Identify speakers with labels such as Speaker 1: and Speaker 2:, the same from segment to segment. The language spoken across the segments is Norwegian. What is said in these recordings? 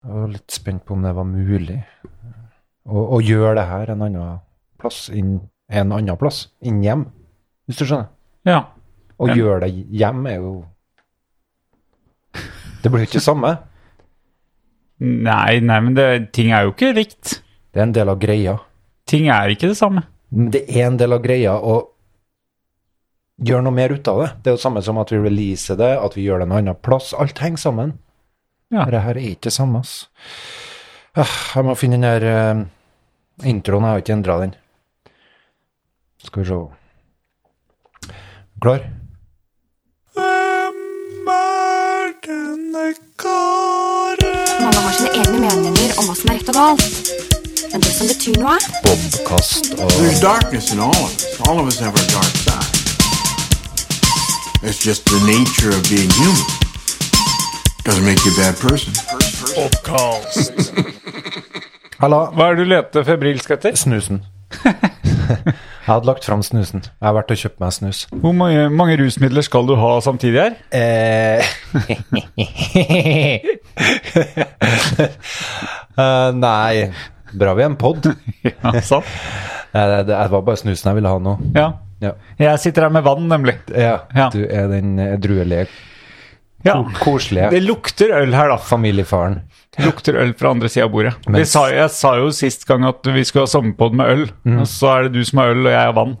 Speaker 1: Jeg var litt spent på om det var mulig eh, å, å gjøre det her en annen plass inn en annen plass enn hjem, hvis du skjønner.
Speaker 2: Ja.
Speaker 1: Å
Speaker 2: Ja.
Speaker 1: gjøre det hjem er jo Det blir jo ikke samme.
Speaker 2: Nei, nei, men det, ting er jo ikke likt.
Speaker 1: Det er en del av greia.
Speaker 2: Ting er ikke det samme.
Speaker 1: Men det er en del av greia å gjøre noe mer ut av det. Det er jo samme som at vi releaser det, at vi gjør det en annen plass. Alt henger sammen.
Speaker 2: Ja.
Speaker 1: Dette her er ikke det samme, ass. Ah, Jeg må finne den der eh, introen. Jeg har ikke endra den. Skal vi se Klar?
Speaker 3: Alle har sine egne meninger om hva som er rett og galt. Men det som betyr noe,
Speaker 1: Bobkast og
Speaker 4: There's darkness in all of us. All of us have our dark side. It's just the nature of being human. Doesn't make you a bad person.
Speaker 1: Halla.
Speaker 2: Hva er det du leter febrilsk etter?
Speaker 1: Snusen. jeg hadde lagt fram snusen. Jeg har vært og kjøpt meg snus.
Speaker 2: Hvor mange, mange rusmidler skal du ha samtidig her?
Speaker 1: Eh, Eh, nei Bra vi er en pod.
Speaker 2: Ja, sant?
Speaker 1: det, det var bare snusen jeg ville ha nå.
Speaker 2: Ja.
Speaker 1: Ja.
Speaker 2: Jeg sitter her med vann, nemlig.
Speaker 1: Ja,
Speaker 2: Ja.
Speaker 1: Du er den edruelige,
Speaker 2: Ja. Det
Speaker 1: koselige
Speaker 2: lukter øl her, da.
Speaker 1: familiefaren.
Speaker 2: Lukter øl fra andre sida av bordet. Vi
Speaker 1: Mens-
Speaker 2: sa, jeg sa jo sist gang at vi skulle ha sommerpod med øl, og så er det du som har øl, og jeg har vann.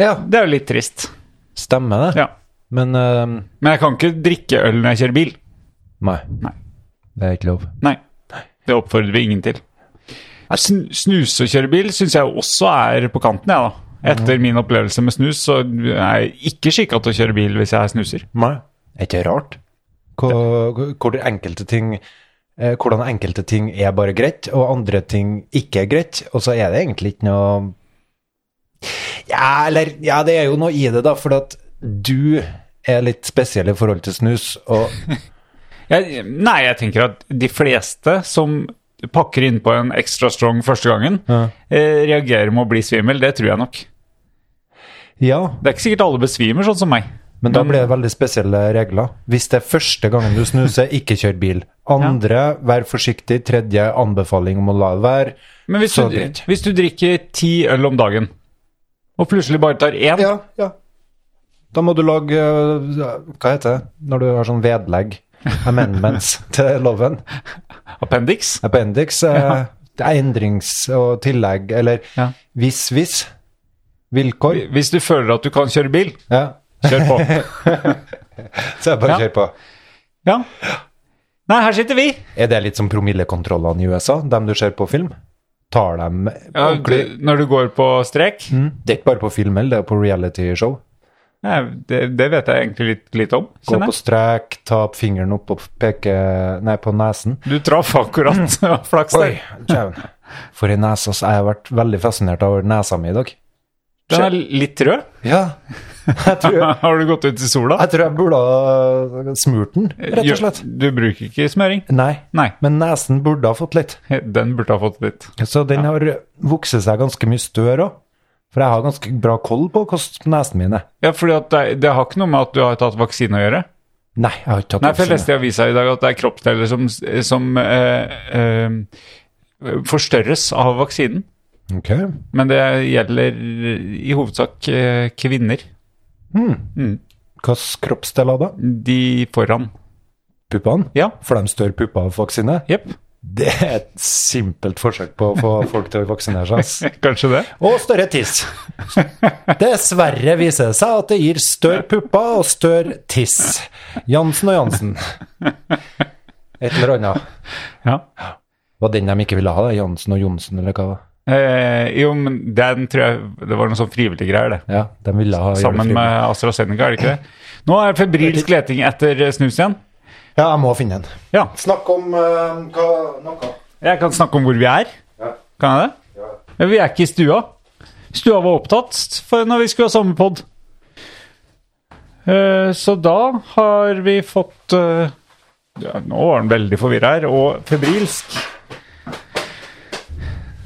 Speaker 1: Ja,
Speaker 2: Mm. Det er jo litt trist.
Speaker 1: stemmer det.
Speaker 2: Ja.
Speaker 1: Men eh,
Speaker 2: Men jeg kan ikke drikke øl når jeg kjører bil.
Speaker 1: nei.
Speaker 2: Nei.
Speaker 1: Det er ikke lov.
Speaker 2: Nei. Det oppfordrer vi ingen til. Sn snuse og kjøre bil syns jeg også er på kanten, jeg, da.
Speaker 1: Mhm.
Speaker 2: Etter min opplevelse med snus, så er jeg ikke skikka til å kjøre bil hvis jeg snuser.
Speaker 1: Nei. Er ikke det rart? Hvor, hvor de enkelte ting eh, Hvordan enkelte ting er bare greit, og andre ting ikke er greit. Og så er det egentlig ikke noe Ja, eller Ja, det er jo noe i det, da, for at du er litt spesiell i forhold til snus, og
Speaker 2: Jeg, nei, jeg tenker at de fleste som pakker innpå en extra strong første gangen,
Speaker 1: Ja.
Speaker 2: eh, reagerer med å bli svimmel. Det tror jeg nok.
Speaker 1: Ja,
Speaker 2: Det er ikke sikkert alle besvimer sånn som meg.
Speaker 1: men da blir det veldig spesielle regler. Hvis det er første gangen du snuser, ikke kjør bil. Andre, vær forsiktig. Tredje, anbefaling om å la det være.
Speaker 2: Men hvis
Speaker 1: Så
Speaker 2: du,
Speaker 1: greit.
Speaker 2: hvis du drikker ti øl om dagen, og plutselig bare tar én
Speaker 1: Ja, ja. Da må du lage eh, Hva heter det når du har sånn vedlegg? Amendments til loven.
Speaker 2: appendix
Speaker 1: Appendix. eh, det er Endrings- og tillegg, eller
Speaker 2: Ja.
Speaker 1: hvis-hvis. Vilkår.
Speaker 2: Hvis du føler at du kan kjøre bil,
Speaker 1: Ja.
Speaker 2: kjør på.
Speaker 1: Så jeg bare
Speaker 2: Ja.
Speaker 1: kjør på.
Speaker 2: Ja. Nei, her sitter vi.
Speaker 1: Er det litt som promillekontrollene i USA? Dem du ser på film? Tar dem ordentlig?
Speaker 2: du- når du går på strek.
Speaker 1: Mm. Det er ikke bare på film, eller det er på realityshow.
Speaker 2: Nei, det, det vet jeg egentlig litt, litt om. Sånn,
Speaker 1: Gå
Speaker 2: kjenner
Speaker 1: på
Speaker 2: jeg.
Speaker 1: strek, ta fingeren opp og peke Nei, på nesen.
Speaker 2: Du traff akkurat. Flaks
Speaker 1: Oi,
Speaker 2: der.
Speaker 1: djevn. For en nese, ass. Jeg har vært veldig fascinert av nesa mi i dag.
Speaker 2: Den er litt rød.
Speaker 1: Ja. Jeg tror jeg,
Speaker 2: Har du gått ut i sola?
Speaker 1: tror jeg burde ha smurt den, rett og slett.
Speaker 2: Du bruker ikke smøring?
Speaker 1: Nei,
Speaker 2: Nei,
Speaker 1: men nesen burde ha fått litt.
Speaker 2: den burde ha fått litt.
Speaker 1: Så den har vokset seg ganske mye større òg. For jeg har ganske bra koll på hvordan nesen min er.
Speaker 2: Ja, fordi at det, det har ikke noe med at du har tatt vaksine å gjøre.
Speaker 1: Nei, jeg har ikke tatt
Speaker 2: Nei, for jeg
Speaker 1: vaksine.
Speaker 2: leste i avisa i dag at det er kroppsdeler som, som eh, eh, forstørres av vaksinen.
Speaker 1: Ok.
Speaker 2: Men det gjelder i hovedsak eh, kvinner.
Speaker 1: Hvilke kroppsdeler da?
Speaker 2: De foran.
Speaker 1: Puppene?
Speaker 2: Ja.
Speaker 1: For de større puppa av vaksine?
Speaker 2: Jepp.
Speaker 1: Det er et simpelt forsøk på å få folk til å vaksinere seg. ass.
Speaker 2: Kanskje det.
Speaker 1: og større tiss. Dessverre viser det seg at det gir større pupper og større tiss. Jansen og Jansen. Et eller annet.
Speaker 2: Ja.
Speaker 1: Var den de ikke ville ha, det? Jansen og Johnsen, eller hva?
Speaker 2: Eh, jo, men den tror jeg Det var noe sånn frivillige greier, det.
Speaker 1: Ja, de ville ha
Speaker 2: Sammen
Speaker 1: julefri.
Speaker 2: med AstraZeneca, er det ikke det? Nå er det febrilsk leting etter eh, snus igjen.
Speaker 1: Ja, jeg må finne en.
Speaker 2: Ja.
Speaker 1: Snakk om eh, hva noe.
Speaker 2: Jeg kan snakke om hvor vi er.
Speaker 1: Ja.
Speaker 2: Kan jeg det? Men vi er ikke i stua. Stua var opptatt for når vi skulle ha sommerpod. Eh, så da har vi fått eh, ja, Nå var han veldig forvirra her, og febrilsk.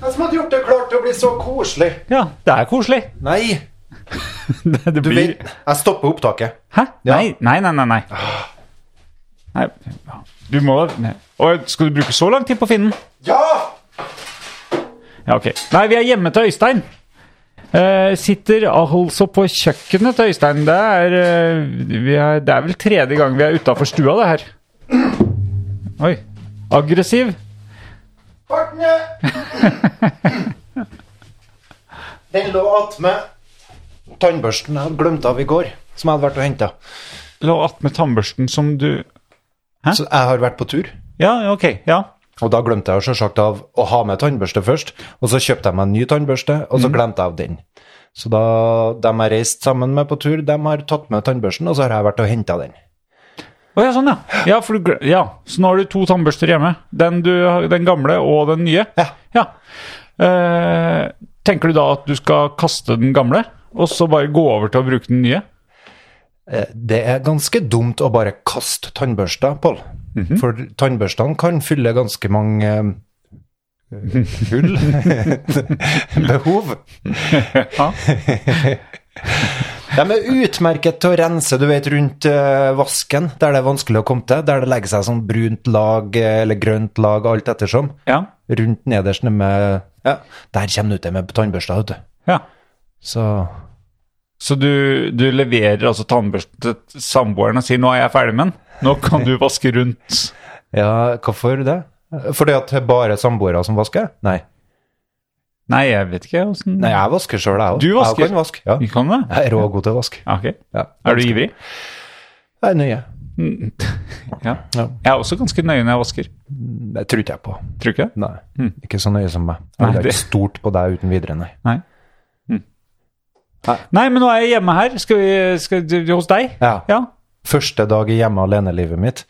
Speaker 1: Jeg som hadde gjort det klart til å bli så koselig.
Speaker 2: Ja, det er koselig.
Speaker 1: Nei,
Speaker 2: Det, det
Speaker 1: du
Speaker 2: blir
Speaker 1: vet, jeg stopper opptaket.
Speaker 2: Hæ?
Speaker 1: Ja.
Speaker 2: Nei, nei, nei, nei. nei. nei. Du må da Og skal du bruke så lang tid på å finne den? Ja! Ja, ok. Nei, vi er hjemme til Øystein. Eh, sitter altså på kjøkkenet til Øystein. Det er, eh, vi er, det er vel tredje gang vi er utafor stua, det her. Oi. Aggressiv.
Speaker 1: Den lå attmed tannbørsten jeg hadde glemt av i går, som jeg hadde vært og henta.
Speaker 2: Lå attmed tannbørsten som du
Speaker 1: Så jeg har vært på tur,
Speaker 2: Ja, ok. Ja.
Speaker 1: og da glemte jeg selvsagt av å ha med tannbørste først. Og så kjøpte jeg meg en ny tannbørste, og så glemte jeg av den. Så da, dem jeg reiste sammen med på tur, dem har tatt med tannbørsten, og så har jeg vært og henta den.
Speaker 2: Å ja, sånn, ja. Ja, for du, gle- ja. Så nå har du to tannbørster hjemme. Den, du, har- den gamle og den nye.
Speaker 1: Ja.
Speaker 2: Eh, tenker du da at du skal kaste den gamle, og så bare gå over til å bruke den nye?
Speaker 1: Eh, Det er ganske dumt å bare kaste tannbørster, Pål. For tannbørstene kan fylle ganske mange eh, hull eh, behov.
Speaker 2: Ja.
Speaker 1: De er utmerket til å rense, du vet, rundt eh, vasken, der det er vanskelig å komme til. Der det legger seg sånn brunt lag eh, eller grønt lag, alt ettersom.
Speaker 2: Ja.
Speaker 1: Rundt nederst nede med Ja, der kommer det ut det med tannbørster, vet du.
Speaker 2: ja.
Speaker 1: Så
Speaker 2: Så du, du leverer altså tannbørsten til samboeren og sier 'nå er jeg ferdig med den', nå kan du vaske rundt.
Speaker 1: Ja, hvorfor det? Fordi at det er bare samboere som vasker? Nei.
Speaker 2: Nei, jeg vet ikke åssen
Speaker 1: Nei, jeg vasker sjøl, jeg òg.
Speaker 2: Du vasker?
Speaker 1: Jeg kan vaske, ja.
Speaker 2: Vi kan det?
Speaker 1: Jeg er rågod til å vaske.
Speaker 2: Ja, ok.
Speaker 1: Ja.
Speaker 2: Er du ivrig?
Speaker 1: Jeg er nøye.
Speaker 2: Ja.
Speaker 1: Ja.
Speaker 2: Jeg er også ganske nøye når jeg vasker.
Speaker 1: Det tror ikke jeg på.
Speaker 2: Tror du ikke det?
Speaker 1: Nei. Ikke så nøye som meg.
Speaker 2: Hmm. Nei,
Speaker 1: Jeg er
Speaker 2: det-
Speaker 1: ikke stort på deg uten videre, nei.
Speaker 2: Nei. Nei. Nei, men nå er jeg hjemme her. Skal vi, skal du, hos deg?
Speaker 1: Ja.
Speaker 2: Ja.
Speaker 1: Første dag i hjemme alene-livet mitt,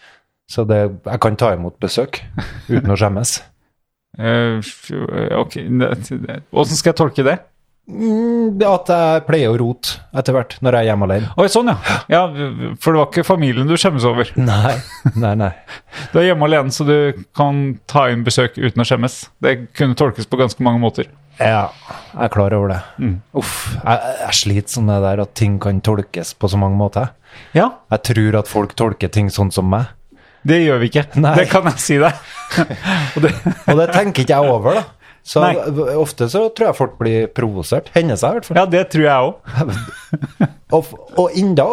Speaker 1: så det, jeg kan ta imot besøk uten å skjemmes.
Speaker 2: Eh, f- ok. Åssen skal jeg tolke det?
Speaker 1: Mm, det At jeg pleier å rote etter hvert når jeg er hjemme alene.
Speaker 2: Oi, sånn, ja. ja. For det var ikke familien du skjemmes over.
Speaker 1: Nei, nei, nei.
Speaker 2: Du er hjemme alene, så du kan ta inn besøk uten å skjemmes. Det kunne tolkes på ganske mange måter.
Speaker 1: Ja, jeg er klar over det. Uff, jeg, jeg sliter sånn med det der at ting kan tolkes på så mange måter.
Speaker 2: Ja,
Speaker 1: Jeg tror at folk tolker ting sånn som meg.
Speaker 2: det gjør vi ikke.
Speaker 1: Nei.
Speaker 2: Det kan jeg si deg. Og det,
Speaker 1: Og det tenker ikke jeg over, da. Så
Speaker 2: Nei.
Speaker 1: v- ofte så tror jeg folk blir provosert. Hender seg i hvert fall.
Speaker 2: ja, det tror jeg òg.
Speaker 1: Og, f- og enda,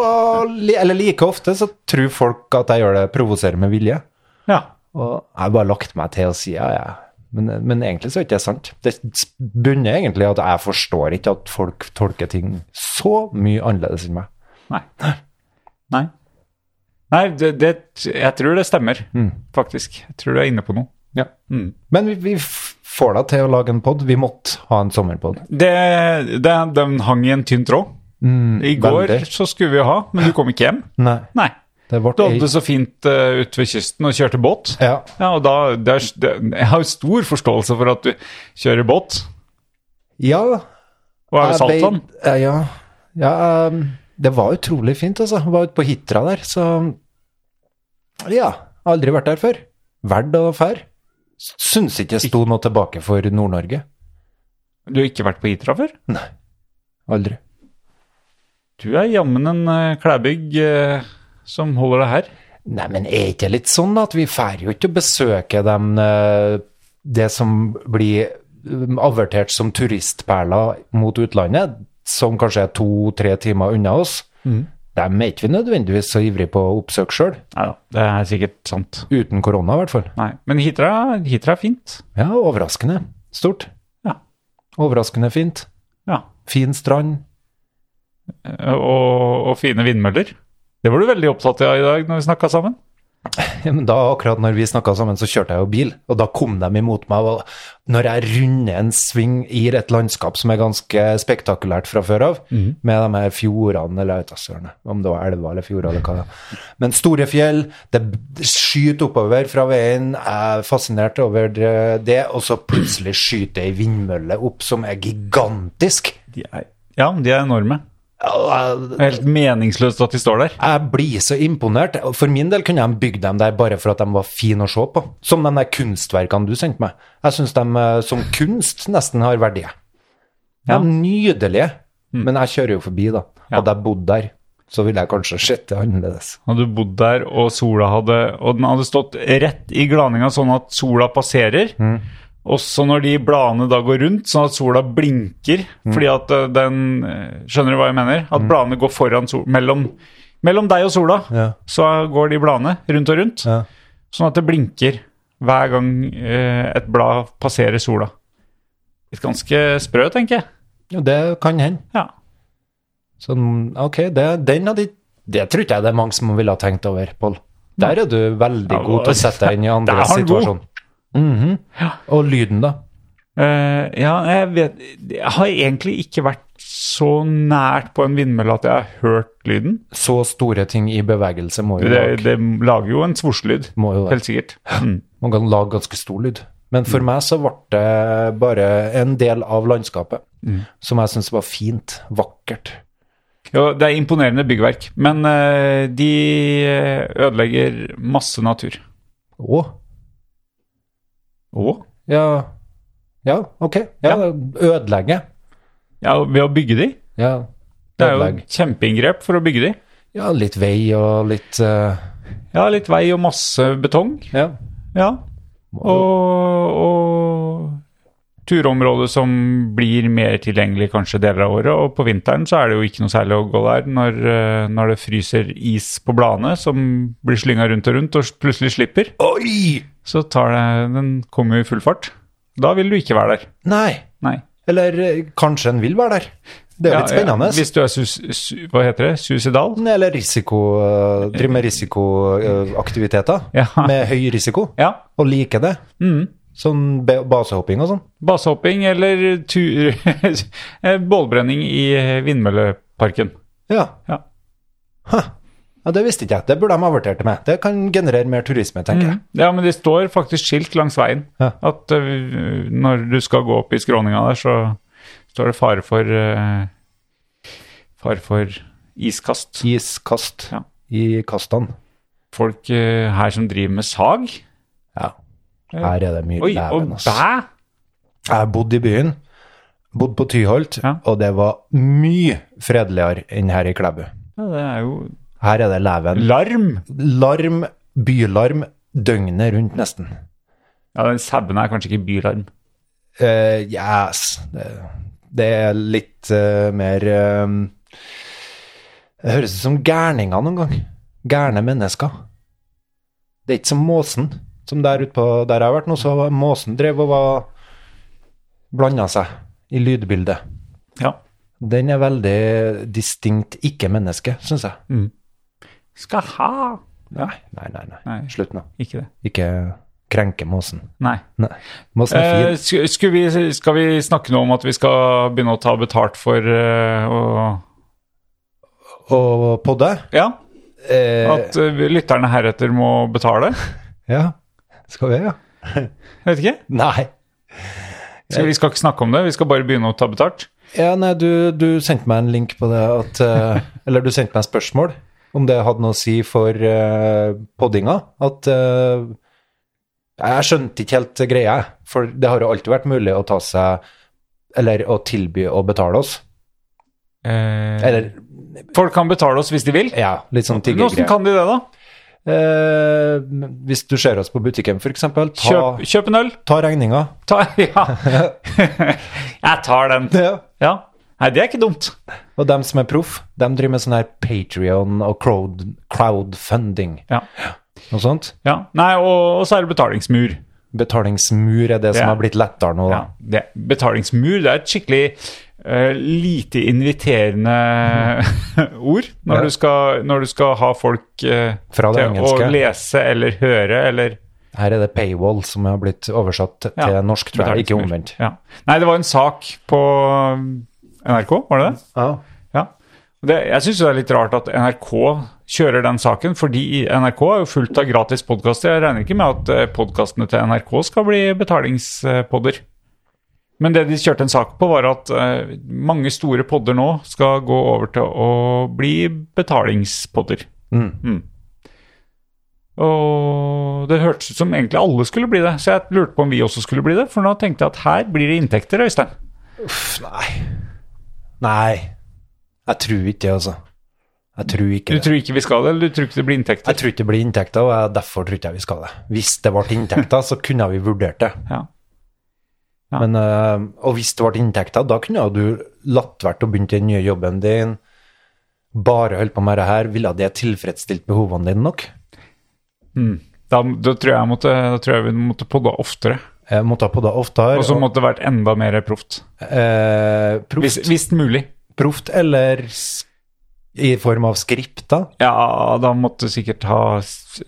Speaker 1: li- eller like ofte, så tror folk at jeg gjør det provoserer med vilje.
Speaker 2: Ja.
Speaker 1: Og jeg har bare lagt meg til å si ja, ja. Men, men egentlig så er ikke det sant. Det s- bunner egentlig i at jeg forstår ikke at folk tolker ting så mye annerledes enn meg.
Speaker 2: Nei. Nei. Nei, det, det, jeg tror det stemmer, faktisk. Jeg tror du er inne på noe. Mm.
Speaker 1: Men vi, vi f- får deg til å lage en pod. Vi måtte ha en sommerpod.
Speaker 2: Det, det, den hang i en tynn tråd. I går
Speaker 1: Mm, veldig.
Speaker 2: så skulle vi ha, men du kom ikke hjem.
Speaker 1: Nei.
Speaker 2: Nei.
Speaker 1: Det
Speaker 2: Du
Speaker 1: ble
Speaker 2: hadde det så fint uh, ute ved kysten og kjørte båt.
Speaker 1: Ja.
Speaker 2: Ja, og da, det er, det, Jeg har jo stor forståelse for at du kjører båt
Speaker 1: ja
Speaker 2: og er ved
Speaker 1: Jeg
Speaker 2: Saltvann.
Speaker 1: vet- eh, Ja. ja ehm, det var utrolig fint, altså. Jeg var ute på Hitra der, så Ja. Aldri vært der før. Verd og fær. Syns ikke det sto noe tilbake for Nord-Norge.
Speaker 2: Du har ikke vært på Hitra før?
Speaker 1: Aldri.
Speaker 2: Du er jammen en eh, klæbygg eh, som holder deg her.
Speaker 1: Nei, men er ikke det litt sånn da, at vi fær jo ikke å besøke dem eh, det som blir eh, avertert som turistperler mot utlandet, som kanskje er to-tre timer unna oss? Dem er ikke vi nødvendigvis så ivrige på å oppsøke sjøl.
Speaker 2: Nei da, det er sikkert sant.
Speaker 1: Uten korona, i hvert fall.
Speaker 2: Nei, Men Hitra, Hitra er fint.
Speaker 1: Ja, overraskende stort.
Speaker 2: Ja.
Speaker 1: Overraskende fint.
Speaker 2: ja. eh,
Speaker 1: Fin strand.
Speaker 2: Og, og fine vindmøller. Det var du veldig opptatt av i dag når vi snakka sammen.
Speaker 1: Ja, men da akkurat når vi snakka sammen, så kjørte jeg jo bil, og da kom de imot meg. Og når jeg runder en sving i et landskap som er ganske spektakulært fra før av, med de her fjordene eller jeg vet da søren, om det var elver eller fjorder eller hva det var. Men store fjell, det b- skyter oppover fra veien, jeg er fascinert over det, det, og så plutselig skyter ei vindmølle opp som er gigantisk.
Speaker 2: De er, ja, de er enorme.
Speaker 1: Og jeg-
Speaker 2: Det er helt meningsløst at de står der.
Speaker 1: Jeg blir så imponert. og For min del kunne de bygd dem der bare for at de var fine å se på. Som de der kunstverkene du sendte meg. Jeg syns de eh, som kunst nesten har
Speaker 2: Mm.
Speaker 1: verdi. De er nydelige. Men jeg kjører jo forbi, da. Hadde jeg bodd der, så ville jeg kanskje sett det annerledes.
Speaker 2: Hadde du bodd der, og sola hadde Og den hadde stått rett i glaninga, sånn at sola passerer.
Speaker 1: Mm.
Speaker 2: Også når de bladene da går rundt, sånn at sola blinker.
Speaker 1: Mm.
Speaker 2: Fordi at eh, den eh, Skjønner du hva jeg mener? At bladene går foran sol... Mellom, mellom deg og sola,
Speaker 1: Ja.
Speaker 2: så går de bladene rundt og rundt.
Speaker 1: Ja.
Speaker 2: Sånn at det blinker hver gang eh, et blad passerer sola. Litt ganske sprø, tenker jeg.
Speaker 1: Jo, det kan hende.
Speaker 2: Ja.
Speaker 1: Sånn, ok, det, den hadde Det tror ikke jeg det er mange som ville ha tenkt over, Pål. Der er du veldig
Speaker 2: Ja,
Speaker 1: god til å sette deg inn i
Speaker 2: der er
Speaker 1: andres
Speaker 2: han god.
Speaker 1: situasjon. Mhm. Og lyden, da?
Speaker 2: Eh, ja, jeg vet Jeg har egentlig ikke vært så nært på en vindmølle at jeg har hørt lyden.
Speaker 1: Så store ting i bevegelse må jo
Speaker 2: Det,
Speaker 1: lage,
Speaker 2: det lager jo en svorselyd,
Speaker 1: må jo
Speaker 2: helt sikkert. Mm.
Speaker 1: Man kan lage ganske stor lyd. Men for meg så ble det bare en del av landskapet
Speaker 2: Mm.
Speaker 1: som jeg syntes var fint, vakkert.
Speaker 2: Jo, det er imponerende byggverk, men eh, de eh, ødelegger masse natur.
Speaker 1: Å,
Speaker 2: Og
Speaker 1: ja Ja, ok. Ja, ødelegge.
Speaker 2: ja, ved å bygge de.
Speaker 1: Ja,
Speaker 2: Det er jo
Speaker 1: ødelegg.
Speaker 2: kjempeinngrep for å bygge de.
Speaker 1: Ja, litt vei og litt eh,
Speaker 2: Ja, litt vei og masse betong.
Speaker 1: Ja.
Speaker 2: Ja. Og, og turområde som blir mer tilgjengelig kanskje deler av året. Og på vinteren så er det jo ikke noe særlig å gå der når, eh, når det fryser is på bladene som blir slynga rundt og rundt og plutselig slipper.
Speaker 1: Oi!
Speaker 2: Så tar det, den kommer jo i full fart. Da vil du ikke være der.
Speaker 1: Nei.
Speaker 2: Nei.
Speaker 1: Eller eh, kanskje en vil være der. Det er jo litt spennende.
Speaker 2: hvis du er sus, su, hva heter det, suicidal.
Speaker 1: Eller risiko eh, Driver med risikoaktiviteter
Speaker 2: Ja.
Speaker 1: med høy risiko,
Speaker 2: Ja. Mm.
Speaker 1: og liker det. Sånn be- basehopping og sånn.
Speaker 2: Basehopping eller tur, eh, bålbrenning i vindmølleparken.
Speaker 1: Ja.
Speaker 2: Ja.
Speaker 1: Huh. ja, det visste ikke jeg. Det burde de ha vurdert til meg. Det kan generere mer turisme, tenker jeg.
Speaker 2: Ja, men det står faktisk skilt langs veien.
Speaker 1: Ja.
Speaker 2: At eh, når du skal gå opp i skråninga der, så står det fare for eh, Fare for iskast.
Speaker 1: Iskast
Speaker 2: Mhm. Ja.
Speaker 1: i kastene.
Speaker 2: Folk eh, her som driver med sag.
Speaker 1: Ja. Her er det mye
Speaker 2: Oi,
Speaker 1: dæven,
Speaker 2: og
Speaker 1: ass.
Speaker 2: bæ!
Speaker 1: Jeg har bodd i byen, bodd på Tyholt,
Speaker 2: Ja.
Speaker 1: og det var mye fredeligere enn her i Klæbu.
Speaker 2: Ja, det er jo
Speaker 1: Her er det leven.
Speaker 2: larm!
Speaker 1: Larm, bylarm, døgnet rundt nesten.
Speaker 2: Ja, den sabben er kanskje ikke bylarm.
Speaker 1: Eh, yes. Det, det er litt eh, mer eh, Det høres ut som gærninger noen gang. Gærne mennesker. Det er ikke som måsen. Som der ute på der jeg har vært nå, så var måsen drev og var blanda seg i lydbildet.
Speaker 2: Ja.
Speaker 1: Den er veldig distinkt ikke-menneske, syns jeg.
Speaker 2: Skal ha
Speaker 1: Nei, nei, nei. nei.
Speaker 2: Nei.
Speaker 1: Slutt nå.
Speaker 2: Ikke det.
Speaker 1: Ikke krenke måsen.
Speaker 2: Nei.
Speaker 1: Nei. Måsen er
Speaker 2: Eh,
Speaker 1: fin.
Speaker 2: sk- skulle vi, skal vi snakke noe om at vi skal begynne å ta betalt for eh, å
Speaker 1: Og podde?
Speaker 2: Ja?
Speaker 1: Eh,
Speaker 2: At eh, lytterne heretter må betale?
Speaker 1: ja. Skal vi, ja?
Speaker 2: Jeg vet ikke.
Speaker 1: Nei.
Speaker 2: Skal, vi skal ikke snakke om det, vi skal bare begynne å ta betalt.
Speaker 1: Ja, nei, du, du sendte meg en link på det at eh, Eller du sendte meg et spørsmål om det hadde noe å si for eh, poddinga. At eh, Jeg skjønte ikke helt greia, jeg. For det har jo alltid vært mulig å ta seg Eller å tilby å betale oss. Eller
Speaker 2: Folk kan betale oss hvis de vil.
Speaker 1: ja, litt sånn
Speaker 2: Men Hvordan
Speaker 1: tiggergreier.
Speaker 2: kan de det, da?
Speaker 1: Eh, hvis du ser oss på butikken, f.eks., ta,
Speaker 2: Kjøp, kjøp en øl.
Speaker 1: ta regninga.
Speaker 2: Ta, ja. Jeg tar den. Ja. Nei, det er ikke dumt.
Speaker 1: Og dem som er proff, dem driver med sånn her Patrion og crowd, crowdfunding
Speaker 2: Ja.
Speaker 1: og sånt.
Speaker 2: ja. Nei, og, og så er det betalingsmur.
Speaker 1: Betalingsmur er det som
Speaker 2: Ja.
Speaker 1: har blitt lettere nå, da.
Speaker 2: Ja. Det, betalingsmur, det er et skikkelig eh, lite inviterende ord når,
Speaker 1: Ja.
Speaker 2: du skal, når du skal ha folk eh,
Speaker 1: Fra det
Speaker 2: til å
Speaker 1: engelske.
Speaker 2: lese eller høre eller
Speaker 1: Her er det paywall som har blitt oversatt til
Speaker 2: Ja,
Speaker 1: norsk, tror jeg. Ikke
Speaker 2: Betalingsmur.
Speaker 1: omvendt.
Speaker 2: Ja. Nei, det var en sak på NRK, var det det? Ja. Det, jeg syns det er litt rart at NRK kjører den saken, fordi NRK er jo fullt av gratis podkaster. Jeg regner ikke med at podkastene til NRK skal bli betalingspodder. Men det de kjørte en sak på, var at eh, mange store podder nå skal gå over til å bli betalingspodder.
Speaker 1: Mm.
Speaker 2: Og det hørtes ut som egentlig alle skulle bli det, så jeg lurte på om vi også skulle bli det. For nå tenkte jeg at her blir det inntekter, Øystein.
Speaker 1: Pff, Nei. Nei. Jeg tror ikke det, altså. Jeg tror ikke
Speaker 2: Du
Speaker 1: det.
Speaker 2: tror ikke vi skal det, eller du tror ikke det blir inntekter?
Speaker 1: Jeg tror ikke det blir inntekter, og jeg- derfor tror ikke jeg vi skal det. Hvis det ble inntekter, så kunne vi vurdert det.
Speaker 2: Ja. Ja.
Speaker 1: Men, eh, og hvis det ble inntekter, da kunne jo du latt vært å begynne i den nye jobben din, bare holdt på med det her, ville det tilfredsstilt behovene dine nok?
Speaker 2: Da, da, tror jeg jeg måtte, da tror jeg vi måtte podde oftere.
Speaker 1: Jeg måtte ha på det oftere.
Speaker 2: Og så
Speaker 1: og,
Speaker 2: måtte det vært enda mer proft.
Speaker 1: eh, proft,
Speaker 2: Hvis, hvis mulig.
Speaker 1: proft eller s- i form av skripter?
Speaker 2: Ja, da måtte jeg sikkert ha s-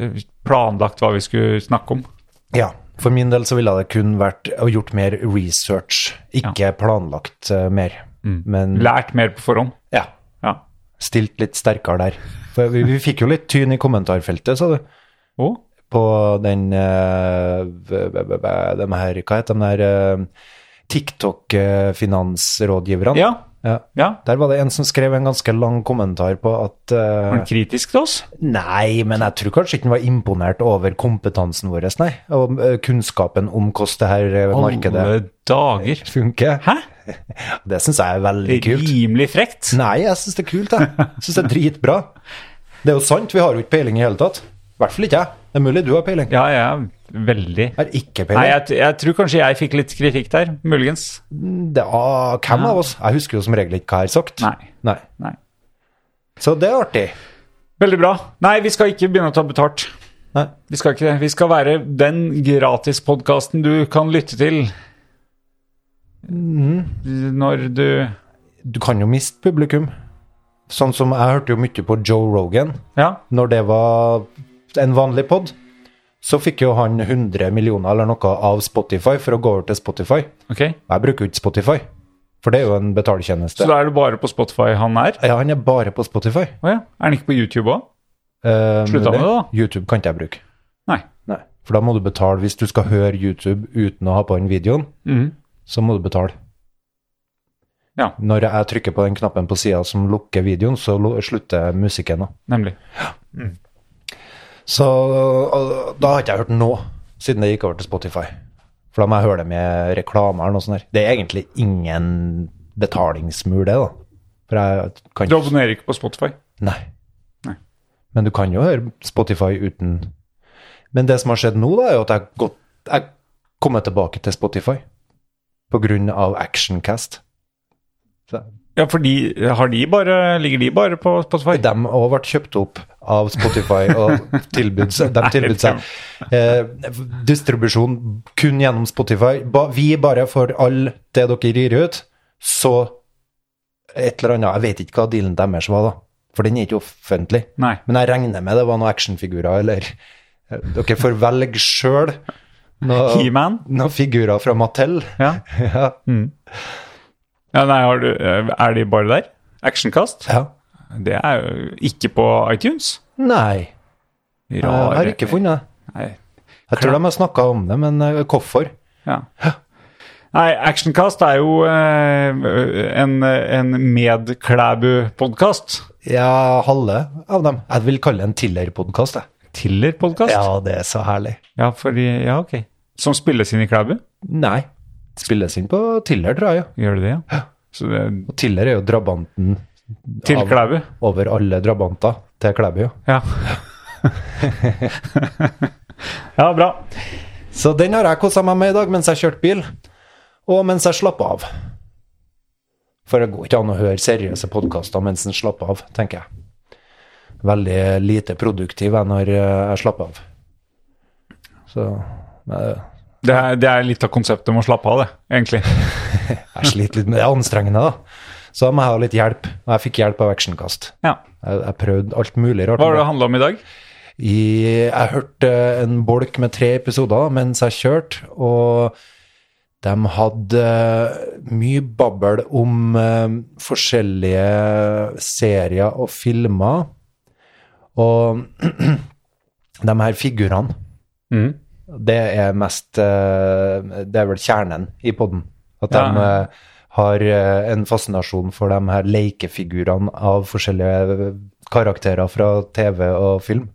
Speaker 2: planlagt hva vi skulle snakke om.
Speaker 1: Ja. For min del så ville det kun vært å gjort mer research, ikke planlagt eh, mer. Men
Speaker 2: Lært mer på forhånd.
Speaker 1: ja,
Speaker 2: Ja.
Speaker 1: stilt litt sterkere der. For vi, vi fikk jo litt tyn i kommentarfeltet, sa du.
Speaker 2: Og?
Speaker 1: på den eh, b- b- b- b- de her, Hva heter de der eh, TikTok-finansrådgiverne?
Speaker 2: Ja.
Speaker 1: Ja.
Speaker 2: ja.
Speaker 1: Der var det en som skrev en ganske lang kommentar på at eh,
Speaker 2: Var den kritisk til oss?
Speaker 1: Nei, men jeg tror kanskje ikke han var imponert over kompetansen vår, nei. Og eh, kunnskapen om hvordan det her eh, markedet
Speaker 2: Alle dager.
Speaker 1: funker.
Speaker 2: eh, Hæ?
Speaker 1: Det syns jeg er veldig kult.
Speaker 2: Rimelig frekt.
Speaker 1: Nei, jeg syns det er kult, jeg. Jeg syns det er dritbra. Det er jo sant, vi har jo ikke peiling i hele tatt. I hvert fall ikke jeg. Det er mulig du har peiling.
Speaker 2: Ja, ja. Veldig.
Speaker 1: Jeg har ikke peiling.
Speaker 2: Nei, jeg, t- jeg tror kanskje jeg fikk litt kritikk der. Muligens.
Speaker 1: Det var hvem av oss? Jeg husker jo som regel ikke hva jeg har sagt.
Speaker 2: Nei. Nei.
Speaker 1: Så det er artig.
Speaker 2: Veldig bra. Nei, vi skal ikke begynne å ta betalt.
Speaker 1: Nei.
Speaker 2: Vi skal ikke det. Vi skal være den gratispodkasten du kan lytte til
Speaker 1: Mm-hmm.
Speaker 2: når du
Speaker 1: Du kan jo miste publikum. Sånn som jeg hørte jo mye på Joe Rogan.
Speaker 2: Ja.
Speaker 1: Når det var en vanlig pod, så fikk jo han 100 millioner eller noe av Spotify for å gå over til Spotify.
Speaker 2: Ok.
Speaker 1: Jeg bruker jo ikke Spotify, for det er jo en
Speaker 2: Så
Speaker 1: betaletjeneste.
Speaker 2: da er det bare på Spotify han er?
Speaker 1: Ja, han er bare på Spotify.
Speaker 2: Å ja. Er han ikke på YouTube òg?
Speaker 1: Eh,
Speaker 2: Slutta
Speaker 1: mulig.
Speaker 2: med det, da.
Speaker 1: YouTube kan ikke jeg bruke.
Speaker 2: Nei.
Speaker 1: Nei. For da må du betale hvis du skal høre YouTube uten å ha på den videoen.
Speaker 2: Mhm.
Speaker 1: så må du betale.
Speaker 2: Ja.
Speaker 1: Når jeg trykker på den knappen på sida som lukker videoen, så lu- slutter musikken. da.
Speaker 2: Nemlig.
Speaker 1: Så og, da har ikke jeg hørt noe siden det gikk over til Spotify. For da må jeg høre det med reklame eller noe sånt. der. Det er egentlig ingen betalingsmur, det, da. For jeg kan
Speaker 2: Du abonnerer ikke på Spotify?
Speaker 1: Nei.
Speaker 2: Nei.
Speaker 1: Men du kan jo høre Spotify uten Men det som har skjedd nå, da, er jo at jeg har gått Jeg kommer tilbake til Spotify på grunn av Actioncast. Så
Speaker 2: Ja, for de, har de bare, ligger de bare på Spotify?
Speaker 1: De òg ble kjøpt opp av Spotify og tilbud, de tilbød seg eh, distribusjon kun gjennom Spotify. Ba, vi bare får all det dere gir ut, så et eller annet Jeg vet ikke hva dealen deres var, da. For den er ikke offentlig.
Speaker 2: Nei.
Speaker 1: Men jeg regner med det var noen actionfigurer, eller eh, Dere får velge sjøl noen
Speaker 2: He-Man?
Speaker 1: noen figurer fra Mattel.
Speaker 2: Ja.
Speaker 1: ja.
Speaker 2: ja, nei, har du, er de bare der? Actionkast?
Speaker 1: ja.
Speaker 2: Det er jo ikke på iTunes.
Speaker 1: Nei, jeg har ikke funnet det.
Speaker 2: Nei.
Speaker 1: Jeg tror de har snakka om det, men eh, hvorfor?
Speaker 2: Ja. Nei, Actionkast er jo eh, en, en Medklæbu-podkast.
Speaker 1: Ja, halve av dem. Jeg vil kalle det en Tiller-podkast, jeg.
Speaker 2: Tiller-podkast?
Speaker 1: Ja, det er så herlig.
Speaker 2: ja, fordi Ja, ok. Som spilles inn i Klæbu?
Speaker 1: Nei. Spilles inn på Tiller, tror jeg. ja.
Speaker 2: Gjør det det, ja? Så det er
Speaker 1: Og Tiller er jo drabanten
Speaker 2: til
Speaker 1: Av-
Speaker 2: Klæbu?
Speaker 1: over alle drabanter til Klæbu. ja.
Speaker 2: Ja. ja, bra.
Speaker 1: Så den har jeg kosa meg med i dag mens jeg kjørte bil, og mens jeg slapp av. For det går ikke an å høre seriøse podkaster mens en slapper av, tenker jeg. Veldig lite produktiv jeg når eh, jeg slapper av. Så eh, men
Speaker 2: Det er, det er litt av konseptet om å slappe av, det, egentlig.
Speaker 1: jeg sliter litt med det. Det er anstrengende, da. Så da må jeg ha litt hjelp. Og jeg fikk hjelp av actionkast.
Speaker 2: Ja.
Speaker 1: Jeg, jeg prøvde alt mulig rart.
Speaker 2: Hva har det handla om i dag?
Speaker 1: I, jeg hørte en bolk med tre episoder mens jeg kjørte, og de hadde eh, mye babbel om eh, forskjellige serier og filmer. Og de her figurene,
Speaker 2: Mhm.
Speaker 1: det er mest eh, Det er vel kjernen i podden. At de
Speaker 2: Ja.
Speaker 1: eh, har eh, en fascinasjon for de her lekefigurene av forskjellige eh, karakterer fra TV og film.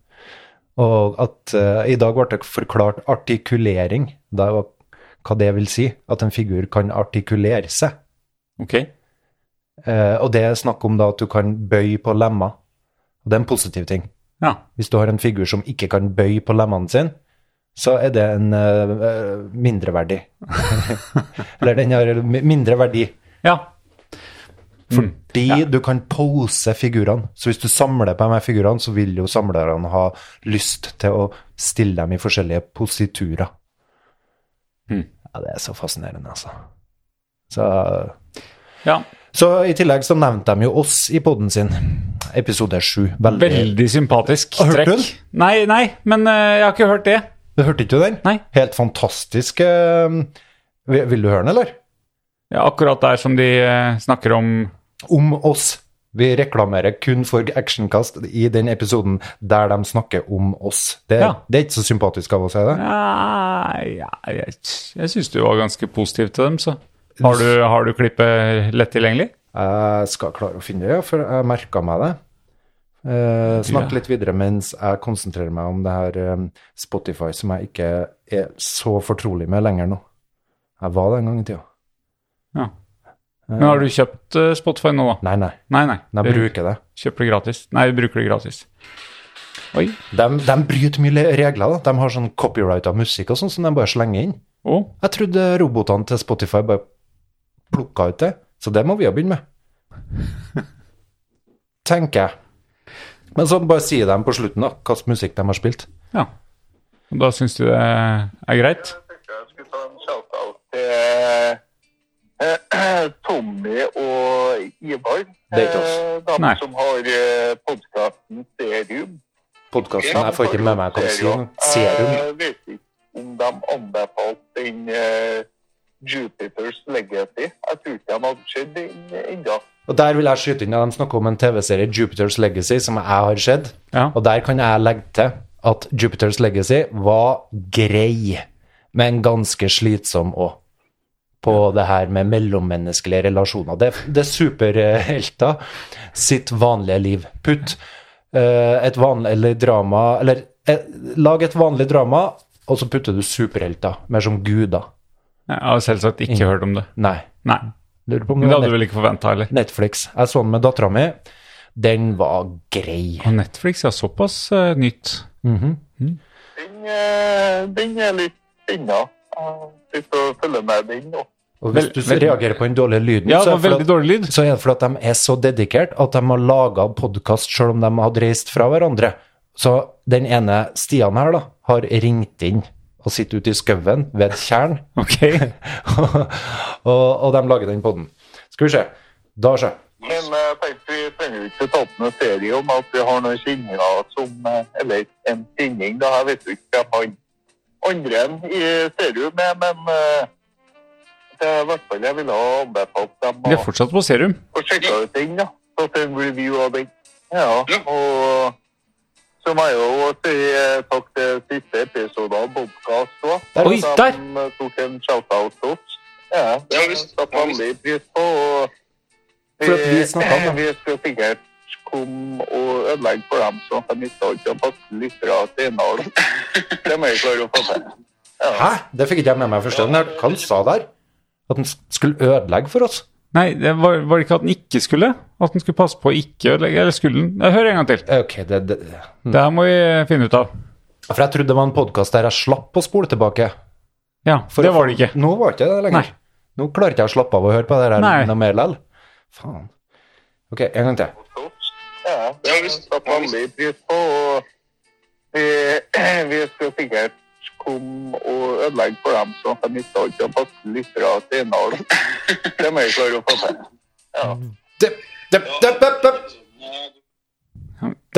Speaker 1: Og at eh, i dag ble det forklart artikulering. Da var hva det vil si. At en figur kan artikulere seg.
Speaker 2: Ok.
Speaker 1: Eh, og det er snakk om da at du kan bøye på lemmer. Og det er en positiv ting.
Speaker 2: Ja.
Speaker 1: Hvis du har en figur som ikke kan bøye på lemmene sine, så er det en uh, mindreverdi. Eller den har mi- mindre verdi.
Speaker 2: ja.
Speaker 1: Fordi du kan pose figurene. Så hvis du samler på de her figurene, så vil jo samlerne ha lyst til å stille dem i forskjellige positurer. Ja, det er så fascinerende, altså. Så,
Speaker 2: ja.
Speaker 1: så i tillegg så nevnte de jo oss i poden sin, episode sju. Veldig.
Speaker 2: Veldig sympatisk
Speaker 1: Hørte
Speaker 2: trekk.
Speaker 1: du den?
Speaker 2: Nei, nei, men eh, jeg har ikke hørt det.
Speaker 1: Du hørte ikke den?
Speaker 2: Nei.
Speaker 1: Helt fantastisk. eh, vil vil du høre den, eller?
Speaker 2: Ja, akkurat der som de eh, snakker om
Speaker 1: om oss. Vi reklamerer kun for actionkast i den episoden der de snakker om oss. Det,
Speaker 2: Ja.
Speaker 1: det er ikke så sympatisk av å si det.
Speaker 2: Ja, ja, jeg, jeg syns du var ganske positiv til dem, så. Har du, har du klippet lett tilgjengelig?
Speaker 1: Jeg skal klare å finne det, ja, for jeg merka meg det. Eh, snakk
Speaker 2: Ja.
Speaker 1: litt videre mens jeg konsentrerer meg om det her eh, Spotify, som jeg ikke er så fortrolig med lenger nå. Jeg var det en gang i tida.
Speaker 2: Ja. Men har du kjøpt eh, Spotify nå, da?
Speaker 1: Nei, nei.
Speaker 2: Nei, nei.
Speaker 1: men
Speaker 2: du
Speaker 1: Jeg bruker det.
Speaker 2: Kjøper det gratis. Nei, du bruker det gratis. Oi.
Speaker 1: De, de bryter mye le- regler. da. De har sånn copyright av musikk og sånn som de bare slenger inn.
Speaker 2: Å,
Speaker 1: Jeg trodde robotene til Spotify bare plukka ut det, så det må vi jo begynne med. Tenker jeg. Men så bare sier de på slutten da, hva slags musikk de har spilt.
Speaker 2: ja. Og da syns du det er greit?
Speaker 5: tenkte jeg skulle ta en shout-out til eh, Tommy og Ivar.
Speaker 1: Det er ikke oss.
Speaker 5: Eh, De
Speaker 2: Nei.
Speaker 5: som har eh, podkasten Serum.
Speaker 1: Podkasten Altså, Jeg får ikke med meg hva de sier. nå. Serum.
Speaker 5: Eh, Jeg vet ikke om de anbefalte den eh, Jupiters Legacy. Jeg tror ikke de hadde sett den ennå.
Speaker 1: Og der vil jeg skyte inn at de snakker om en TV-serie, Jupiter's Legacy, som jeg har sett.
Speaker 2: Ja.
Speaker 1: Og der kan jeg legge til at Jupiter's Legacy var grei, men ganske slitsom òg. På det her med mellommenneskelige relasjoner. Det, det er superhelter sitt vanlige liv. Putt eh, et vanlig drama Eller eh, lag et vanlig drama, og så putter du superhelter. Mer som guder.
Speaker 2: Jeg har selvsagt ikke hørt om det.
Speaker 1: Nei.
Speaker 2: Nei.
Speaker 1: Lurer på om
Speaker 2: Men
Speaker 1: det
Speaker 2: det
Speaker 1: var
Speaker 2: hadde du
Speaker 1: Net-
Speaker 2: vel ikke forventa heller?
Speaker 1: Netflix. Jeg så den med dattera mi. Den var grei.
Speaker 2: Og Netflix er såpass eh, nytt.
Speaker 5: Den, eh, den er litt spennende. Jeg sitter og følger med den nå.
Speaker 1: Og hvis
Speaker 2: Vel-
Speaker 1: du
Speaker 2: vel-
Speaker 1: reagerer på den dårlige lyden,
Speaker 2: Ja,
Speaker 1: så er
Speaker 2: det var
Speaker 1: det fordi
Speaker 2: veldig
Speaker 1: at-
Speaker 2: dårlig lyd.
Speaker 1: så er det fordi at de er så dedikert at de har laga podkast sjøl om de hadde reist fra hverandre. Så den ene Stian her da, har ringt inn og sitter ute i skauen ved et tjern,
Speaker 2: Ok.
Speaker 1: og, og de lager den podden. Skal vi se. Da ser jeg.
Speaker 5: Men eh, jeg tenkte vi trenger jo ikke ta opp noen serie om at vi har noen kjenninger som eh, Eller en kjenning, da. Jeg vet jo ikke hvem han andre enn i serium er, men eh, det er i hvert fall jeg ville ha anbefalt dem
Speaker 2: De
Speaker 5: å
Speaker 2: er fortsatt på serum.
Speaker 5: å sjekke ut den, da. Tatt en review av den. Ja, og så må jeg jo si eh, takk til siste episode av podkast òg.
Speaker 2: Der, oi, der!
Speaker 5: eh, tok en shout-out til oss. Ja, det
Speaker 6: Ja, visst,
Speaker 5: satte
Speaker 6: ja,
Speaker 5: veldig pris på. og
Speaker 1: For at vi snakket om det.
Speaker 5: Vi skal sikkert komme og ødelegge for dem, sånn at de ikke har fått lyttere til innhold. Det må jeg klare å få til.
Speaker 1: Hæ? Det fikk ikke jeg med meg første gang. Hva han sa der? At han skulle ødelegge for oss?
Speaker 2: Nei, det var, var det ikke at den ikke skulle? At den skulle passe på å ikke ødelegge? Eller skulle den? Nei, Hør en gang til.
Speaker 1: Ok, det, det.
Speaker 6: Mm.
Speaker 2: Det her må vi finne ut av.
Speaker 1: For jeg trodde det var en podkast der jeg slapp å spole tilbake.
Speaker 2: Ja,
Speaker 1: For
Speaker 2: det
Speaker 1: å-
Speaker 2: var det ikke.
Speaker 1: Nå var ikke det lenger.
Speaker 2: Nei.
Speaker 1: Nå klarer ikke jeg å slappe av å høre på det her
Speaker 2: Nei.
Speaker 1: noe mer likevel. Faen. Ok, en gang til.
Speaker 5: Ja, det har vi satt veldig pris på. Og vi, vi skal sikkert komme og ødelegge for dem, sånn at de ikke har ikke fått lyttere til innhold. Det må jeg klare å få til.
Speaker 1: Depp, depp, depp, depp, depp.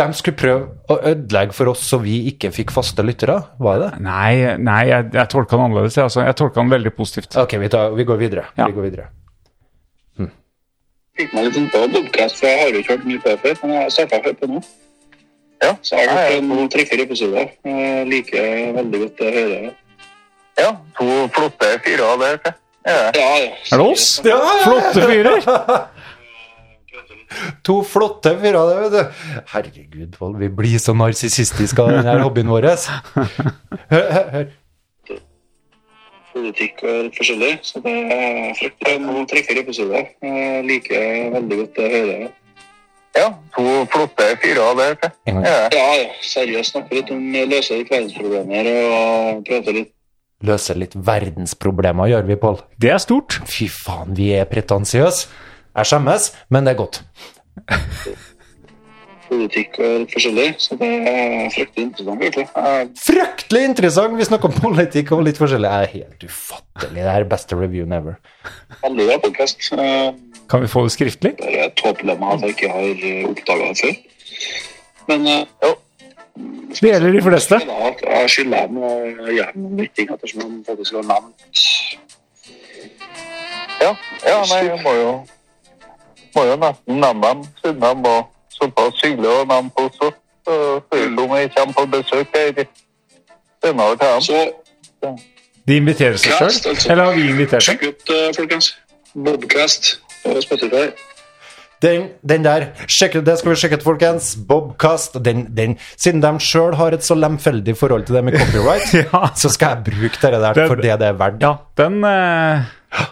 Speaker 1: De skulle prøve å ødelegge for oss så vi ikke fikk faste lyttere, var det det?
Speaker 2: Nei, nei jeg, jeg tolka den annerledes. jeg, Altså. Jeg tolka den veldig positivt.
Speaker 1: Ok, vi, tar, vi går videre.
Speaker 2: Ja.
Speaker 1: Vi går videre.
Speaker 6: Fikk meg litt inn sånn på podcast, for jeg har jo ikke hørt mye på det før, men jeg har startet å høre på nå.
Speaker 5: Ja,
Speaker 6: Så jeg har
Speaker 5: ja,
Speaker 6: hørt en tre-fire episoder. Jeg liker veldig godt å høre det.
Speaker 5: ja, to flotte fyrer der. se. Ja.
Speaker 6: Ja, ja.
Speaker 2: Er det oss? Flotte fyrer!
Speaker 1: To flotte fyrer, det, vet du. Herregud, Pål, vi blir så narsissistiske av denne hobbyen vår. Hør, hør, hør.
Speaker 6: Politikk og litt forskjellig. Så det er fryktelig. Noen tre-fire episoder. Jeg liker veldig godt å høre det.
Speaker 5: Ja, to flotte fyrer der. vet du.
Speaker 1: En gang.
Speaker 5: Ja.
Speaker 6: Ja, ja, seriøst snakker litt om løse verdensproblemer og prater litt
Speaker 1: Løse litt verdensproblemer, gjør vi, Pål.
Speaker 2: Det er stort.
Speaker 1: Fy faen, vi er pretensiøse. Jeg skjemmes, men det er godt.
Speaker 6: politikk og litt forskjellig. Så det er fryktelig interessant, egentlig. Jeg
Speaker 1: Fryktelig interessant! Vi snakker om politikk og litt forskjellig. Det er helt ufattelig. Det er beste reviewen ever.
Speaker 6: er veldig glad i podkast. Det
Speaker 2: Kan vi få det skriftlig?
Speaker 6: er et tåpelemme at jeg ikke har oppdaga det før. Men eh, jo.
Speaker 2: Det gjelder de fleste.
Speaker 6: Da, at jeg skylder dem å gjøre noen ting ettersom de faktisk har nevnt
Speaker 5: Ja, ja nei, jeg må jo, må jo nesten nevne dem, siden de var såpass hyggelige å nevne på oss også. Så spør de om jeg kommer på besøk her i senere til dem.
Speaker 6: Så
Speaker 2: De inviterer seg
Speaker 6: Cast,
Speaker 2: sjøl.
Speaker 6: altså.
Speaker 2: Eller har vi invitert dem?
Speaker 6: sjekk ut, eh, folkens. Bobcast på Spotify.
Speaker 1: Den, den der. Sjekk, det skal vi sjekke ut, folkens. Bobkast. Den, den. Siden de sjøl har et så lemfeldig forhold til det med copyright,
Speaker 2: Ja.
Speaker 1: så skal jeg bruke det der
Speaker 2: Det-
Speaker 1: for det det er verdt.
Speaker 2: Ja, den eh,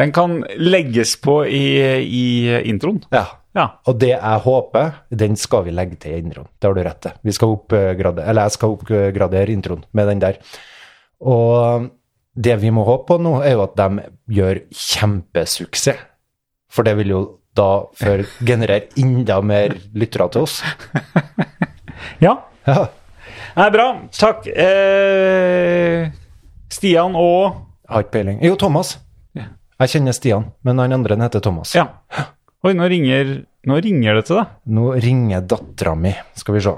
Speaker 2: Den kan legges på i, i introen.
Speaker 1: Ja.
Speaker 2: Ja.
Speaker 1: Og det jeg håper, den skal vi legge til i introen. Det har du rett til. Vi skal oppgradere, eller jeg skal oppgradere introen med den der. Og det vi må håpe på nå, er jo at de gjør kjempesuksess. For det vil jo da før generere enda mer lyttere til oss.
Speaker 2: ja.
Speaker 1: Ja.
Speaker 2: Nei, bra. Takk. Eh, Stian og
Speaker 1: Jeg har ikke peiling. Jo, Thomas. Jeg kjenner Stian, men han andre han heter Thomas.
Speaker 2: Ja. Oi, nå ringer, nå ringer det til deg.
Speaker 1: Nå ringer dattera mi, skal vi se.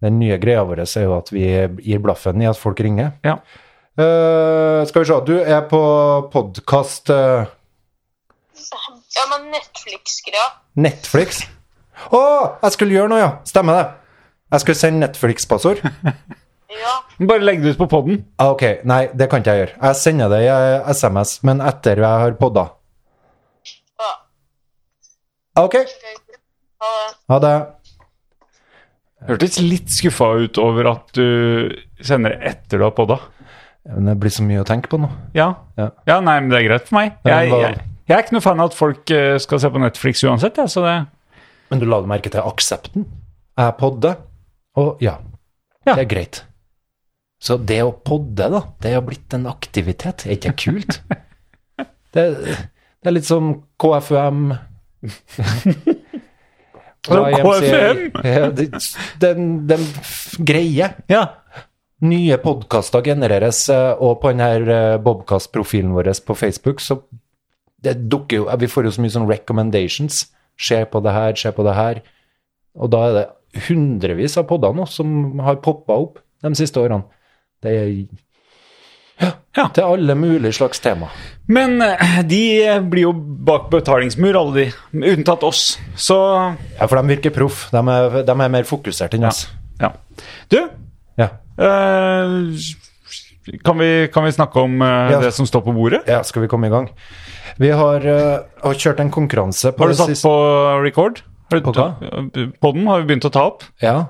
Speaker 1: Den nye greia vår er jo at vi gir blaffen i at folk ringer.
Speaker 2: Ja.
Speaker 1: Eh, skal vi se, du er på eh, podkast
Speaker 7: Ja, men Netflix-greia.
Speaker 1: Netflix. Å, jeg skulle gjøre noe, ja! Stemmer det. Jeg skulle sende Netflix-passord.
Speaker 7: Ja.
Speaker 2: Bare legg det ut på poden.
Speaker 1: Ah, ok, nei, det kan ikke jeg gjøre. Jeg sender det i eh, SMS, men etter jeg har podda.
Speaker 7: ja.
Speaker 1: Ah, Ok,
Speaker 7: Ha det.
Speaker 1: ha det.
Speaker 2: Hørtes litt skuffa ut over at du sender etter du har podda.
Speaker 1: Men det blir så mye å tenke på nå.
Speaker 2: Ja.
Speaker 1: Ja.
Speaker 2: ja, nei, men det er greit for meg.
Speaker 1: Ja,
Speaker 2: Jeg,
Speaker 1: men hva-
Speaker 2: jeg, jeg er ikke noe fan av at folk eh, skal se på Netflix uansett, jeg, så det
Speaker 1: Men du la merke til aksepten? Jeg podder, og ja,
Speaker 2: Ja.
Speaker 1: det er greit. Så det å podde, da, det har blitt en aktivitet. Er ikke det kult? det, det er litt som KFUM.
Speaker 2: Ja,
Speaker 1: YMCA.
Speaker 2: KFUM?
Speaker 1: Ja, det- Den, den f- greie.
Speaker 2: Ja.
Speaker 1: Nye podkaster genereres, eh, og på denne Bobkast-profilen vår på Facebook, så det dukker jo Vi får jo så mye sånn recommendations. Se på det her, se på det her. Og da er det hundrevis av podder nå som har poppa opp de siste årene. Det er
Speaker 2: Ja.
Speaker 1: ja, til alle mulige slags tema.
Speaker 2: Men eh, de blir jo bak betalingsmur, alle de. Unntatt oss. Så
Speaker 1: Ja, for de virker proff. De er, de er mer fokusert enn oss.
Speaker 2: ja. Du,
Speaker 1: Ja.
Speaker 2: eh, kan, vi, kan vi snakke om eh,
Speaker 1: Ja.
Speaker 2: det som står på bordet?
Speaker 1: ja, skal vi komme i gang? Vi har, eh, har kjørt en konkurranse på
Speaker 2: Har du
Speaker 1: det
Speaker 2: satt
Speaker 1: siste-
Speaker 2: på record? Har du, eh,
Speaker 1: På hva?
Speaker 2: Podden har vi begynt å ta opp.
Speaker 1: Ja.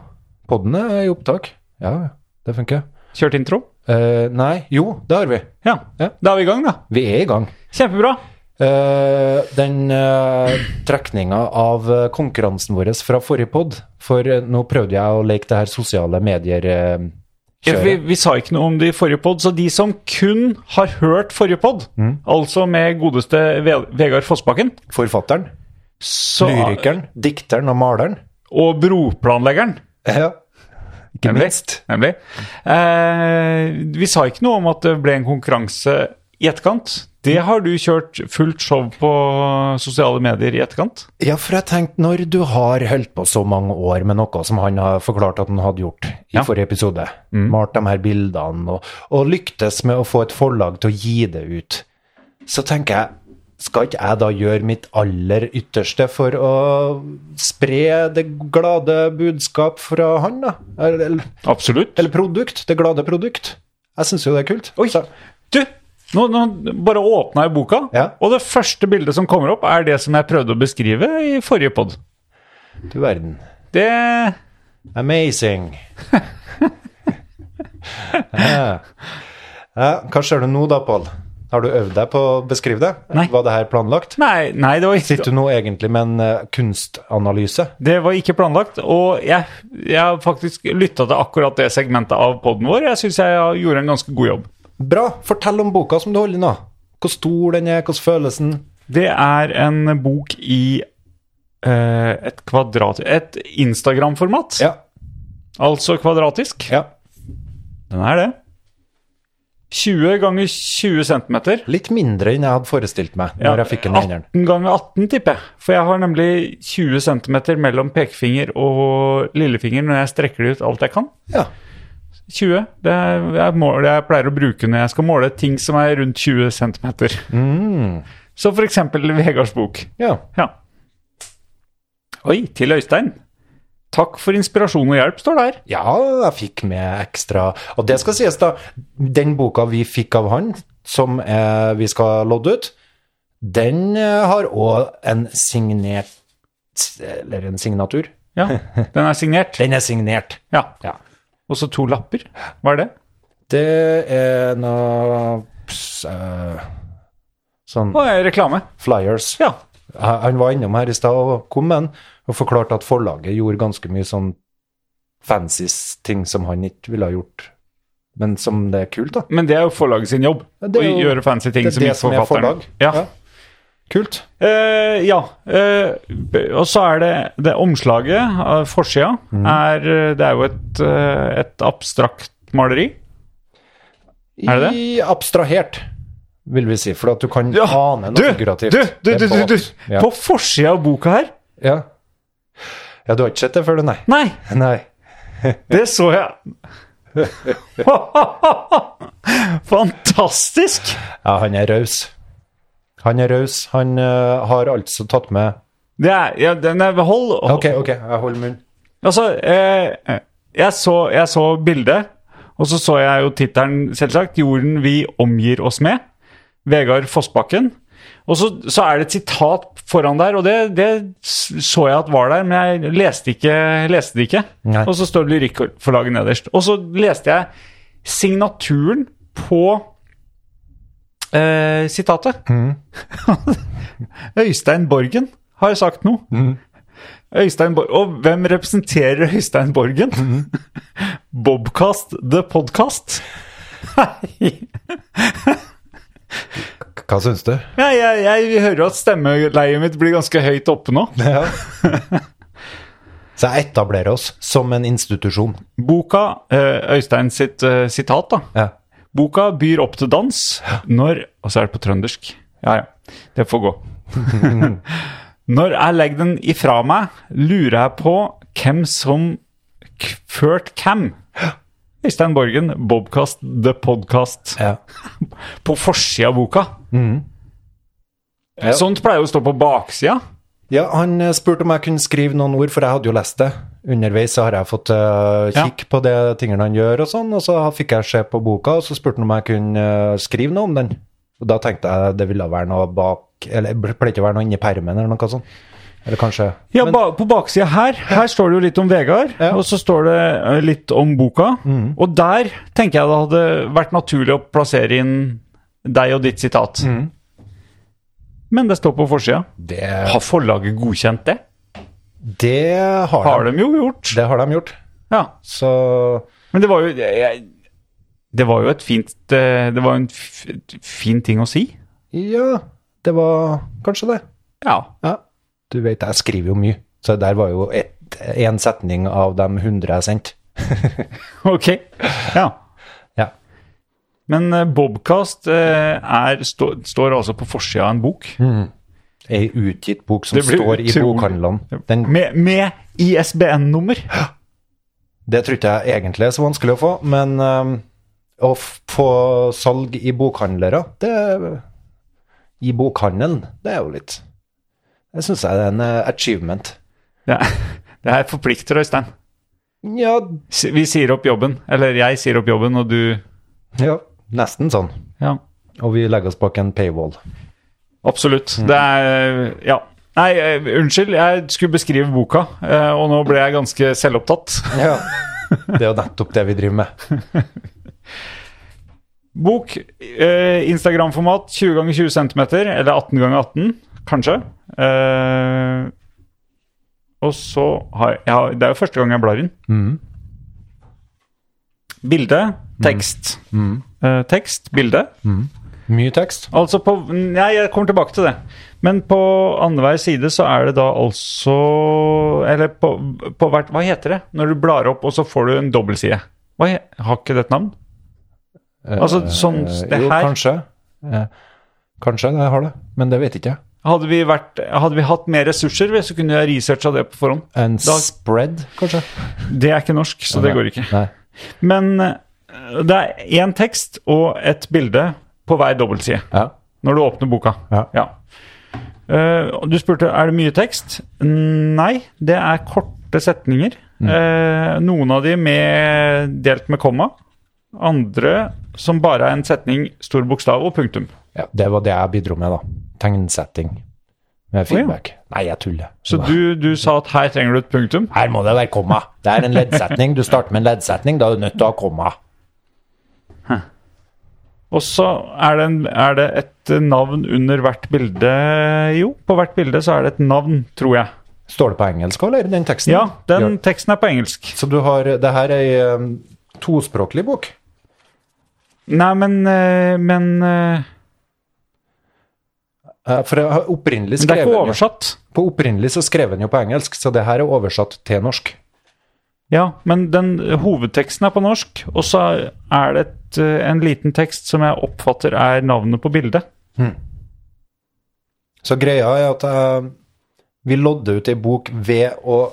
Speaker 1: Podden er i opptak. Ja, det funker.
Speaker 2: Kjørt intro.
Speaker 1: Eh, nei, jo, det har vi.
Speaker 2: Ja.
Speaker 1: Ja.
Speaker 2: Da er vi i gang, da.
Speaker 1: Vi er i gang.
Speaker 2: Kjempebra.
Speaker 1: Eh, den uh, trekninga av eh, konkurransen vår fra forrige pod For eh, nå prøvde jeg å leke det her sosiale eh,
Speaker 2: Ja, for vi,
Speaker 1: medier-kjøret.
Speaker 2: vi sa ikke noe om det i forrige pod, så de som kun har hørt forrige pod,
Speaker 1: Mm.
Speaker 2: altså med godeste Ve Vegard Fossbakken
Speaker 1: Forfatteren,
Speaker 2: så,
Speaker 1: lyrikeren, dikteren og maleren.
Speaker 2: og broplanleggeren,
Speaker 1: Ja. Ikke
Speaker 2: Nemlig.
Speaker 1: minst.
Speaker 2: nemlig eh, Vi sa ikke noe om at det ble en konkurranse i etterkant. Det har du kjørt fullt show på sosiale medier i etterkant.
Speaker 1: Ja, for jeg tenkte, når du har holdt på så mange år med noe som han har forklart at han hadde gjort i
Speaker 2: Ja.
Speaker 1: forrige episode, malt de her bildene og, og lyktes med å få et forlag til å gi det ut, så tenker jeg, skal ikke jeg da gjøre mitt aller ytterste for å spre det glade budskap fra han, da? Eller, eller-
Speaker 2: Absolutt.
Speaker 1: eller produkt? Det glade produkt? Jeg syns jo det er kult.
Speaker 2: Oi,
Speaker 1: Så-
Speaker 2: du! Nå, nå bare åpna jeg boka,
Speaker 1: Ja.
Speaker 2: og det første bildet som kommer opp, er det som jeg prøvde å beskrive i forrige pod.
Speaker 1: Du verden.
Speaker 2: Det
Speaker 1: Amazing. ja. ja, hva skjer det nå da, Pål? Har du øvd deg på å beskrive det?
Speaker 2: Nei.
Speaker 1: Var det her planlagt?
Speaker 2: Nei, nei det, var
Speaker 1: Sitter
Speaker 2: ikke,
Speaker 1: du nå egentlig med en eh, kunstanalyse?
Speaker 2: det var ikke planlagt. Og jeg, jeg har faktisk lytta til akkurat det segmentet av poden vår. Jeg syns jeg gjorde en ganske god jobb.
Speaker 1: Bra! Fortell om boka som du holder i nå. Hvor stor den er, hvordan føles den?
Speaker 2: Det er en bok i eh, et kvadrat... Et Instagram-format.
Speaker 1: Ja.
Speaker 2: Altså kvadratisk.
Speaker 1: ja.
Speaker 2: Den er det. 20 ganger 20 centimeter.
Speaker 1: Litt mindre enn jeg hadde forestilt meg
Speaker 2: Ja,
Speaker 1: når jeg fikk den i hendene.
Speaker 2: 18 ganger 18, tipper jeg. For jeg har nemlig 20 centimeter mellom pekefinger og lillefinger når jeg strekker det ut alt jeg kan.
Speaker 1: Ja.
Speaker 2: 20. Det er det er målet jeg pleier å bruke når jeg skal måle ting som er rundt 20 centimeter.
Speaker 1: Mm.
Speaker 2: Så for eksempel Vegards bok.
Speaker 1: ja.
Speaker 2: Ja. Oi, til Øystein. Takk for inspirasjon og hjelp, står der.
Speaker 1: Ja, jeg fikk med ekstra Og det skal sies, da. Den boka vi fikk av han, som eh, vi skal lodde ut, den eh, har òg en signert Eller en signatur.
Speaker 2: Ja, Den er signert.
Speaker 1: Den er signert.
Speaker 2: Ja.
Speaker 1: Ja.
Speaker 2: Og så to lapper. Hva er det?
Speaker 1: Det er noe ps, eh, Sånn
Speaker 2: Å, eh, reklame.
Speaker 1: flyers.
Speaker 2: Ja.
Speaker 1: Han han var innom her i stad og kom med en, og forklarte at forlaget gjorde ganske mye sånn fancy ting som han ikke ville ha gjort, men som det er kult, da.
Speaker 2: Men det er jo forlaget sin jobb.
Speaker 1: Ja, det er
Speaker 2: å
Speaker 1: jo-
Speaker 2: gjøre fancy ting
Speaker 1: det er
Speaker 2: som
Speaker 1: det
Speaker 2: ikke
Speaker 1: som er
Speaker 2: forfatteren.
Speaker 1: forlag.
Speaker 2: Ja.
Speaker 1: Ja. Kult.
Speaker 2: Eh, ja. eh, b- og så er det det omslaget, av forsida,
Speaker 1: Mm.
Speaker 2: er eh, Det er jo et, eh, et abstrakt maleri. Er det det?
Speaker 1: I abstrahert, vil vi si, for at du kan ane
Speaker 2: du,
Speaker 1: noe figurativt.
Speaker 2: du,
Speaker 1: Det
Speaker 2: du, du,
Speaker 1: er
Speaker 2: du, du,
Speaker 1: båt. Ja.
Speaker 2: På forsida av boka her?
Speaker 1: ja. ja, du har ikke sett det før, du, nei?
Speaker 2: Nei,
Speaker 1: Nei.
Speaker 2: det så jeg. Fantastisk!
Speaker 1: Ja, han er raus. Han er raus. Han eh, har altså tatt med
Speaker 2: Det er, ja, den er hold, hold
Speaker 1: Ok, ok, jeg holder munn.
Speaker 2: Altså, eh, jeg, så, jeg så bildet, og så så jeg jo tittelen, selvsagt. 'Jorden vi omgir oss med'. Vegard Fossbakken. Og så, så er det et sitat foran der, og det, det s- så jeg at var der, men jeg leste, ikke, leste det ikke.
Speaker 1: Nei.
Speaker 2: Og så står lyrikkforlaget nederst. Og så leste jeg signaturen på eh, sitatet. Øystein Borgen har sagt noe. Øystein Bor og hvem representerer Øystein Borgen? Bobcast the podcast? Nei,
Speaker 1: Hva syns du?
Speaker 2: jeg, jeg, jeg hører jo at stemmeleiet mitt blir ganske høyt oppe nå.
Speaker 1: Ja. Så jeg etablerer oss som en institusjon.
Speaker 2: Boka, eh, Øystein sitt eh, sitat da,
Speaker 1: Ja.
Speaker 2: boka byr opp til dans når, og så er det på trøndersk, ja ja, det får gå. når jeg legger den ifra meg, lurer jeg på hvem som k- ført hvem. Øystein Borgen, Bobcast, The Podcast.
Speaker 1: Ja.
Speaker 2: på forsida av boka.
Speaker 1: Ja.
Speaker 2: Sånt pleier jo å stå på baksida.
Speaker 1: ja, han eh, spurte om jeg kunne skrive noen ord, for jeg hadde jo lest det. Underveis så har jeg fått eh, kikk på de tingene han gjør og sånn, og så fikk jeg se på boka, og så spurte han om jeg kunne eh, skrive noe om den. Og da tenkte jeg det ville være noe bak Eller det pleier ikke å være noe inni permen eller noe sånt. Eller kanskje
Speaker 2: Ja, ba på baksida her Her står det jo litt om Vegard,
Speaker 1: Ja. Mm.
Speaker 2: og så står det eh, litt om boka. Og der tenker jeg det hadde vært naturlig å plassere inn deg og ditt sitat.
Speaker 1: Mm.
Speaker 2: Men det står på forsida.
Speaker 1: Det,
Speaker 2: Har forlaget godkjent det?
Speaker 1: det har,
Speaker 2: Har
Speaker 1: de.
Speaker 2: de jo gjort.
Speaker 1: Det har de gjort.
Speaker 2: Ja.
Speaker 1: Så
Speaker 2: Men det var jo jeg, Det var jo et fint eh, Det var en f fin ting å si.
Speaker 1: ja, det var kanskje det.
Speaker 2: Ja.
Speaker 1: Ja. Du vet, jeg skriver jo mye. Så der var jo én setning av de hundre jeg sendte.
Speaker 2: Ok, ja.
Speaker 1: Ja.
Speaker 2: Men eh, Bobcast eh, er, stå, står altså på forsida av en bok.
Speaker 1: Mm, Ei utgitt bok som
Speaker 2: Det blir
Speaker 1: står i
Speaker 2: utrolig.
Speaker 1: bokhandlene. Den,
Speaker 2: Med, med ISBN-nummer.
Speaker 1: det tror ikke jeg egentlig er så vanskelig å få, men ehm, å f- få salg i bokhandlere, det er- I bokhandelen, det er jo litt Det syns jeg er en eh, achievement.
Speaker 2: Det, er- det her forplikter, Øystein.
Speaker 1: Ja,
Speaker 2: S- Vi sier opp jobben. Eller jeg sier opp jobben, og du
Speaker 1: ja, nesten sånn.
Speaker 2: Ja,
Speaker 1: Og vi legger oss bak en paywall.
Speaker 2: absolutt.
Speaker 1: Mm.
Speaker 2: Det er Ja. Nei, eh, unnskyld. Jeg skulle beskrive boka, eh, og nå ble jeg ganske selvopptatt.
Speaker 1: Ja. Det er jo nettopp det vi driver med.
Speaker 2: Bok, eh, Instagram-format 20 ganger 20 cm, eller 18 ganger 18, kanskje. Eh, og så har jeg har, Det er jo første gang jeg blar inn. Bilde, tekst. Eh, tekst, bilde.
Speaker 1: Mye tekst.
Speaker 2: Altså på Nei, jeg kommer tilbake til det. Men på annenhver side så er det da altså Eller på, på hvert Hva heter det? Når du blar opp, og så får du en dobbeltside. Hva he, har ikke det et navn? Altså sånn
Speaker 1: Eh,
Speaker 2: det
Speaker 1: jo,
Speaker 2: her
Speaker 1: kanskje. Eh, kanskje det har det, men det vet ikke jeg.
Speaker 2: Hadde vi, vært, hadde vi hatt mer ressurser, så kunne jeg researcha det på forhånd.
Speaker 1: En
Speaker 2: Da-
Speaker 1: spread, kanskje?
Speaker 2: Det er ikke norsk, så det går ikke.
Speaker 1: Nei.
Speaker 2: Men eh, det er én tekst og et bilde på hver dobbeltside
Speaker 1: Ja.
Speaker 2: når du åpner boka.
Speaker 1: Ja.
Speaker 2: Eh, og du spurte er det mye tekst. Nei, det er korte setninger. Eh, noen av de med, delt med komma. Andre som bare er en setning, stor bokstav og punktum.
Speaker 1: ja. Det var det jeg bidro med, da. Tegnsetting med feedback. Nei, jeg tuller.
Speaker 2: Så du, du sa at her trenger du et punktum.
Speaker 1: Her må det være komma. Det er en leddsetning. Du starter med en leddsetning, da er du nødt til å ha komma.
Speaker 2: Og så er det, en, er det et navn under hvert bilde. Jo, på hvert bilde så er det et navn, tror jeg.
Speaker 1: Står det på engelsk også, eller den teksten?
Speaker 2: Ja, den
Speaker 1: Gjør-
Speaker 2: teksten er på engelsk.
Speaker 1: Så du har Det her er ei um, tospråklig bok?
Speaker 2: Nei, men, eh, men eh,
Speaker 1: Eh, For jeg har opprinnelig
Speaker 2: Det er
Speaker 1: skrevet
Speaker 2: ikke
Speaker 1: den jo-
Speaker 2: oversatt.
Speaker 1: På opprinnelig så skrev den jo på engelsk, så det her er oversatt til norsk.
Speaker 2: Ja, men den hovedteksten er på norsk, og så er det et, eh, en liten tekst som jeg oppfatter er navnet på bildet.
Speaker 1: Så greia er at eh, vi lodder ut ei bok ved å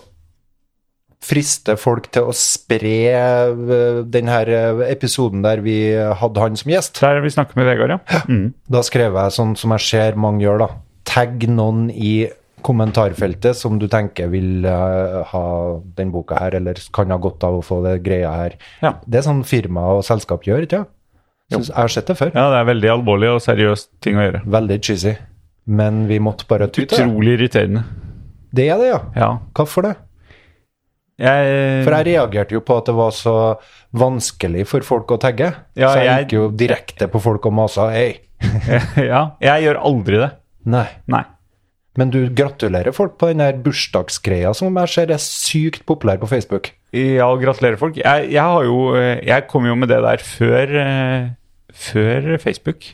Speaker 1: friste folk til å spre eh, den her eh, episoden der vi hadde han som gjest.
Speaker 2: Der vi snakker med Vegard, ja. Mm.
Speaker 1: Da skrev jeg sånn som jeg ser mange gjør, da. Tagg noen i kommentarfeltet som du tenker vil eh, ha den boka her, eller kan ha godt av å få det greia her.
Speaker 2: Ja.
Speaker 1: Det er sånn firma og selskap gjør, ikke sant? Jeg har sett det før.
Speaker 2: ja, det er veldig alvorlig og seriøst ting å gjøre.
Speaker 1: Veldig cheesy. Men vi måtte bare tute. det.
Speaker 2: Utrolig irriterende.
Speaker 1: Det er det, ja.
Speaker 2: Ja.
Speaker 1: Hvorfor det?
Speaker 2: Jeg,
Speaker 1: For jeg reagerte jo på at det var så vanskelig for folk å tagge.
Speaker 2: Ja,
Speaker 1: så jeg,
Speaker 2: jeg-
Speaker 1: gikk jo direkte på folk og masa. Hei.
Speaker 2: ja, jeg gjør aldri det.
Speaker 1: Nei.
Speaker 2: Nei.
Speaker 1: Men du gratulerer folk på den der bursdagsgreia som jeg ser er sykt populær på Facebook.
Speaker 2: Ja, og gratulerer folk. Jeg, jeg har jo eh, Jeg kom jo med det der før, eh, før Facebook.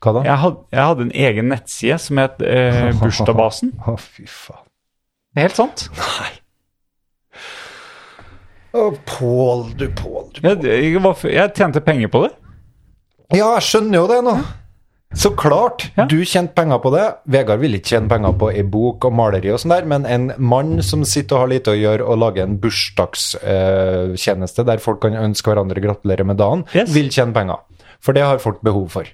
Speaker 1: Hva da?
Speaker 2: Jeg, had, jeg hadde en egen nettside som het eh, Bursdagsbasen.
Speaker 1: Å, fy faen.
Speaker 2: Det er Helt sant?
Speaker 1: Å, Pål, du Pål. du.
Speaker 2: Jeg, jeg, var, f- jeg tjente penger på det.
Speaker 1: Ja, jeg skjønner jo det nå. Så klart.
Speaker 2: Ja.
Speaker 1: Du tjente penger på det. Vegard ville ikke tjene penger på ei bok og maleri og sånn der, men en mann som sitter og har lite å gjøre og lager en bursdagstjeneste tjeneste der folk kan ønske hverandre gratulerer med dagen,
Speaker 2: Yes.
Speaker 1: vil tjene penger. For det har folk behov for.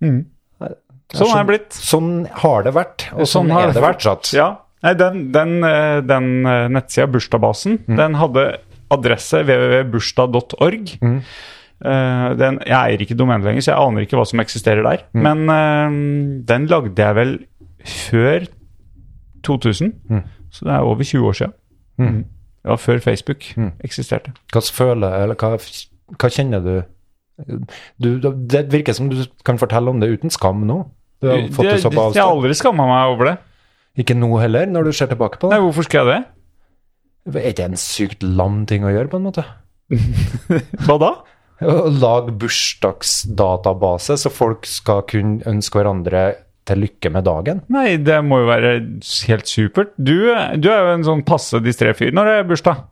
Speaker 2: Sånn er det blitt.
Speaker 1: Sånn har det vært, og sånn, er det, fortsatt.
Speaker 2: Ja. Nei, den, den, eh, den eh, nettsida, Bursdagsbasen,
Speaker 1: Mm.
Speaker 2: den hadde adresse www.bursdag.org.
Speaker 1: Mm.
Speaker 2: Eh, den, jeg eier ikke domenet lenger, så jeg aner ikke hva som eksisterer der.
Speaker 1: Mm.
Speaker 2: Men eh, den lagde jeg vel før 2000,
Speaker 1: Mm.
Speaker 2: så det er over 20 år siden. Mm. Det var før Facebook
Speaker 1: Mm.
Speaker 2: eksisterte.
Speaker 1: Hva føler eller hva, hva kjenner du? du? Det virker som du kan fortelle om det uten skam nå. Du har fått det så på
Speaker 2: jeg har
Speaker 1: avstand.
Speaker 2: aldri skamma meg over det.
Speaker 1: Ikke nå heller, når du ser tilbake på det.
Speaker 2: Nei, hvorfor skal jeg det?
Speaker 1: Er ikke det en sykt lam ting å gjøre, på en måte?
Speaker 2: Hva da?
Speaker 1: Å lage bursdagsdatabase, så folk skal kunne ønske hverandre til lykke med dagen.
Speaker 2: Nei, det må jo være helt supert. Du, du er jo en sånn passe distré fyr når det er bursdag.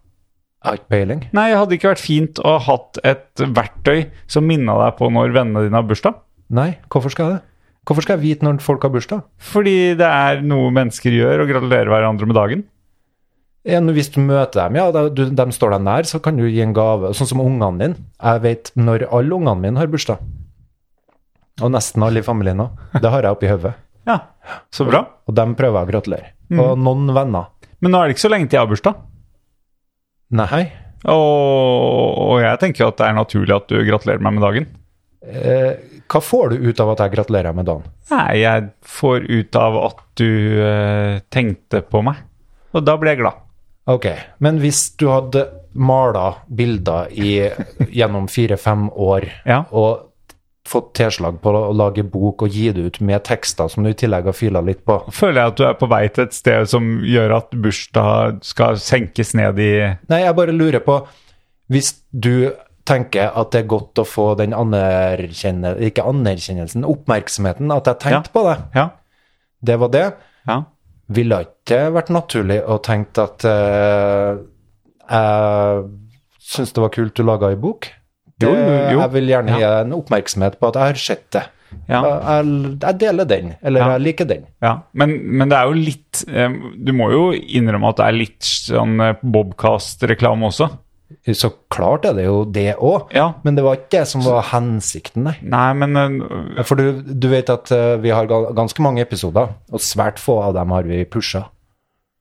Speaker 1: Jeg har ikke peiling.
Speaker 2: Nei, hadde det ikke vært fint å ha hatt et verktøy som minna deg på når vennene dine har bursdag?
Speaker 1: Nei, hvorfor skal jeg det? Hvorfor skal jeg vite når folk har bursdag?
Speaker 2: Fordi det er noe mennesker gjør, å gratulere hverandre med dagen.
Speaker 1: Ja, nå Hvis du møter dem, ja, da- du, de står deg nær, så kan du gi en gave. Sånn som ungene dine. Jeg vet når alle ungene mine har bursdag. Og nesten alle i familien òg. Det har jeg oppi hodet.
Speaker 2: Ja, så bra.
Speaker 1: Og dem prøver jeg å gratulere. Og noen venner.
Speaker 2: Men nå er det ikke så lenge til jeg har bursdag.
Speaker 1: Nei.
Speaker 2: Og, og jeg tenker jo at det er naturlig at du gratulerer meg med dagen.
Speaker 1: Eh, hva får du ut av at jeg gratulerer med dagen?
Speaker 2: Nei, jeg får ut av at du eh, tenkte på meg. Og da blir jeg glad.
Speaker 1: Ok, men hvis du hadde mala bilder i, gjennom fire-fem år,
Speaker 2: Ja.
Speaker 1: og fått tilslag på å lage bok og gi det ut med tekster som du i tillegg har fila litt på.
Speaker 2: Føler jeg at du er på vei til et sted som gjør at bursdag skal senkes ned i
Speaker 1: Nei, jeg bare lurer på Hvis du tenker at det er godt å få den anerkjenne, ikke anerkjennelsen, oppmerksomheten, at jeg tenkte på det,
Speaker 2: Ja.
Speaker 1: det var det,
Speaker 2: ja.
Speaker 1: ville ikke det vært naturlig å tenke at eh, jeg syns det var kult du laga ei bok?
Speaker 2: Jo, jo,
Speaker 1: Det-
Speaker 2: jo.
Speaker 1: Jeg vil gjerne gi en oppmerksomhet på at jeg har sett det.
Speaker 2: Ja.
Speaker 1: Jeg, jeg- jeg deler den, eller
Speaker 2: Ja.
Speaker 1: jeg liker den.
Speaker 2: Ja, men, men det er jo litt eh, Du må jo innrømme at det er litt sånn eh, Bobcast-reklame også.
Speaker 1: Så klart er det jo det òg,
Speaker 2: Ja.
Speaker 1: men det var ikke det som var hensikten, nei.
Speaker 2: Nei, men eh,
Speaker 1: For du, du vet at eh, vi har ga- ganske mange episoder, og svært få av dem har vi pusha.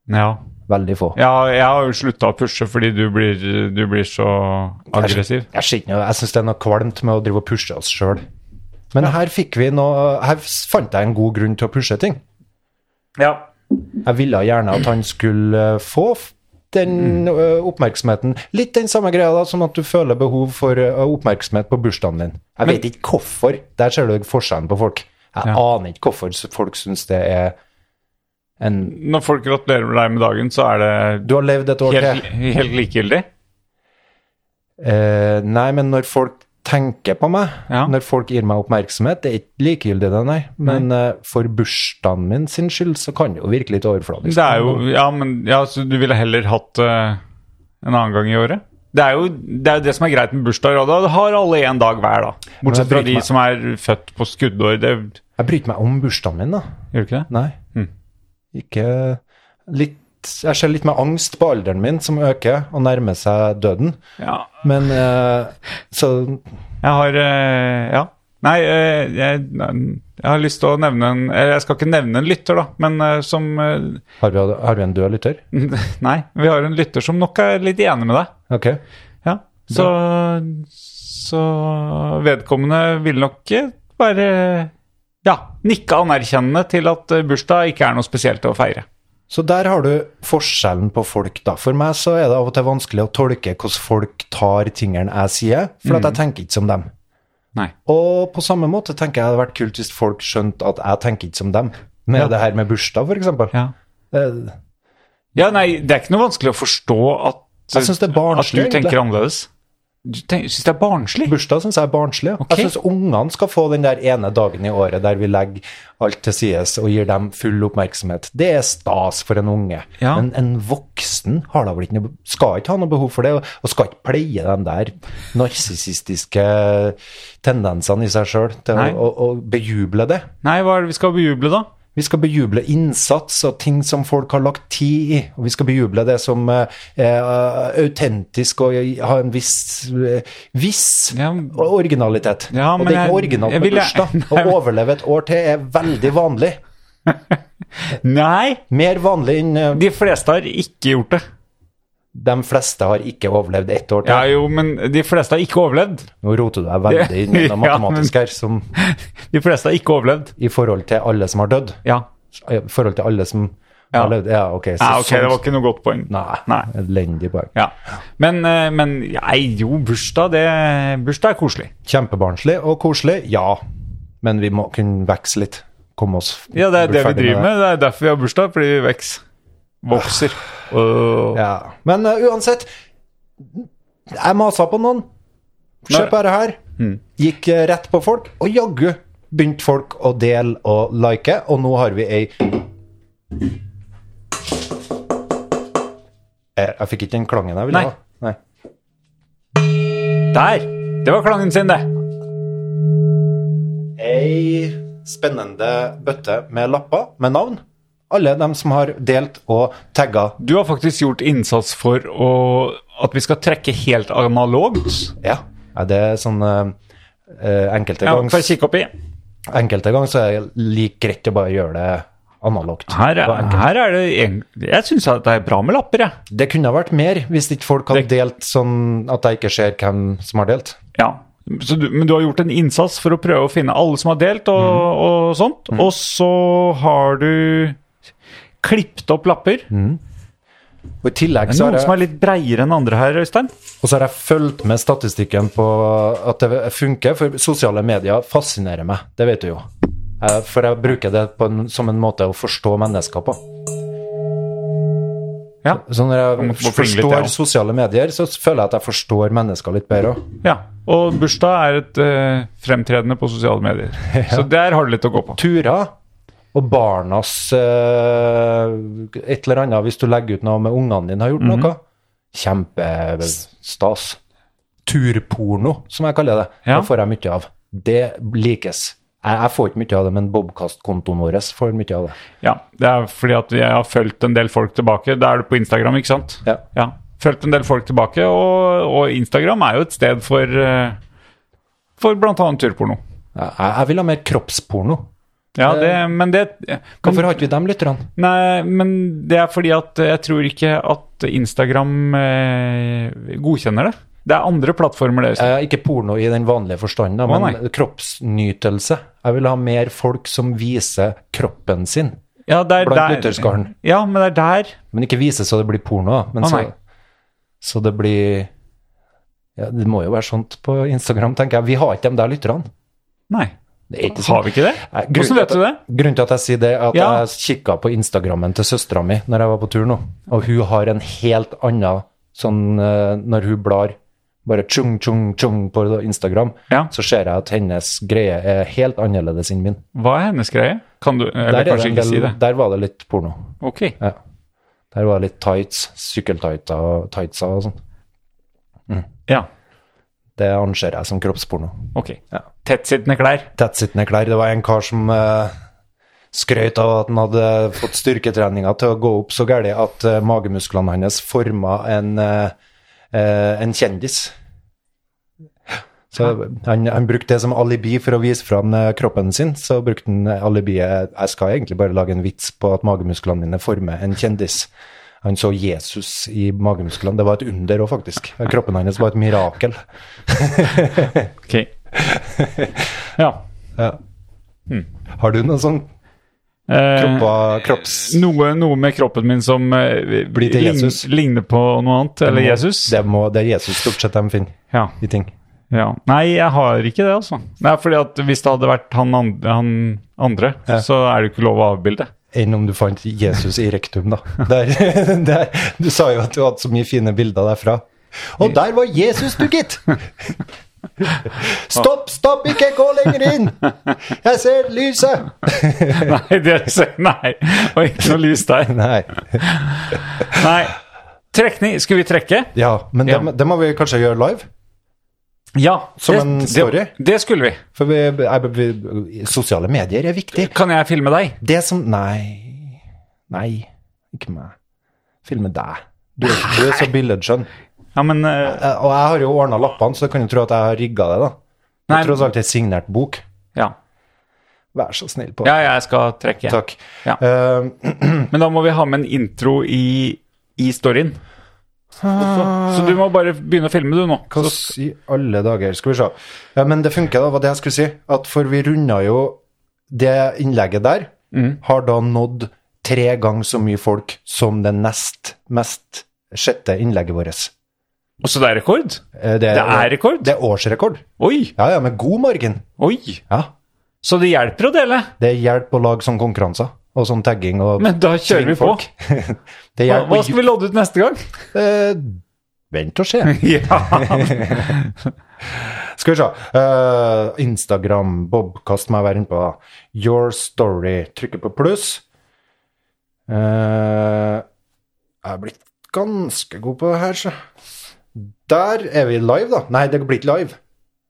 Speaker 2: Ja.
Speaker 1: Veldig få.
Speaker 2: ja jeg har jo slutta å pushe fordi du blir, du blir så aggressiv.
Speaker 1: Jeg, ser ikke noe- jeg syns det er noe kvalmt med å drive og pushe oss sjøl. Men her fikk vi noe Her s- fant jeg en god grunn til å pushe ting.
Speaker 2: Ja.
Speaker 1: Jeg ville gjerne at han skulle eh, få f- den eh, oppmerksomheten. Litt den samme greia da, som at du føler behov for eh, oppmerksomhet på bursdagen din. Jeg vet ikke hvorfor. Der ser du forskjellen på folk. Jeg aner ikke hvorfor s- folk syns det er en
Speaker 2: Når folk gratulerer deg med dagen, så er det
Speaker 1: Du har levd et år til.
Speaker 2: helt, helt likegyldig.
Speaker 1: Eh, nei, men når folk tenker på meg,
Speaker 2: Ja.
Speaker 1: når folk gir meg oppmerksomhet, det er ikke likegyldig det, nei. Men eh, for bursdagen min sin skyld, så kan det jo virke litt overfladisk.
Speaker 2: Det er jo Ja, men ja, så du ville heller hatt det en annen gang i året? Det er, jo, det er jo det som er greit med bursdager, og da har alle én dag hver, da. Bortsett fra
Speaker 1: bryter
Speaker 2: de
Speaker 1: meg.
Speaker 2: som er født på skuddår. Det
Speaker 1: Jeg bryr meg om bursdagen min, da.
Speaker 2: gjør du ikke det?
Speaker 1: Nei. Ikke eh, litt Jeg ser litt med angst på alderen min, som øker og nærmer seg døden.
Speaker 2: Ja.
Speaker 1: Men eh, så
Speaker 2: Jeg har eh, Ja. Nei, eh, jeg, jeg har lyst til å nevne en eller Jeg skal ikke nevne en lytter, da, men eh, som eh,
Speaker 1: har vi, har vi en død lytter?
Speaker 2: Nei, vi har en lytter som nok er litt enig med deg.
Speaker 1: Ok.
Speaker 2: Ja. Så, så vedkommende vil nok eh, bare ja, nikke anerkjennende til at eh, bursdag ikke er noe spesielt å feire.
Speaker 1: Så der har du forskjellen på folk, da. For meg så er det av og til vanskelig å tolke hvordan folk tar tingene jeg sier, for at jeg tenker ikke som dem.
Speaker 2: Mm. Nei.
Speaker 1: Og på samme måte tenker jeg det hadde vært kult hvis folk skjønte at jeg tenker ikke som dem. Med det her med bursdag, for eksempel.
Speaker 2: Ja.
Speaker 1: Eh,
Speaker 2: ja, nei, det er ikke noe vanskelig å forstå at,
Speaker 1: Jeg synes det er
Speaker 2: at
Speaker 1: barnslig,
Speaker 2: du tenker
Speaker 1: egentlig.
Speaker 2: annerledes. Du tenk- syns det er barnslig?
Speaker 1: Bursdag syns jeg er barnslig. ja.
Speaker 2: Ok.
Speaker 1: Jeg syns ungene skal få den der ene dagen i året der vi legger alt til sides og gir dem full oppmerksomhet. Det er stas for en unge.
Speaker 2: Ja.
Speaker 1: Men en voksen har da vel ikke noe, skal ikke ha noe behov for det, og- og skal ikke pleie den der narsissistiske tendensene i seg sjøl til
Speaker 2: Nei.
Speaker 1: å, å, å bejuble det.
Speaker 2: Nei, hva er det vi skal bejuble, da?
Speaker 1: Vi skal bejuble innsats og ting som folk har lagt tid i. Og vi skal bejuble det som eh, er autentisk og ha en viss, eh, viss
Speaker 2: Ja.
Speaker 1: originalitet.
Speaker 2: Ja,
Speaker 1: og
Speaker 2: men
Speaker 1: det er ikke
Speaker 2: jeg-
Speaker 1: originalt
Speaker 2: jeg
Speaker 1: med
Speaker 2: ville-
Speaker 1: bursdag.
Speaker 2: Nei,
Speaker 1: Å
Speaker 2: men-
Speaker 1: overleve et år til er veldig vanlig.
Speaker 2: Nei,
Speaker 1: Mer vanlig enn eh,
Speaker 2: de fleste har ikke gjort det.
Speaker 1: de fleste har ikke overlevd ett år
Speaker 2: Ja,
Speaker 1: til.
Speaker 2: jo, men de fleste har ikke overlevd.
Speaker 1: Nå roter du deg veldig inn i
Speaker 2: Ja,
Speaker 1: det
Speaker 2: men-
Speaker 1: matematiske her, som
Speaker 2: De fleste har ikke overlevd.
Speaker 1: i forhold til alle som har dødd.
Speaker 2: Ja.
Speaker 1: I forhold til alle som
Speaker 2: Ja.
Speaker 1: har levd. Ja, ok. Så,
Speaker 2: Nei, ok,
Speaker 1: sånn-
Speaker 2: det var ikke noe godt poeng.
Speaker 1: Nei,
Speaker 2: Nei.
Speaker 1: elendig poeng.
Speaker 2: Ja. Men, eh, men nei, jo, bursdag, det, bursdag er koselig.
Speaker 1: Kjempebarnslig og koselig, ja. Men vi må kunne vekse litt. Komme oss
Speaker 2: Ja, det er
Speaker 1: bli
Speaker 2: det vi
Speaker 1: ferdig
Speaker 2: driver med. Det er derfor vi har bursdag, fordi vi veks. vokser. Og,
Speaker 1: Ja. Men eh, uansett, jeg masa på noen. Se
Speaker 2: Når-
Speaker 1: på det her.
Speaker 2: Hmm.
Speaker 1: Gikk eh, rett på folk, og jaggu begynte folk å dele og like, og nå har vi ei Eh, Jeg fikk ikke den klangen jeg ville
Speaker 2: Nei.
Speaker 1: ha. Nei.
Speaker 2: Der! Det var klangen sin, det.
Speaker 1: Ei spennende bøtte med lapper med navn. Alle dem som har delt og tagga
Speaker 2: Du har faktisk gjort innsats for å, at vi skal trekke helt analogt.
Speaker 1: Ja, ja det er sånn eh, eh, enkelte,
Speaker 2: Ja,
Speaker 1: gang,
Speaker 2: Får jeg kikke opp i?
Speaker 1: enkelte gang så er det like greit å bare gjøre det analogt.
Speaker 2: Her
Speaker 1: Og
Speaker 2: er,
Speaker 1: enkelt.
Speaker 2: her er det en, Jeg syns det er bra med lapper, jeg.
Speaker 1: Det kunne ha vært mer hvis ikke folk hadde
Speaker 2: Det-
Speaker 1: delt sånn at jeg ikke ser hvem som har delt.
Speaker 2: Ja. Så du, men du har gjort en innsats for å prøve å finne alle som har delt, og, og sånt. Og så har du klippet opp lapper.
Speaker 1: Og i tillegg
Speaker 2: Det er
Speaker 1: så har
Speaker 2: noen som
Speaker 1: jeg,
Speaker 2: er litt breiere enn andre her, Øystein.
Speaker 1: og så har jeg fulgt med statistikken på at det funker, for sosiale medier fascinerer meg. Det vet du jo. Eh, For jeg bruker det på en, som en måte å forstå mennesker på.
Speaker 2: Ja.
Speaker 1: Så når
Speaker 2: Jeg
Speaker 1: jeg
Speaker 2: må flinke litt, jeg
Speaker 1: forstår
Speaker 2: også.
Speaker 1: sosiale medier, så føler jeg at jeg forstår mennesker litt bedre òg.
Speaker 2: ja. Og bursdag er et eh, fremtredende på sosiale medier. Så der har du litt å gå på.
Speaker 1: Turer og barnas eh, et eller annet, hvis du legger ut noe med ungene dine, har gjort
Speaker 2: Mhm.
Speaker 1: noe. Kjempestas. Turporno, som jeg kaller det.
Speaker 2: Ja.
Speaker 1: Det får jeg mye av. Det likes. Jeg, jeg får ikke mye av det, men Bobkast-kontoen vår får mye av det.
Speaker 2: Ja, det er fordi at jeg har fulgt en del folk tilbake. Da er du på Instagram, ikke sant?
Speaker 1: Ja.
Speaker 2: ja. Fulgt en del folk tilbake, og, og Instagram er jo et sted for, eh, for bl.a. turporno.
Speaker 1: Jeg, jeg vil ha mer kroppsporno.
Speaker 2: Ja, det, men det Eh. men,
Speaker 1: Hvorfor har ikke vi dem lytterne?
Speaker 2: Nei, men det er fordi at jeg tror ikke at Instagram eh, godkjenner det. Det er andre plattformer det.
Speaker 1: Eh, ikke porno i den vanlige forstanden, da,
Speaker 2: Å,
Speaker 1: men
Speaker 2: nei.
Speaker 1: kroppsnytelse. Jeg vil ha mer folk som viser kroppen sin,
Speaker 2: Ja, det er
Speaker 1: blant
Speaker 2: der-
Speaker 1: lytterskaren.
Speaker 2: Ja, men det er der.
Speaker 1: Men ikke vise så det blir porno, da. Men
Speaker 2: Å,
Speaker 1: så,
Speaker 2: nei.
Speaker 1: så det blir ja, Det må jo være sånt på Instagram, tenker jeg. Vi har ikke dem der lytterne.
Speaker 2: Nei.
Speaker 1: Det er ikke
Speaker 2: Har
Speaker 1: sånn.
Speaker 2: vi ikke det?
Speaker 1: Nei, grunnen til at
Speaker 2: Hvordan vet du det?
Speaker 1: Grunnen til at jeg sier det, er at
Speaker 2: Ja.
Speaker 1: jeg kikka på Instagrammen til søstera mi når jeg var på tur nå, og hun har en helt annen sånn eh, Når hun blar bare tjung, tjung, tjung på Instagram,
Speaker 2: Ja.
Speaker 1: så ser jeg at hennes greie er helt annerledes enn min.
Speaker 2: Hva er hennes greie? Kan du Eller
Speaker 1: Der, er det
Speaker 2: kanskje
Speaker 1: en
Speaker 2: ikke si
Speaker 1: del,
Speaker 2: det.
Speaker 1: der var det litt porno.
Speaker 2: Ok.
Speaker 1: Der var det litt tights, sykkeltightser og tightser og sånn.
Speaker 2: Ja.
Speaker 1: Det anser jeg som kroppsporno.
Speaker 2: ok.
Speaker 1: Ja.
Speaker 2: Tettsittende klær.
Speaker 1: Tettsittende klær. Det var en kar som eh, skrøt av at han hadde fått styrketreninga til å gå opp så gærent at eh, magemusklene hans forma en, eh, eh, en kjendis. Så han, han brukte det som alibi for å vise fram eh, kroppen sin. Så brukte han alibiet Jeg skal egentlig bare lage en vits på at magemusklene mine former en kjendis. Han så Jesus i magemusklene. Det var et under òg, faktisk. Kroppen hans var et mirakel.
Speaker 2: Ok. Ja.
Speaker 1: Har du noe sånn
Speaker 2: Eh,
Speaker 1: kroppa, kropps...
Speaker 2: noe, noe med kroppen min som eh,
Speaker 1: Blir til
Speaker 2: lign-
Speaker 1: Jesus.
Speaker 2: ligner på noe annet. Eller Jesus.
Speaker 1: Det, må, det er Jesus stort sett de finner
Speaker 2: Ja.
Speaker 1: i ting.
Speaker 2: Ja. Nei, jeg har ikke det, altså. Nei, fordi at Hvis det hadde vært han andre, han andre
Speaker 1: Ja.
Speaker 2: så er det jo ikke lov å avbilde.
Speaker 1: Enn om du fant Jesus i rektum, da. Der, der, du sa jo at du hadde så mye fine bilder derfra. Og der var Jesus, du, gitt! Stopp, stopp, ikke gå lenger inn! Jeg ser lyset!
Speaker 2: Nei, det nei. det var ikke noe lys der.
Speaker 1: Nei.
Speaker 2: Nei. Trekning. Skal vi trekke?
Speaker 1: Ja, men det,
Speaker 2: Ja.
Speaker 1: det må vi kanskje gjøre live?
Speaker 2: Ja.
Speaker 1: Som en story?
Speaker 2: Det, det skulle vi.
Speaker 1: For vi, jeg, vi, sosiale medier er viktig.
Speaker 2: Kan jeg filme deg?
Speaker 1: Det som Nei. Nei, ikke meg. Filme deg. Du, er- du er så billedskjønn.
Speaker 2: Ja, men eh,
Speaker 1: Eh, Og jeg har jo ordna lappene, så du kan jo tro at jeg har rigga det, da.
Speaker 2: Nei.
Speaker 1: Jeg tross alt det er signert bok.
Speaker 2: Ja.
Speaker 1: Vær så snill på
Speaker 2: ja, jeg skal trekke.
Speaker 1: Takk.
Speaker 2: Ja.
Speaker 1: Eh,
Speaker 2: Men da må vi ha med en intro i, i storyen. Så du må bare begynne å filme, du, nå.
Speaker 1: hva s- i alle dager Skal vi se. Ja, men det funker, da, var det jeg skulle si. At for vi runda jo det innlegget der,
Speaker 2: Mm.
Speaker 1: har da nådd tre ganger så mye folk som det nest mest sjette innlegget vårt.
Speaker 2: Og så det er rekord?
Speaker 1: Eh,
Speaker 2: Det er rekord?
Speaker 1: Det er årsrekord.
Speaker 2: Oi!
Speaker 1: Ja, ja, med god margin.
Speaker 2: Oi!
Speaker 1: Ja.
Speaker 2: Så det hjelper å dele.
Speaker 1: Det hjelper å lage sånne konkurranser og sånn tagging og
Speaker 2: Men da kjører vi på.
Speaker 1: svingfolk. det
Speaker 2: Hva,
Speaker 1: hjelper
Speaker 2: hva skal vi lodde ut neste gang?
Speaker 1: Eh, vent og se.
Speaker 2: Mm. Ja.
Speaker 1: Skal vi se. Eh, Instagram, Bob, kast meg være innpå. da. Your story. Trykker på pluss. Eh, jeg er blitt ganske god på det her, så. Der er vi live, da. Nei, det blir ikke live.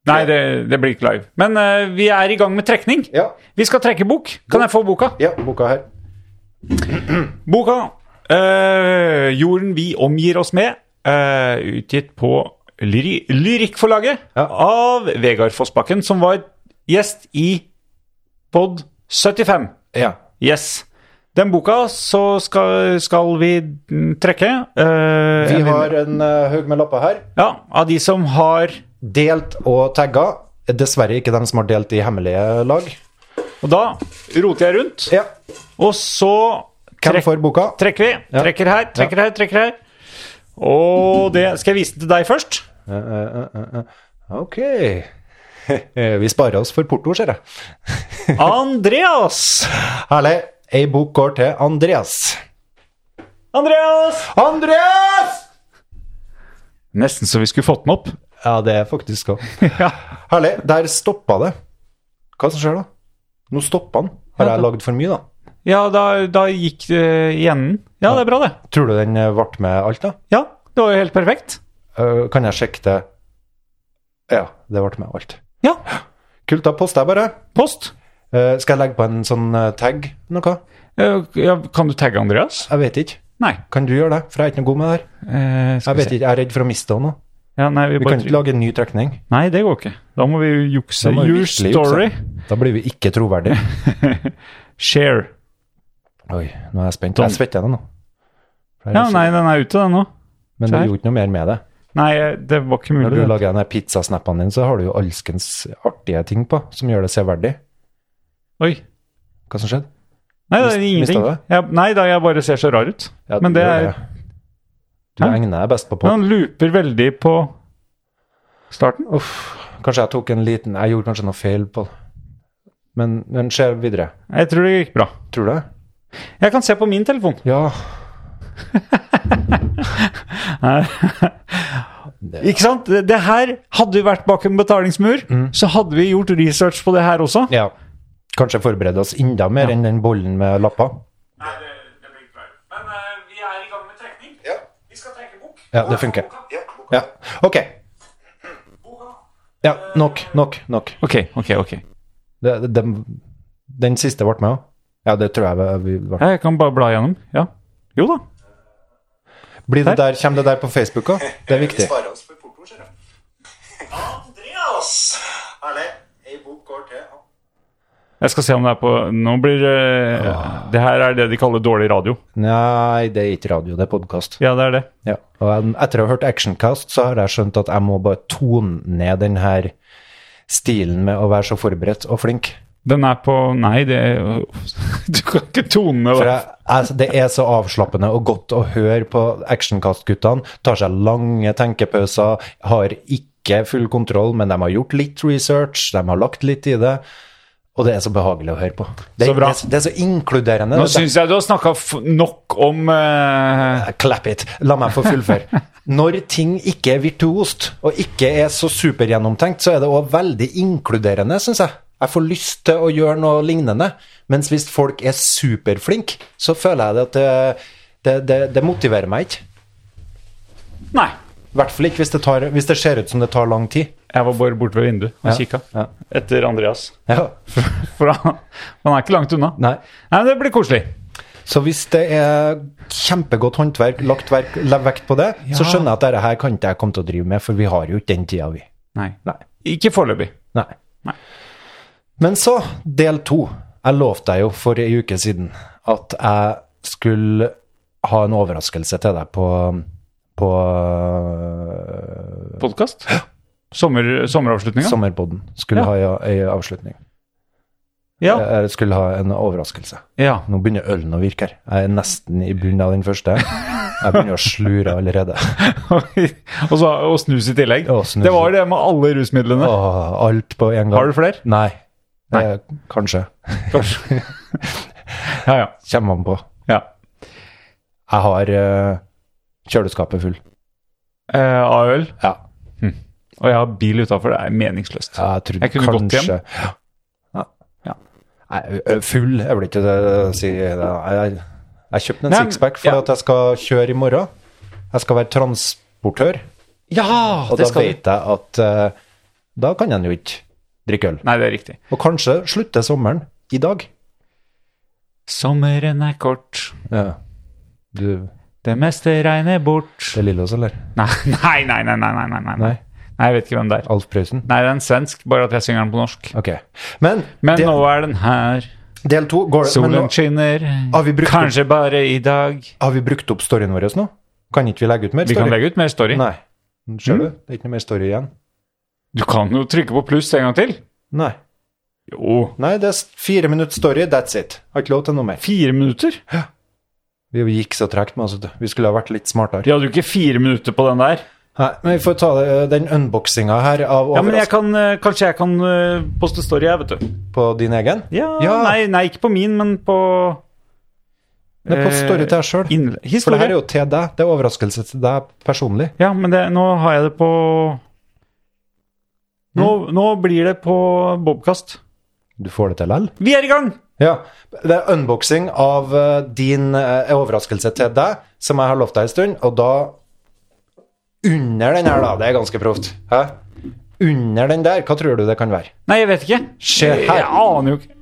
Speaker 2: Nei, det, det blir ikke live. Men eh, vi er i gang med trekning.
Speaker 1: Ja,
Speaker 2: Vi skal trekke bok. Kan jeg få boka?
Speaker 1: ja boka her.
Speaker 2: Boka eh, 'Jorden vi omgir oss med', eh, utgitt på lyri Lyrikkforlaget
Speaker 1: Ja.
Speaker 2: av Vegard Fossbakken, som var gjest i Pod 75.
Speaker 1: Ja.
Speaker 2: Yes. Den boka så skal, skal vi mm, trekke. eh,
Speaker 1: Vi
Speaker 2: en-
Speaker 1: har en eh, haug med lapper her.
Speaker 2: Ja, av de som har
Speaker 1: Delt og tagga. Dessverre ikke dem som har delt i hemmelige lag.
Speaker 2: Og da roter jeg rundt,
Speaker 1: Ja.
Speaker 2: og så
Speaker 1: Hvem
Speaker 2: Trekk-
Speaker 1: får boka?
Speaker 2: Trekker vi.
Speaker 1: Ja.
Speaker 2: Trekker her, trekker her, trekker her. Og det Skal jeg vise den til deg først?
Speaker 1: Eh, eh, eh, eh, eh. Ok. Vi sparer oss for porto, ser jeg.
Speaker 2: Andreas!
Speaker 1: Herlig. Ei bok går til Andreas.
Speaker 2: Andreas!
Speaker 1: Andreas!
Speaker 2: Nesten så vi skulle fått den opp.
Speaker 1: Ja, det er faktisk òg.
Speaker 2: Ja.
Speaker 1: Herlig. Der stoppa det. Hva som skjer da? Nå stoppa han. Har
Speaker 2: Ja,
Speaker 1: jeg
Speaker 2: da-
Speaker 1: lagd for mye, da?
Speaker 2: Ja, da, da gikk det i enden. Ja, det er bra, det.
Speaker 1: Tror du den eh, vart med alt, da?
Speaker 2: Ja, det var jo helt perfekt.
Speaker 1: Eh, kan jeg sjekke det? Ja, det vart med alt.
Speaker 2: Ja.
Speaker 1: Kult, da poster jeg bare.
Speaker 2: Post.
Speaker 1: Eh, skal jeg legge på en sånn eh, tag? Noe?
Speaker 2: Eh, Ja, kan du tagge Andreas?
Speaker 1: Jeg vet ikke.
Speaker 2: Nei.
Speaker 1: Kan du gjøre det? For jeg er ikke noe god med det her.
Speaker 2: Eh, skal
Speaker 1: Jeg vet ikke, jeg er redd for å miste henne.
Speaker 2: Ja, nei, vi
Speaker 1: Vi
Speaker 2: bare
Speaker 1: kan ikke lage en ny trekning.
Speaker 2: trykker- Nei, det går ikke. Da må vi jo jukse.
Speaker 1: Da må vi
Speaker 2: Your
Speaker 1: virkelig
Speaker 2: story.
Speaker 1: Da blir vi ikke troverdige.
Speaker 2: Share.
Speaker 1: Oi, nå er jeg spent. Jeg svetter henne nå. For jeg er
Speaker 2: Sånn. Ja,
Speaker 1: så-
Speaker 2: nei, den er ute, den nå.
Speaker 1: Men du
Speaker 2: Skjær.
Speaker 1: gjorde ikke noe mer med det.
Speaker 2: Nei, eh, det var ikke
Speaker 1: Når
Speaker 2: mulig.
Speaker 1: du
Speaker 2: det.
Speaker 1: lager denne pizzasnappene dine, så har du jo alskens artige ting på, som gjør det severdig.
Speaker 2: Oi.
Speaker 1: Hva som skjedde?
Speaker 2: Nei, det er
Speaker 1: Mist-
Speaker 2: ingenting.
Speaker 1: mistet
Speaker 2: Ja, nei da, jeg bare ser så rar ut.
Speaker 1: Ja,
Speaker 2: Men
Speaker 1: du
Speaker 2: det
Speaker 1: gjør
Speaker 2: er
Speaker 1: Du
Speaker 2: Hæ?
Speaker 1: egner deg best på
Speaker 2: Men
Speaker 1: pop.
Speaker 2: han looper veldig på starten.
Speaker 1: Uff, kanskje jeg tok en liten Jeg gjorde kanskje noe feil på det. Men, men se videre.
Speaker 2: Jeg tror det gikk bra.
Speaker 1: Tror du det?
Speaker 2: Jeg kan se på min telefon.
Speaker 1: Ja.
Speaker 2: Ikke sant? Det det her Hadde vi vært bak en betalingsmur, så hadde vi gjort research på det her også.
Speaker 1: ja. Kanskje forberede oss enda mer enn den bollen med lapper.
Speaker 2: Men vi er i gang med trekning. Vi skal trekke bok.
Speaker 1: Ja, det funker. Ja. Ok. Ja, nok, nok, nok.
Speaker 2: Ok, ok, ok.
Speaker 1: Det, det, den, den siste ble med òg. Ja, det tror jeg vi ble.
Speaker 2: Ja, Jeg kan bare bla gjennom. Ja. Jo da.
Speaker 1: Blir det der, kommer det der på Facebook òg? Det er viktig.
Speaker 2: Jeg skal se om det er på Nå blir det Det her er det de kaller dårlig radio.
Speaker 1: Nei, det er ikke radio, det er podkast.
Speaker 2: Ja, det er det.
Speaker 1: Ja. Og um, etter å ha hørt Actioncast, så har jeg skjønt at jeg må bare tone ned den her stilen med å være så forberedt og flink.
Speaker 2: Den er på Nei, det Du kan ikke tone
Speaker 1: For jeg, altså, det er så avslappende og godt å høre på Actioncast-guttene. Tar seg lange tenkepauser, har ikke full kontroll, men de har gjort litt research, de har lagt litt i det. Og det er så behagelig å høre på. Det,
Speaker 2: Så bra.
Speaker 1: det, er- det er så inkluderende.
Speaker 2: Nå
Speaker 1: Det-
Speaker 2: syns jeg du har snakka nok om eh,
Speaker 1: Clap it. La meg få fullføre. Når ting ikke er virtuost, og ikke er så supergjennomtenkt, så er det òg veldig inkluderende, syns jeg. Jeg får lyst til å gjøre noe lignende. Mens hvis folk er superflinke, så føler jeg det at det, det, det, det motiverer meg ikke.
Speaker 2: Nei.
Speaker 1: I hvert fall ikke hvis det, tar, hvis det ser ut som det tar lang tid.
Speaker 2: Jeg var bare borte ved vinduet og
Speaker 1: Ja,
Speaker 2: kikka
Speaker 1: ja.
Speaker 2: etter Andreas.
Speaker 1: Ja.
Speaker 2: For han, han er ikke langt unna.
Speaker 1: Nei.
Speaker 2: Nei, men Det blir koselig.
Speaker 1: Så hvis det er kjempegodt håndverk, lagt verk, lagt vekt på det, så
Speaker 2: Ja.
Speaker 1: skjønner jeg at dette her kan ikke jeg komme til å drive med, for vi har jo ikke den tida, vi.
Speaker 2: Nei.
Speaker 1: Nei.
Speaker 2: Ikke foreløpig.
Speaker 1: Nei.
Speaker 2: Nei.
Speaker 1: Men så, del to. Jeg lovte deg jo for ei uke siden at jeg skulle ha en overraskelse til deg på, på øh,
Speaker 2: Podkast? Sommer, sommeravslutninga?
Speaker 1: sommerpodden. Skulle
Speaker 2: Ja.
Speaker 1: ha ei ei avslutning.
Speaker 2: ja.
Speaker 1: Jeg skulle ha en overraskelse.
Speaker 2: ja.
Speaker 1: Nå begynner ølen å virke her. Jeg er nesten i bunnen av den første. Jeg begynner å slure allerede.
Speaker 2: og, så, og snus i tillegg.
Speaker 1: Og snus.
Speaker 2: Det var det med alle rusmidlene.
Speaker 1: Åh, alt på en gang.
Speaker 2: Har du flere?
Speaker 1: Nei.
Speaker 2: Nei.
Speaker 1: Eh, kanskje.
Speaker 2: Kanskje. ja, ja,
Speaker 1: Kommer man på.
Speaker 2: ja.
Speaker 1: Jeg har eh, kjøleskapet full.
Speaker 2: Eh, AØL.
Speaker 1: Ja.
Speaker 2: Hm. Og jeg har bil utafor. Det er meningsløst.
Speaker 1: Ja, jeg trodde
Speaker 2: Jeg kunne gått
Speaker 1: kanskje Ja.
Speaker 2: Ja.
Speaker 1: Nei, ø- full jeg vil ikke det si. det. Jeg, jeg kjøpte en
Speaker 2: Nei,
Speaker 1: sixpack for
Speaker 2: ja.
Speaker 1: at jeg skal kjøre i morgen. Jeg skal være transportør,
Speaker 2: Ja,
Speaker 1: og da vet jeg at eh, da kan en jo ikke drikke øl.
Speaker 2: Nei, det er riktig.
Speaker 1: Og kanskje slutter sommeren i dag.
Speaker 2: Sommeren er kort,
Speaker 1: Ja. Du,
Speaker 2: det meste regner bort.
Speaker 1: det er Lillos, eller?
Speaker 2: Nei, nei, nei, nei, nei, nei, nei, nei.
Speaker 1: Nei.
Speaker 2: Nei, jeg vet ikke hvem det er.
Speaker 1: Alf Prøysen?
Speaker 2: Nei, det er en svensk, bare at jeg synger den på norsk.
Speaker 1: Ok. Men,
Speaker 2: Men
Speaker 1: del,
Speaker 2: nå er den her,
Speaker 1: del to går det, men
Speaker 2: solen
Speaker 1: nå,
Speaker 2: skinner,
Speaker 1: Har vi brukt
Speaker 2: kanskje bare i dag.
Speaker 1: Har vi brukt opp storyen vår nå? Kan ikke vi legge ut mer
Speaker 2: Vi
Speaker 1: story?
Speaker 2: kan legge ut Mm. mer story.
Speaker 1: Nei. Ser du? Det er ikke noe mer story igjen.
Speaker 2: Du kan jo trykke på pluss en gang til.
Speaker 1: Nei.
Speaker 2: Jo.
Speaker 1: Nei, det er s- fire minutts story, that's it. Har ikke lov til noe mer.
Speaker 2: Fire minutter?
Speaker 1: Vi gikk så tregt med oss. vet du. Vi skulle ha vært litt smartere.
Speaker 2: De hadde jo ikke fire minutter på den der.
Speaker 1: Nei, men vi får ta det- eh, den unboxinga her av
Speaker 2: Ja, men jeg
Speaker 1: overraskelse
Speaker 2: kan, eh, kanskje jeg kan eh, poste story, jeg, vet du.
Speaker 1: på din egen.
Speaker 2: Ja,
Speaker 1: Ja.
Speaker 2: Nei, nei, ikke på min, men på
Speaker 1: Men på
Speaker 2: Eh,
Speaker 1: story til deg sjøl.
Speaker 2: innle-
Speaker 1: For det her er
Speaker 2: Historie.
Speaker 1: jo til deg. Det er overraskelse til deg personlig.
Speaker 2: Ja, men det, nå har jeg det på nå,
Speaker 1: Mm.
Speaker 2: nå blir det på Bobkast.
Speaker 1: Du får det til likevel.
Speaker 2: Vi er i gang!
Speaker 1: Ja. Det er unboxing av eh, din eh, overraskelse til deg, som jeg har lovt deg en stund, og da Under den her, da. Det er ganske proft. Hæ? Under den der, hva tror du det kan være?
Speaker 2: Nei, jeg vet ikke.
Speaker 1: Se
Speaker 2: Jeg
Speaker 1: her.
Speaker 2: aner jo ikke.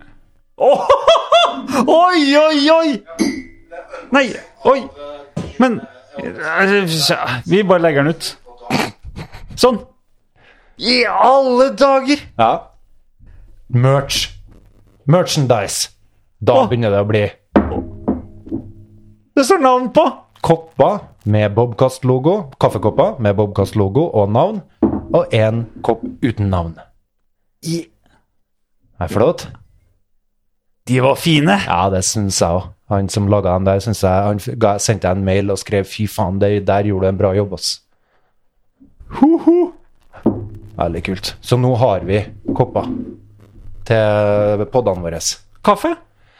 Speaker 2: Åh, Oi, oi, oi! Nei, oi. Men eh, Vi bare legger den ut. Sånn. I alle dager!
Speaker 1: Ja. Merch. Merchandise. Da
Speaker 2: Å.
Speaker 1: begynner det å bli
Speaker 2: Det står navn på!
Speaker 1: kopper med Bobkast-logo, kaffekopper med Bobkast-logo og navn, og én kopp uten navn. I Er det flott?
Speaker 2: De var fine.
Speaker 1: Ja, det syns jeg òg. Han som laga den der, syns jeg Han f- ga, sendte jeg en mail og skrev 'fy faen, det, der gjorde du en bra jobb', ass. Ho-ho! Veldig kult. Så nå har vi kopper til podene våre.
Speaker 2: Kaffe?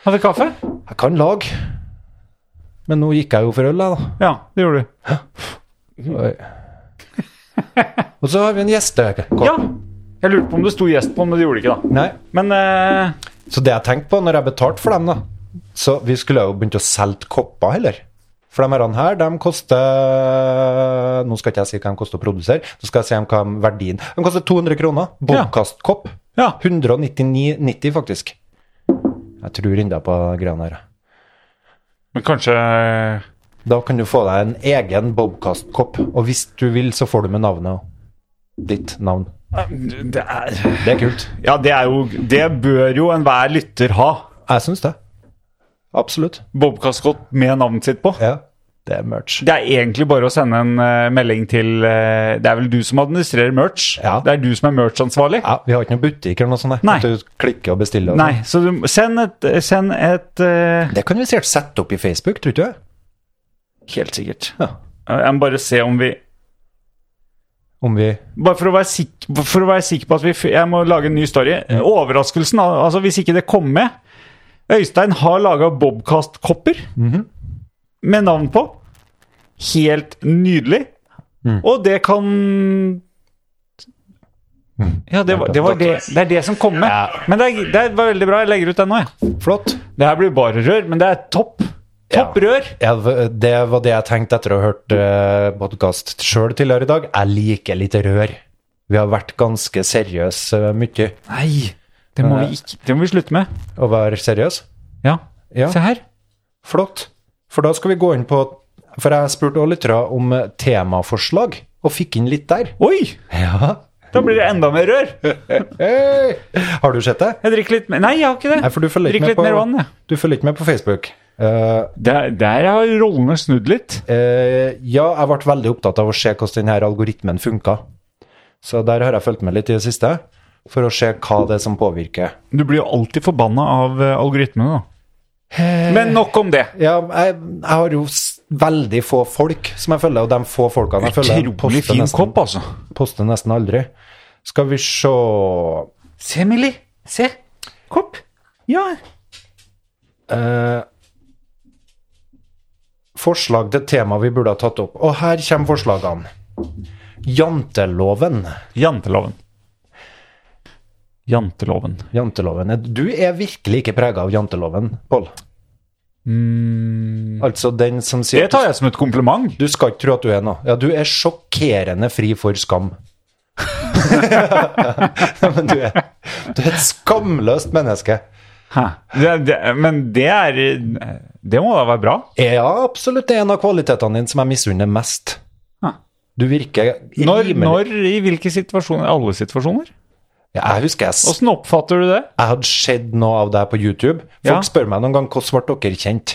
Speaker 2: Har vi kaffe?
Speaker 1: Jeg kan lag, men nå gikk jeg jo for øl, jeg, da.
Speaker 2: Ja, det gjorde du.
Speaker 1: Oi. Og så har vi en gjestekopp.
Speaker 2: Ja! Jeg lurte på om det sto gjest på, men det gjorde det ikke, da.
Speaker 1: Nei.
Speaker 2: Men eh,
Speaker 1: Så det jeg tenkte på når jeg betalte for dem, da Så vi skulle jo begynt å selge kopper heller. For de herrene her, de koster Nå skal ikke jeg si hva de koster å produsere, nå skal jeg si hva de verdien De koster 200 kroner. Bobkastkopp.
Speaker 2: ja.
Speaker 1: 199,90 faktisk. Jeg tror enda på de greiene her.
Speaker 2: Men kanskje
Speaker 1: Da kan du få deg en egen Bobkast-kopp, og hvis du vil, så får du med navnet òg. Ditt navn.
Speaker 2: Eh, det er,
Speaker 1: Det er kult.
Speaker 2: Ja, det er jo Det bør jo enhver lytter ha.
Speaker 1: Jeg syns det. Absolutt.
Speaker 2: Bobkastkopp med navnet sitt på.
Speaker 1: Ja. Det er merch.
Speaker 2: Det er egentlig bare å sende en eh, melding til eh, Det er vel du som administrerer merch?
Speaker 1: Ja.
Speaker 2: Det er du som er merch-ansvarlig?
Speaker 1: Ja, Vi har ikke noen butikk eller noe sånt.
Speaker 2: Nei.
Speaker 1: Nei. At du klikker og bestiller. og
Speaker 2: Nei, så du, send et, send et eh,
Speaker 1: sånn. Det kan vi sikkert sette opp i Facebook, tror du ikke?
Speaker 2: Helt sikkert.
Speaker 1: Ja.
Speaker 2: Jeg må bare se om vi
Speaker 1: Om vi
Speaker 2: Bare for å være sikker, for å være sikker på at vi f- Jeg må lage en ny story. Overraskelsen, al- altså hvis ikke det kom med Øystein har laga Bobkast-kopper med navn på. Helt nydelig. Og det kan Ja, det var, det var det. Det er det som kom med. Men det, er, det var veldig bra. Jeg legger ut den nå, jeg.
Speaker 1: Flott.
Speaker 2: Det her blir bare rør, men det er topp. Topp rør.
Speaker 1: Ja, v- det var det jeg tenkte etter å ha hørt eh, podkast sjøl tidligere i dag. Jeg liker litt rør. Vi har vært ganske seriøse eh, mye.
Speaker 2: Nei, det må vi ikke Det må vi slutte med.
Speaker 1: Å være seriøs.
Speaker 2: Ja.
Speaker 1: Ja.
Speaker 2: Se her.
Speaker 1: Flott. For da skal vi gå inn på For jeg spurte også lyttere om eh, temaforslag, og fikk inn litt der.
Speaker 2: Oi!
Speaker 1: Ja.
Speaker 2: Da blir det enda mer rør.
Speaker 1: Hei! Har du sett det?
Speaker 2: Jeg drikker litt mer Nei, jeg har ikke det.
Speaker 1: Nei, for du følger
Speaker 2: Drikk
Speaker 1: ikke med
Speaker 2: litt
Speaker 1: på
Speaker 2: mer vann, jeg.
Speaker 1: Du følger ikke med på Facebook. Eh,
Speaker 2: Der, der har rollene snudd litt.
Speaker 1: Eh, ja, jeg ble veldig opptatt av å se hvordan denne algoritmen funka. Så der har jeg fulgt med litt i det siste, for å se hva det er som påvirker.
Speaker 2: Du blir jo alltid forbanna av eh, algoritmene, da. Men nok om det.
Speaker 1: Ja, jeg, jeg har jo s- veldig få folk som jeg følger, og de få folkene jeg følger, jeg
Speaker 2: Utrolig fin
Speaker 1: nesten,
Speaker 2: kopp, altså.
Speaker 1: poster nesten aldri. Skal vi se
Speaker 2: Se, Millie. Se. Kopp. Ja.
Speaker 1: eh, Forslag til tema vi burde ha tatt opp. Og her kommer forslagene. Janteloven.
Speaker 2: Janteloven. Janteloven.
Speaker 1: Janteloven. Du er virkelig ikke prega av janteloven, Pål. Altså den som
Speaker 2: Det
Speaker 1: sier
Speaker 2: tar jeg som et kompliment.
Speaker 1: Du skal ikke tro at du er noe. Ja, du er sjokkerende fri for skam. Men du er, du er et skamløst menneske.
Speaker 2: Hæ. Det, det, men det er eh, Det må da være bra?
Speaker 1: Ja, absolutt. Det er en av kvalitetene dine som jeg misunner mest.
Speaker 2: Hæ.
Speaker 1: Du virker
Speaker 2: Når,
Speaker 1: rimelig-
Speaker 2: når i hvilke situasjoner? Alle situasjoner?
Speaker 1: Ja, Jeg husker jeg, s-
Speaker 2: Åssen oppfatter du det?
Speaker 1: jeg hadde sett noe av deg på YouTube. Folk
Speaker 2: Ja. Hmm.
Speaker 1: spør meg noen gang hvordan ble dere kjent?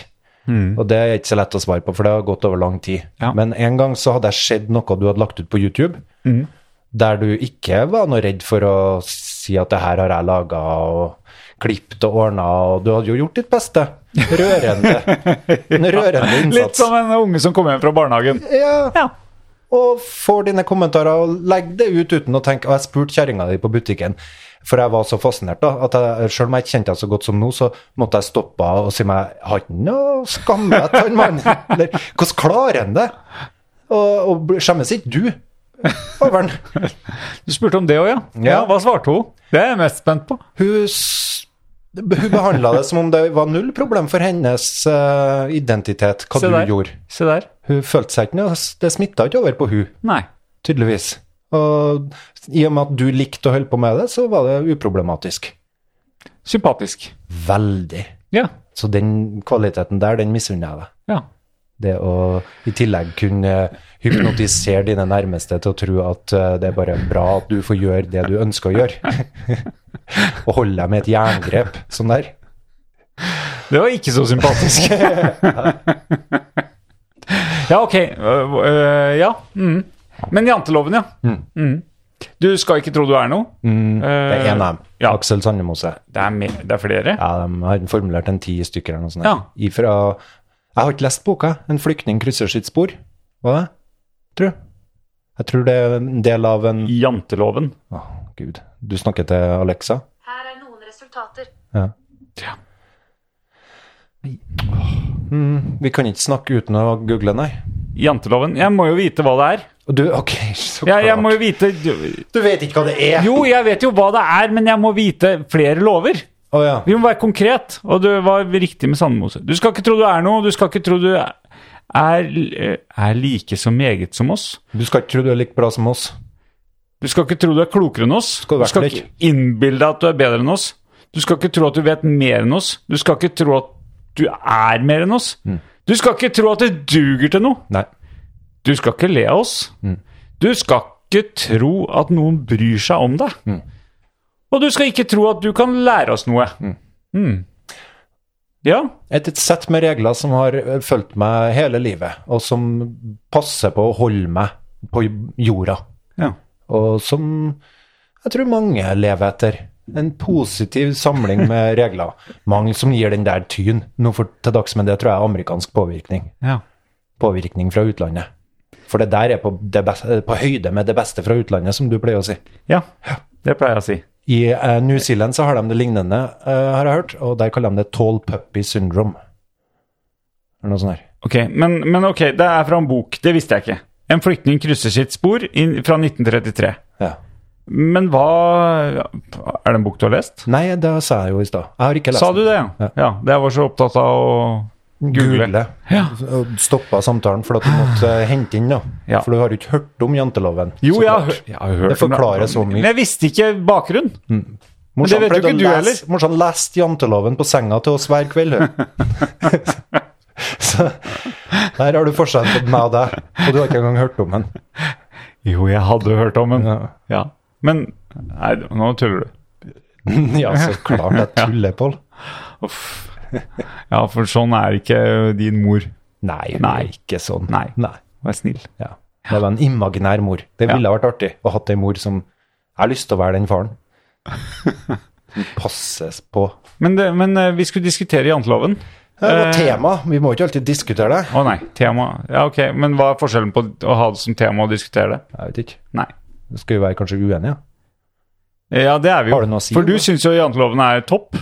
Speaker 1: Og det er ikke så lett å svare på, for det har gått over lang tid.
Speaker 2: Ja.
Speaker 1: Men en gang så hadde jeg sett noe du hadde lagt ut på YouTube,
Speaker 2: Hmm.
Speaker 1: der du ikke var noe redd for å si at det her har jeg laga, og klippet og ordna, og du hadde jo gjort ditt beste. Rørende. En rørende
Speaker 2: Litt
Speaker 1: innsats.
Speaker 2: som en unge som kommer hjem fra barnehagen.
Speaker 1: Ja.
Speaker 2: Ja.
Speaker 1: Og får dine kommentarer og legg det ut uten å tenke Og jeg spurte kjerringa di på butikken, for jeg var så fascinert, da, at jeg, selv om jeg ikke kjente henne så godt som nå, så måtte jeg stoppe henne og si meg Har ikke noe skammet, han mannen? Eller hvordan klarer han det? Og, og bl- skjemmes ikke du over han?
Speaker 2: Du spurte om det òg, ja. ja.
Speaker 1: Ja.
Speaker 2: Hva svarte hun? Det er jeg mest spent på.
Speaker 1: Hun, s- hun behandla det som om det var null problem for hennes eh, identitet, hva
Speaker 2: Se
Speaker 1: du
Speaker 2: der.
Speaker 1: gjorde.
Speaker 2: Se der.
Speaker 1: Hun følte seg ikke noe Det smitta ikke over på hun.
Speaker 2: Nei.
Speaker 1: Tydeligvis. Og i og med at du likte å holde på med det, så var det uproblematisk.
Speaker 2: Sympatisk.
Speaker 1: Veldig.
Speaker 2: Ja.
Speaker 1: Så den kvaliteten der, den misunner jeg deg.
Speaker 2: ja.
Speaker 1: Det å i tillegg kunne hypnotisere dine nærmeste til å tro at eh, det er bare bra at du får gjøre det du ønsker å gjøre. og holde deg med et jerngrep sånn der.
Speaker 2: Det var ikke så sympatisk. ja, ok. Øh, øh, ja. Mm. Men janteloven, ja. Mm. Du skal ikke tro du er noe.
Speaker 1: Mm. Det er en av dem.
Speaker 2: ja.
Speaker 1: Aksel Sandemose.
Speaker 2: Det er, mer, det er flere.
Speaker 1: Ja, de har formulert en ti stykker eller noe sånt.
Speaker 2: Ja.
Speaker 1: der. Ifra Jeg har ikke lest boka. 'En flyktning krysser sitt spor'. Hva er det? Tror jeg. Jeg tror det er en del av en
Speaker 2: Janteloven.
Speaker 1: Å, gud. Du snakker til Alexa?
Speaker 3: Her er noen resultater.
Speaker 1: Ja.
Speaker 2: Ja.
Speaker 1: Mm, vi kan ikke snakke uten å google, nei.
Speaker 2: Janteloven. Jeg må jo vite hva det er.
Speaker 1: Og du, ok, så klart.
Speaker 2: Jeg, jeg må jo vite
Speaker 1: Du vet ikke hva det er?
Speaker 2: Jo, jeg vet jo hva det er, men jeg må vite flere lover.
Speaker 1: Å ja.
Speaker 2: Vi må være konkret, og det var riktig med Sandmose. Du skal ikke tro du er noe, du skal ikke tro du er, er, er like så meget som oss.
Speaker 1: Du skal ikke tro du er like bra som oss.
Speaker 2: Du skal ikke tro du er klokere enn oss.
Speaker 1: Skal i
Speaker 2: du
Speaker 1: hvert
Speaker 2: skal
Speaker 1: fall
Speaker 2: ikke innbille deg at du er bedre enn oss. Du skal ikke tro at du vet mer enn oss. Du skal ikke tro at du er mer enn oss. Du skal ikke tro at det duger til noe.
Speaker 1: Nei.
Speaker 2: Du skal ikke le av oss. Du skal ikke tro at noen bryr seg om deg. Og du skal ikke tro at du kan lære oss noe. Mm. Ja,
Speaker 1: Et, et sett med regler som har eh, fulgt meg hele livet, og som passer på å holde meg på jorda.
Speaker 2: Ja.
Speaker 1: Og som jeg tror mange lever etter. En positiv samling med regler. Mange som gir den der tyn nå for til dags, men det tror jeg er amerikansk påvirkning.
Speaker 2: ja.
Speaker 1: Påvirkning fra utlandet. For det der er på, det beste, på høyde med det beste fra utlandet, som du pleier å si.
Speaker 2: Ja, det pleier jeg å si.
Speaker 1: I eh, New Zealand så har de det lignende, eh, har jeg hørt, og der kaller de det tall puppy syndrome. Eller noe sånt her.
Speaker 2: Ok, men, men ok, det er fra en bok. Det visste jeg ikke. En flyktning krysser sitt spor inn- fra 1933.
Speaker 1: Ja.
Speaker 2: Men hva Er det en bok du har lest?
Speaker 1: Nei, det sa jeg jo i stad. Jeg har ikke lest
Speaker 2: Sa du det? Ja.
Speaker 1: Ja.
Speaker 2: ja det jeg var så opptatt av å
Speaker 1: Google.
Speaker 2: google.
Speaker 1: Og Stoppa samtalen for at du måtte eh, hente inn noe.
Speaker 2: Ah. Ja.
Speaker 1: For du har jo ikke hørt om janteloven.
Speaker 2: Jo,
Speaker 1: så
Speaker 2: jeg har,
Speaker 1: klart.
Speaker 2: hø- jeg har hørt
Speaker 1: Det forklarer
Speaker 2: om
Speaker 1: så mye.
Speaker 2: Men jeg visste ikke bakgrunn.
Speaker 1: Morsan
Speaker 2: Men det vet jo
Speaker 1: pleide å
Speaker 2: ikke du
Speaker 1: lese- Morsan leste janteloven på senga til oss hver kveld, hun. så der har du forskjellen på meg og deg, og du har ikke engang hørt om den.
Speaker 2: Jo, jeg hadde hørt om den. Ja.
Speaker 1: Ja.
Speaker 2: Men Nei, nå tuller du.
Speaker 1: ja, så klart jeg tuller, Pål.
Speaker 2: Uff. Ja, for sånn er ikke din mor.
Speaker 1: Nei, hun
Speaker 2: Nei.
Speaker 1: er ikke sånn.
Speaker 2: Nei. Vær snill.
Speaker 1: Ja. Det var en imaginær mor. Det ville vært artig å hatt en mor som Jeg har lyst til å være den faren. Som passes på.
Speaker 2: Men, det, men eh, vi skulle diskutere janteloven.
Speaker 1: Det var
Speaker 2: Eh.
Speaker 1: tema. Vi må ikke alltid diskutere det.
Speaker 2: Å nei, tema. Ja, ok. Men hva er forskjellen på å ha det som tema og diskutere det?
Speaker 1: Jeg vet ikke.
Speaker 2: Nei.
Speaker 1: Da skal vi være kanskje uenige.
Speaker 2: Ja, det er vi jo.
Speaker 1: Har du noe å si
Speaker 2: For
Speaker 1: om
Speaker 2: du
Speaker 1: det?
Speaker 2: syns jo janteloven er topp.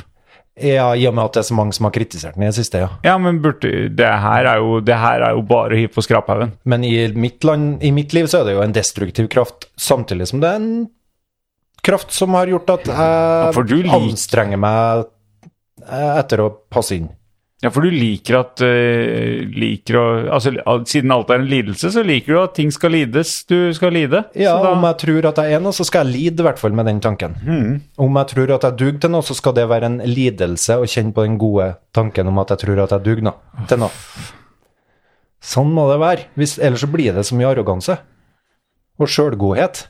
Speaker 1: Ja, I og med at det er så mange som har kritisert den i det siste, ja.
Speaker 2: Ja, men burde, det, her er jo, det her er jo bare å hive på skraphaugen.
Speaker 1: Men i mitt, land, i mitt liv så er det jo en destruktiv kraft, samtidig som det er en kraft som har gjort at
Speaker 2: for du
Speaker 1: jeg
Speaker 2: lik-
Speaker 1: anstrenger meg eh, etter å passe inn.
Speaker 2: Ja, for du liker at eh, liker å, altså, al- Siden alt er en lidelse, så liker du at ting skal lides. Du skal lide.
Speaker 1: Ja,
Speaker 2: så da,
Speaker 1: om jeg tror at jeg er noe, så skal jeg lide i hvert fall med den tanken.
Speaker 2: Hmm.
Speaker 1: Om jeg tror at jeg duger til noe, så skal det være en lidelse å kjenne på den gode tanken om at jeg tror at jeg duger nå- til noe. Sånn må det være, Hvis, ellers så blir det så mye arroganse. Og sjølgodhet.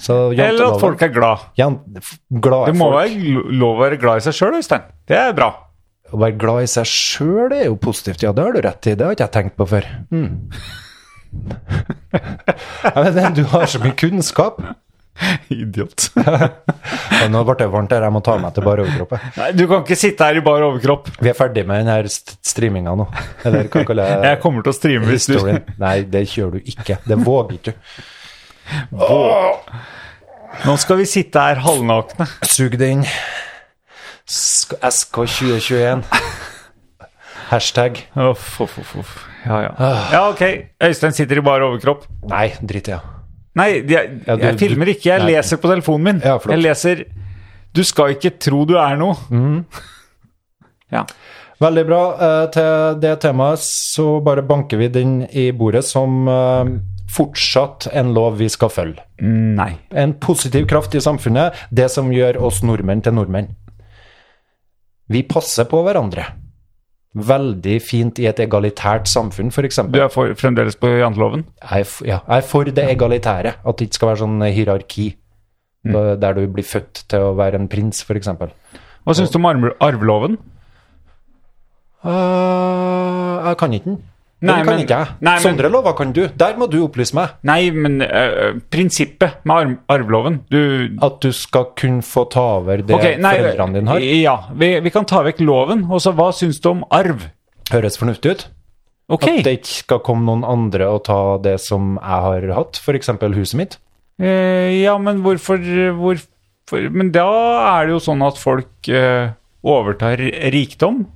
Speaker 1: Så
Speaker 2: eller at folk er glad.
Speaker 1: Jant, f- glade
Speaker 2: Det må
Speaker 1: folk.
Speaker 2: være gl- lov å være glad i seg sjøl, Øystein. Det er bra.
Speaker 1: Å være glad i seg sjøl er jo positivt. Ja, det har du rett i. Det har ikke jeg tenkt på før. Hmm. Mm. Ja, men, du har så mye kunnskap.
Speaker 2: Idiot.
Speaker 1: Men Nå ble det varmt her, jeg må ta meg til bare overkroppen.
Speaker 2: Nei, du kan ikke sitte her i bar overkropp.
Speaker 1: Vi er ferdig med den her st- streaminga nå. Eller hva kaller
Speaker 2: Jeg kommer til å streame hvis du
Speaker 1: historien? Nei, det kjører du ikke. Det våger ikke du.
Speaker 2: Nå skal vi sitte her halvnakne.
Speaker 1: Sug det inn. Sk- SK 2021. Hashtag.
Speaker 2: Uff, uff, uff, uff. Ja, ja.
Speaker 1: Ah.
Speaker 2: ja, ok. Øystein sitter i bar overkropp.
Speaker 1: Nei, drit i det.
Speaker 2: Nei, jeg,
Speaker 1: Ja, du-
Speaker 2: jeg filmer ikke. Jeg
Speaker 1: Nei.
Speaker 2: leser på telefonen min.
Speaker 1: Ja, flott.
Speaker 2: jeg leser 'Du skal ikke tro du er noe'. Ja.
Speaker 1: Veldig bra. Eh, Til det temaet så bare banker vi den i bordet som eh, fortsatt en lov vi skal følge.
Speaker 2: Nei.
Speaker 1: En positiv kraft i samfunnet, det som gjør oss nordmenn til nordmenn. Vi passer på hverandre. Veldig fint i et egalitært samfunn, f.eks.
Speaker 2: Du er for, fremdeles på janteloven?
Speaker 1: Jeg, er f- ja, jeg er for det egalitære, at det ikke skal være sånn hierarki.
Speaker 2: Mm.
Speaker 1: Da- Der du blir født til å være en prins, f.eks.
Speaker 2: Hva syns du om arv- arveloven?
Speaker 1: Uh, jeg kan ikke den. Den
Speaker 2: Nei,
Speaker 1: kan
Speaker 2: men-
Speaker 1: ikke jeg.
Speaker 2: nei, men-
Speaker 1: Sondre Lova kan du. Der må du opplyse meg.
Speaker 2: Nei, men øh, prinsippet med arv, arveloven Du
Speaker 1: At du skal kunne få ta over det
Speaker 2: Ok, nei, eh,
Speaker 1: foreldrene dine har.
Speaker 2: Ja, vi, vi kan ta vekk loven. Og så hva syns du om arv?
Speaker 1: Høres fornuftig ut.
Speaker 2: Ok.
Speaker 1: At det ikke skal komme noen andre og ta det som jeg har hatt, f.eks. huset mitt.
Speaker 2: Eh, ja, men hvorfor, hvorfor Men da er det jo sånn at folk eh, overtar rikdom.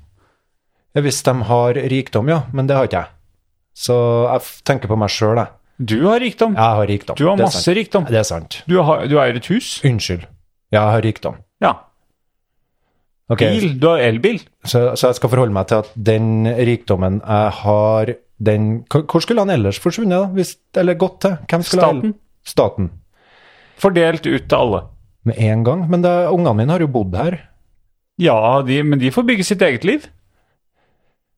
Speaker 1: Hvis de har rikdom, ja, men det har ikke jeg. Så jeg f- tenker på meg sjøl, jeg.
Speaker 2: Du har rikdom.
Speaker 1: Jeg har rikdom.
Speaker 2: Du har
Speaker 1: Det er
Speaker 2: masse
Speaker 1: sant.
Speaker 2: rikdom.
Speaker 1: Det er sant.
Speaker 2: Du, har, du eier et hus.
Speaker 1: Unnskyld. Jeg har rikdom.
Speaker 2: Ja.
Speaker 1: Ok,
Speaker 2: Bil. Du har elbil.
Speaker 1: Så, så jeg skal forholde meg til at den rikdommen jeg har, den Hvor hvor skulle han ellers forsvunnet, da? Hvis, eller gått til? Hvem skulle ha el-
Speaker 2: Staten.
Speaker 1: Staten.
Speaker 2: Fordelt ut til alle.
Speaker 1: Med en gang. Men det, ungene mine har jo bodd her.
Speaker 2: Ja, de, men de får bygge sitt eget liv.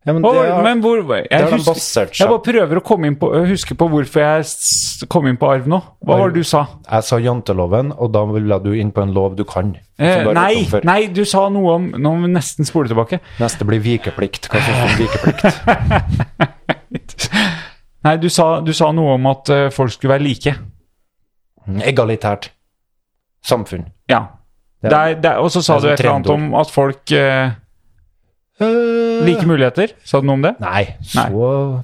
Speaker 1: Ja, men
Speaker 2: Og,
Speaker 1: det er-
Speaker 2: men hvor jeg,
Speaker 1: har de
Speaker 2: husker,
Speaker 1: basert seg.
Speaker 2: jeg bare prøver å komme inn på, huske på hvorfor jeg s- kom inn på arv nå. Hva var det du sa?
Speaker 1: Jeg sa janteloven, og da ville du inn på en lov du kan. som
Speaker 2: Eh,
Speaker 1: du har
Speaker 2: nei,
Speaker 1: hørt om før.
Speaker 2: nei, du sa noe om Nå må vi nesten spole tilbake.
Speaker 1: Neste blir vikeplikt. Hva synes du om vikeplikt?
Speaker 2: Nei, du sa, du sa noe om at eh, folk skulle være like.
Speaker 1: Egalitært samfunn.
Speaker 2: Ja.
Speaker 1: Det er-
Speaker 2: Der, der, og så sa du
Speaker 1: det er
Speaker 2: et
Speaker 1: sånn
Speaker 2: eller annet om at folk eh, Like muligheter. Sa du noe om det?
Speaker 1: Nei, så,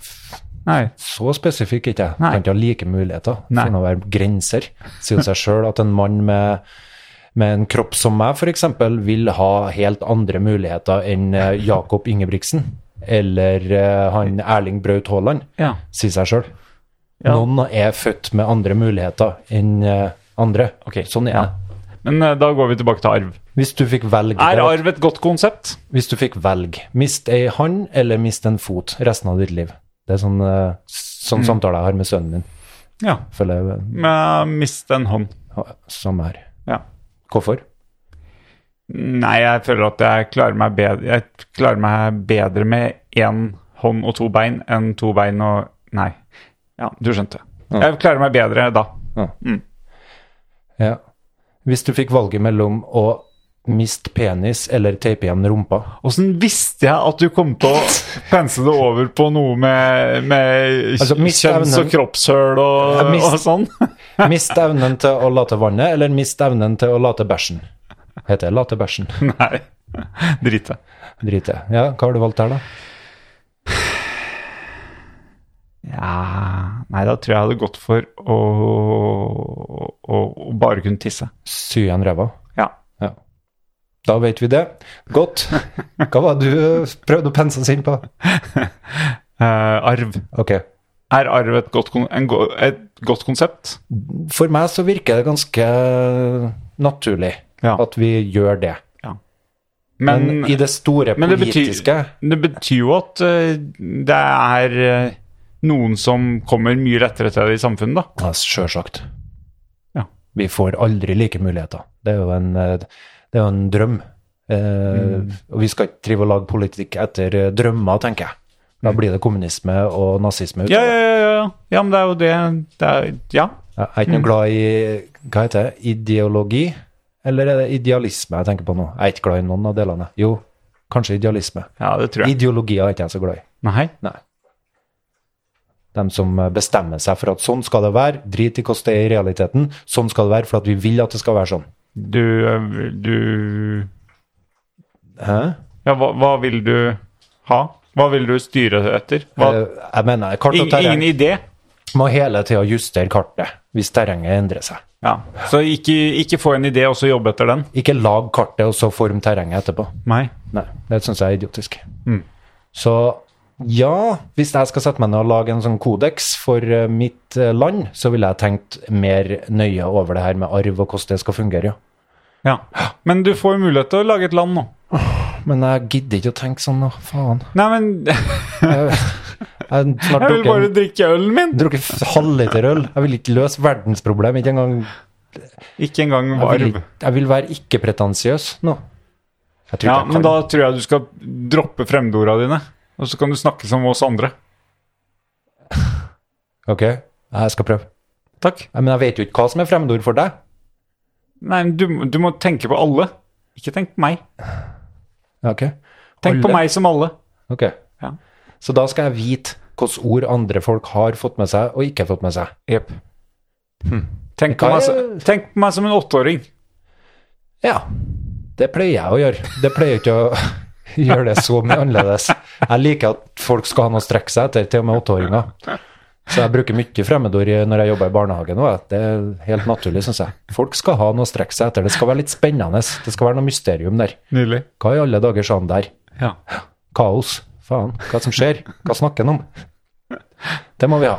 Speaker 2: Nei.
Speaker 1: så spesifikk ikke jeg.
Speaker 2: Nei.
Speaker 1: Kan ikke ha like muligheter.
Speaker 2: Nei.
Speaker 1: Det får nå være grenser. Sier jo seg sjøl at en mann med, med en kropp som meg, f.eks., vil ha helt andre muligheter enn eh, Jakob Ingebrigtsen eller eh, han Erling Braut Haaland,
Speaker 2: Ja.
Speaker 1: sier seg sjøl.
Speaker 2: Ja.
Speaker 1: Noen er født med andre muligheter enn eh, andre. Sånn er det.
Speaker 2: Ja. Men eh, da går vi tilbake til arv.
Speaker 1: Hvis du fikk velge
Speaker 2: Er
Speaker 1: det var-
Speaker 2: arv et godt konsept?
Speaker 1: Hvis du fikk velge, mist ei hand eller mist en fot resten av ditt liv. Det er sånn, eh, sånn samtale jeg har med sønnen min.
Speaker 2: Mm. Ja.
Speaker 1: Føler jeg eh,
Speaker 2: Med mist en hånd.
Speaker 1: ha- samme her.
Speaker 2: Ja.
Speaker 1: Hvorfor?
Speaker 2: Nei, jeg føler at jeg klarer meg bedre, jeg klarer meg bedre med én hånd og to bein enn to bein og Nei. Ja, du skjønte. Jeg klarer meg bedre da.
Speaker 1: Ja. Hvis du fikk valget mellom å miste penis eller teipe igjen rumpa
Speaker 2: Åssen visste jeg at du kom til å pense det over på noe med, med
Speaker 1: Altså, mist
Speaker 2: kjønns- og
Speaker 1: evnen.
Speaker 2: kroppshøl og,
Speaker 1: Ja, mist-
Speaker 2: og sånn?
Speaker 1: Mist evnen til å late vannet eller mist evnen til å late bæsjen. Heter det late bæsjen?
Speaker 2: Nei. Drit det.
Speaker 1: Drit i det. Ja, hva har du valgt her, da?
Speaker 2: Ja Nei, da tror jeg jeg hadde gått for å, å, å bare kunne tisse.
Speaker 1: Sy igjen ræva.
Speaker 2: Ja.
Speaker 1: Ja. Da vet vi det. Godt. Hva var det du prøvde å pense oss inn på?
Speaker 2: Eh, arv.
Speaker 1: Ok.
Speaker 2: Er arv et godt, kon en go et godt konsept?
Speaker 1: For meg så virker det ganske naturlig
Speaker 2: Ja.
Speaker 1: at vi gjør det. Men,
Speaker 2: Men, men,
Speaker 1: i det store
Speaker 2: det,
Speaker 1: politiske
Speaker 2: betyr, det betyr jo at eh, det er eh, noen som kommer mye lettere til det i samfunnet, da.
Speaker 1: Ja, sjølsagt.
Speaker 2: Ja.
Speaker 1: Vi får aldri like muligheter. Det er jo en, eh, det er jo en drøm. Eh,
Speaker 2: Mm.
Speaker 1: Og vi skal ikke drive og lage politikk etter eh, drømmer, tenker jeg. Da blir det kommunisme og nazisme.
Speaker 2: Mm. Ja,
Speaker 1: utover.
Speaker 2: ja, ja. ja. ja men det er jo det, det er, Ja.
Speaker 1: Jeg er
Speaker 2: Mm.
Speaker 1: ikke noe glad i hva heter det, ideologi, eller er det idealisme jeg tenker på nå? Jeg er ikke glad i noen av delene. Jo, kanskje idealisme.
Speaker 2: ja, det tror jeg.
Speaker 1: Ideologier er ikke jeg så glad i.
Speaker 2: Nei.
Speaker 1: Nei. De som bestemmer seg for at sånn skal det være, drit i hvordan det er i realiteten. Sånn skal det være for at vi vil at det skal være sånn.
Speaker 2: Du, eh, du
Speaker 1: Hæ?
Speaker 2: Ja, hva, hva vil du ha? Hva vil du styre etter? Hva,
Speaker 1: Eh, Jeg mener, kart og
Speaker 2: ing, ingen
Speaker 1: terreng
Speaker 2: idé?
Speaker 1: må hele tida justere kartet hvis terrenget endrer seg.
Speaker 2: Ja. Så ikke, ikke få en idé og så jobbe etter den?
Speaker 1: Ikke lag kartet og så form terrenget etterpå.
Speaker 2: Nei.
Speaker 1: Nei, det syns jeg er idiotisk.
Speaker 2: Mm.
Speaker 1: Så ja, hvis jeg skal sette meg ned og lage en sånn kodeks for eh, mitt eh, land, så ville jeg tenkt mer nøye over det her med arv og hvordan det skal fungere, ja.
Speaker 2: Ja. Men du får jo mulighet til å lage et land nå.
Speaker 1: Men jeg gidder ikke å tenke sånn, da. Faen.
Speaker 2: Nei, men jeg
Speaker 1: Jeg, jeg snart
Speaker 2: vil bare
Speaker 1: drukket
Speaker 2: drikke ølen min!
Speaker 1: drukket f- halvliter øl. Jeg vil ikke løse verdensproblem. Ikke engang
Speaker 2: Ikke engang
Speaker 1: Jeg vil,
Speaker 2: varv.
Speaker 1: ikke- jeg vil være ikke-pretensiøs nå. Jeg tror
Speaker 2: Ja,
Speaker 1: ikke jeg
Speaker 2: men
Speaker 1: kan.
Speaker 2: da tror jeg du skal droppe fremmedorda dine. Og så kan du snakke som oss andre.
Speaker 1: Ok, jeg skal prøve.
Speaker 2: Takk.
Speaker 1: Nei, Men jeg vet jo ikke hva som er fremmedord for deg.
Speaker 2: Nei, men du, du må tenke på alle. Ikke tenk på meg.
Speaker 1: Ok.
Speaker 2: Tenk på
Speaker 1: Alle.
Speaker 2: meg som alle.
Speaker 1: Ok.
Speaker 2: Ja.
Speaker 1: Så da skal jeg vite hvilke ord andre folk har fått med seg og ikke fått med seg.
Speaker 2: Jepp. Hm. Tenk, på
Speaker 1: Hva
Speaker 2: meg
Speaker 1: er-
Speaker 2: som- tenk på meg som en åtteåring.
Speaker 1: Ja, det pleier jeg å gjøre. Det pleier ikke å gjøre det så mye annerledes. Jeg liker at folk skal ha noe å strekke seg etter, til og med åtteåringer. Så jeg bruker mye fremmedord i- når jeg jobber i barnehage nå. jeg. Det er helt naturlig, syns jeg. Folk skal ha noe å strekke seg etter. Det skal være litt spennende. Det skal være noe mysterium der.
Speaker 2: Nydelig.
Speaker 1: Hva i alle dager sa han der?
Speaker 2: Ja.
Speaker 1: Kaos. Faen, hva som skjer? Hva snakker han om? Det må vi ha.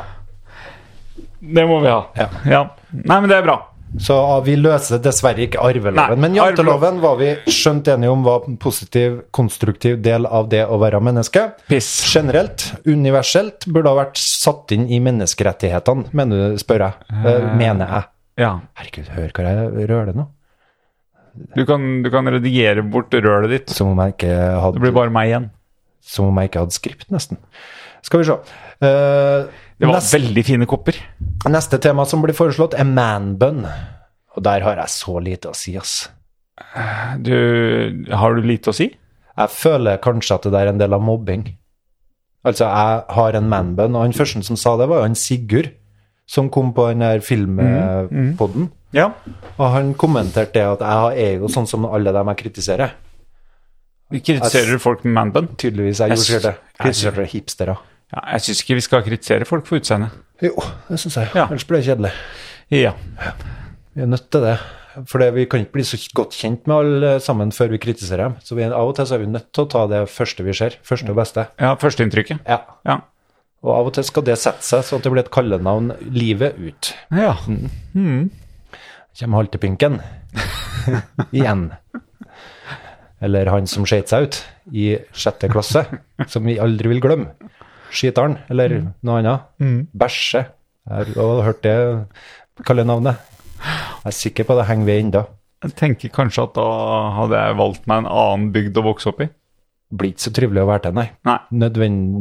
Speaker 2: Det må vi ha.
Speaker 1: Ja.
Speaker 2: Nei, men det er bra.
Speaker 1: Så ah, vi løser dessverre ikke arveloven.
Speaker 2: Nei,
Speaker 1: men janteloven var vi skjønt enige om var en positiv, konstruktiv del av det å være menneske.
Speaker 2: Piss.
Speaker 1: Generelt, universelt, burde ha vært satt inn i menneskerettighetene, mener du, spør jeg. Eh, mener jeg.
Speaker 2: Ja.
Speaker 1: Herregud, hør hva jeg røler nå.
Speaker 2: Du kan, du kan redigere bort rølet ditt.
Speaker 1: Som om jeg ikke
Speaker 2: Det blir
Speaker 1: hadde,
Speaker 2: bare meg igjen.
Speaker 1: som om jeg ikke hadde skript, nesten. Skal vi se. Eh,
Speaker 2: Det var
Speaker 1: neste,
Speaker 2: veldig fine kopper.
Speaker 1: neste tema som blir foreslått, er man-bun. Og der har jeg så lite å si, ass.
Speaker 2: Du, har du lite å si?
Speaker 1: Jeg føler kanskje at det der er en del av mobbing. Altså, jeg har en manbun, og han første som sa det, var jo han Sigurd, som kom på den der filmpodden.
Speaker 2: Ja.
Speaker 1: Og han kommenterte det at jeg er jo sånn som alle dem jeg kritiserer.
Speaker 2: Kritiserer du folk med manbun?
Speaker 1: Tydeligvis jeg
Speaker 2: Jeg
Speaker 1: gjorde
Speaker 2: syns-
Speaker 1: det.
Speaker 2: jeg syns-
Speaker 1: Kritiserte hipstere.
Speaker 2: Ja, jeg syns ikke vi skal kritisere folk for utseendet.
Speaker 1: Jo, det syns jeg.
Speaker 2: Ja.
Speaker 1: Ellers blir det kjedelig.
Speaker 2: Ja.
Speaker 1: Vi er nødt til det. For det- vi kan ikke bli så godt kjent med alle sammen før vi kritiserer dem. Så vi, av og til så er vi nødt til å ta det første vi ser. Første og beste.
Speaker 2: ja førsteinntrykket.
Speaker 1: Ja.
Speaker 2: Ja.
Speaker 1: Og av og til skal det sette seg, sånn at det blir et kallenavn livet ut.
Speaker 2: ja.
Speaker 1: kommer haltepinken igjen. Eller han som skjøt seg ut i sjette klasse, som vi aldri vil glemme. Skiteren, eller noe annet. Bæsje. Jeg har hørt det kallenavnet. Jeg er sikker på det henger ved ennå.
Speaker 2: Jeg tenker kanskje at da hadde jeg valgt meg en annen bygd å vokse opp i.
Speaker 1: Blir ikke så trivelig å være til, nei.
Speaker 2: Nei.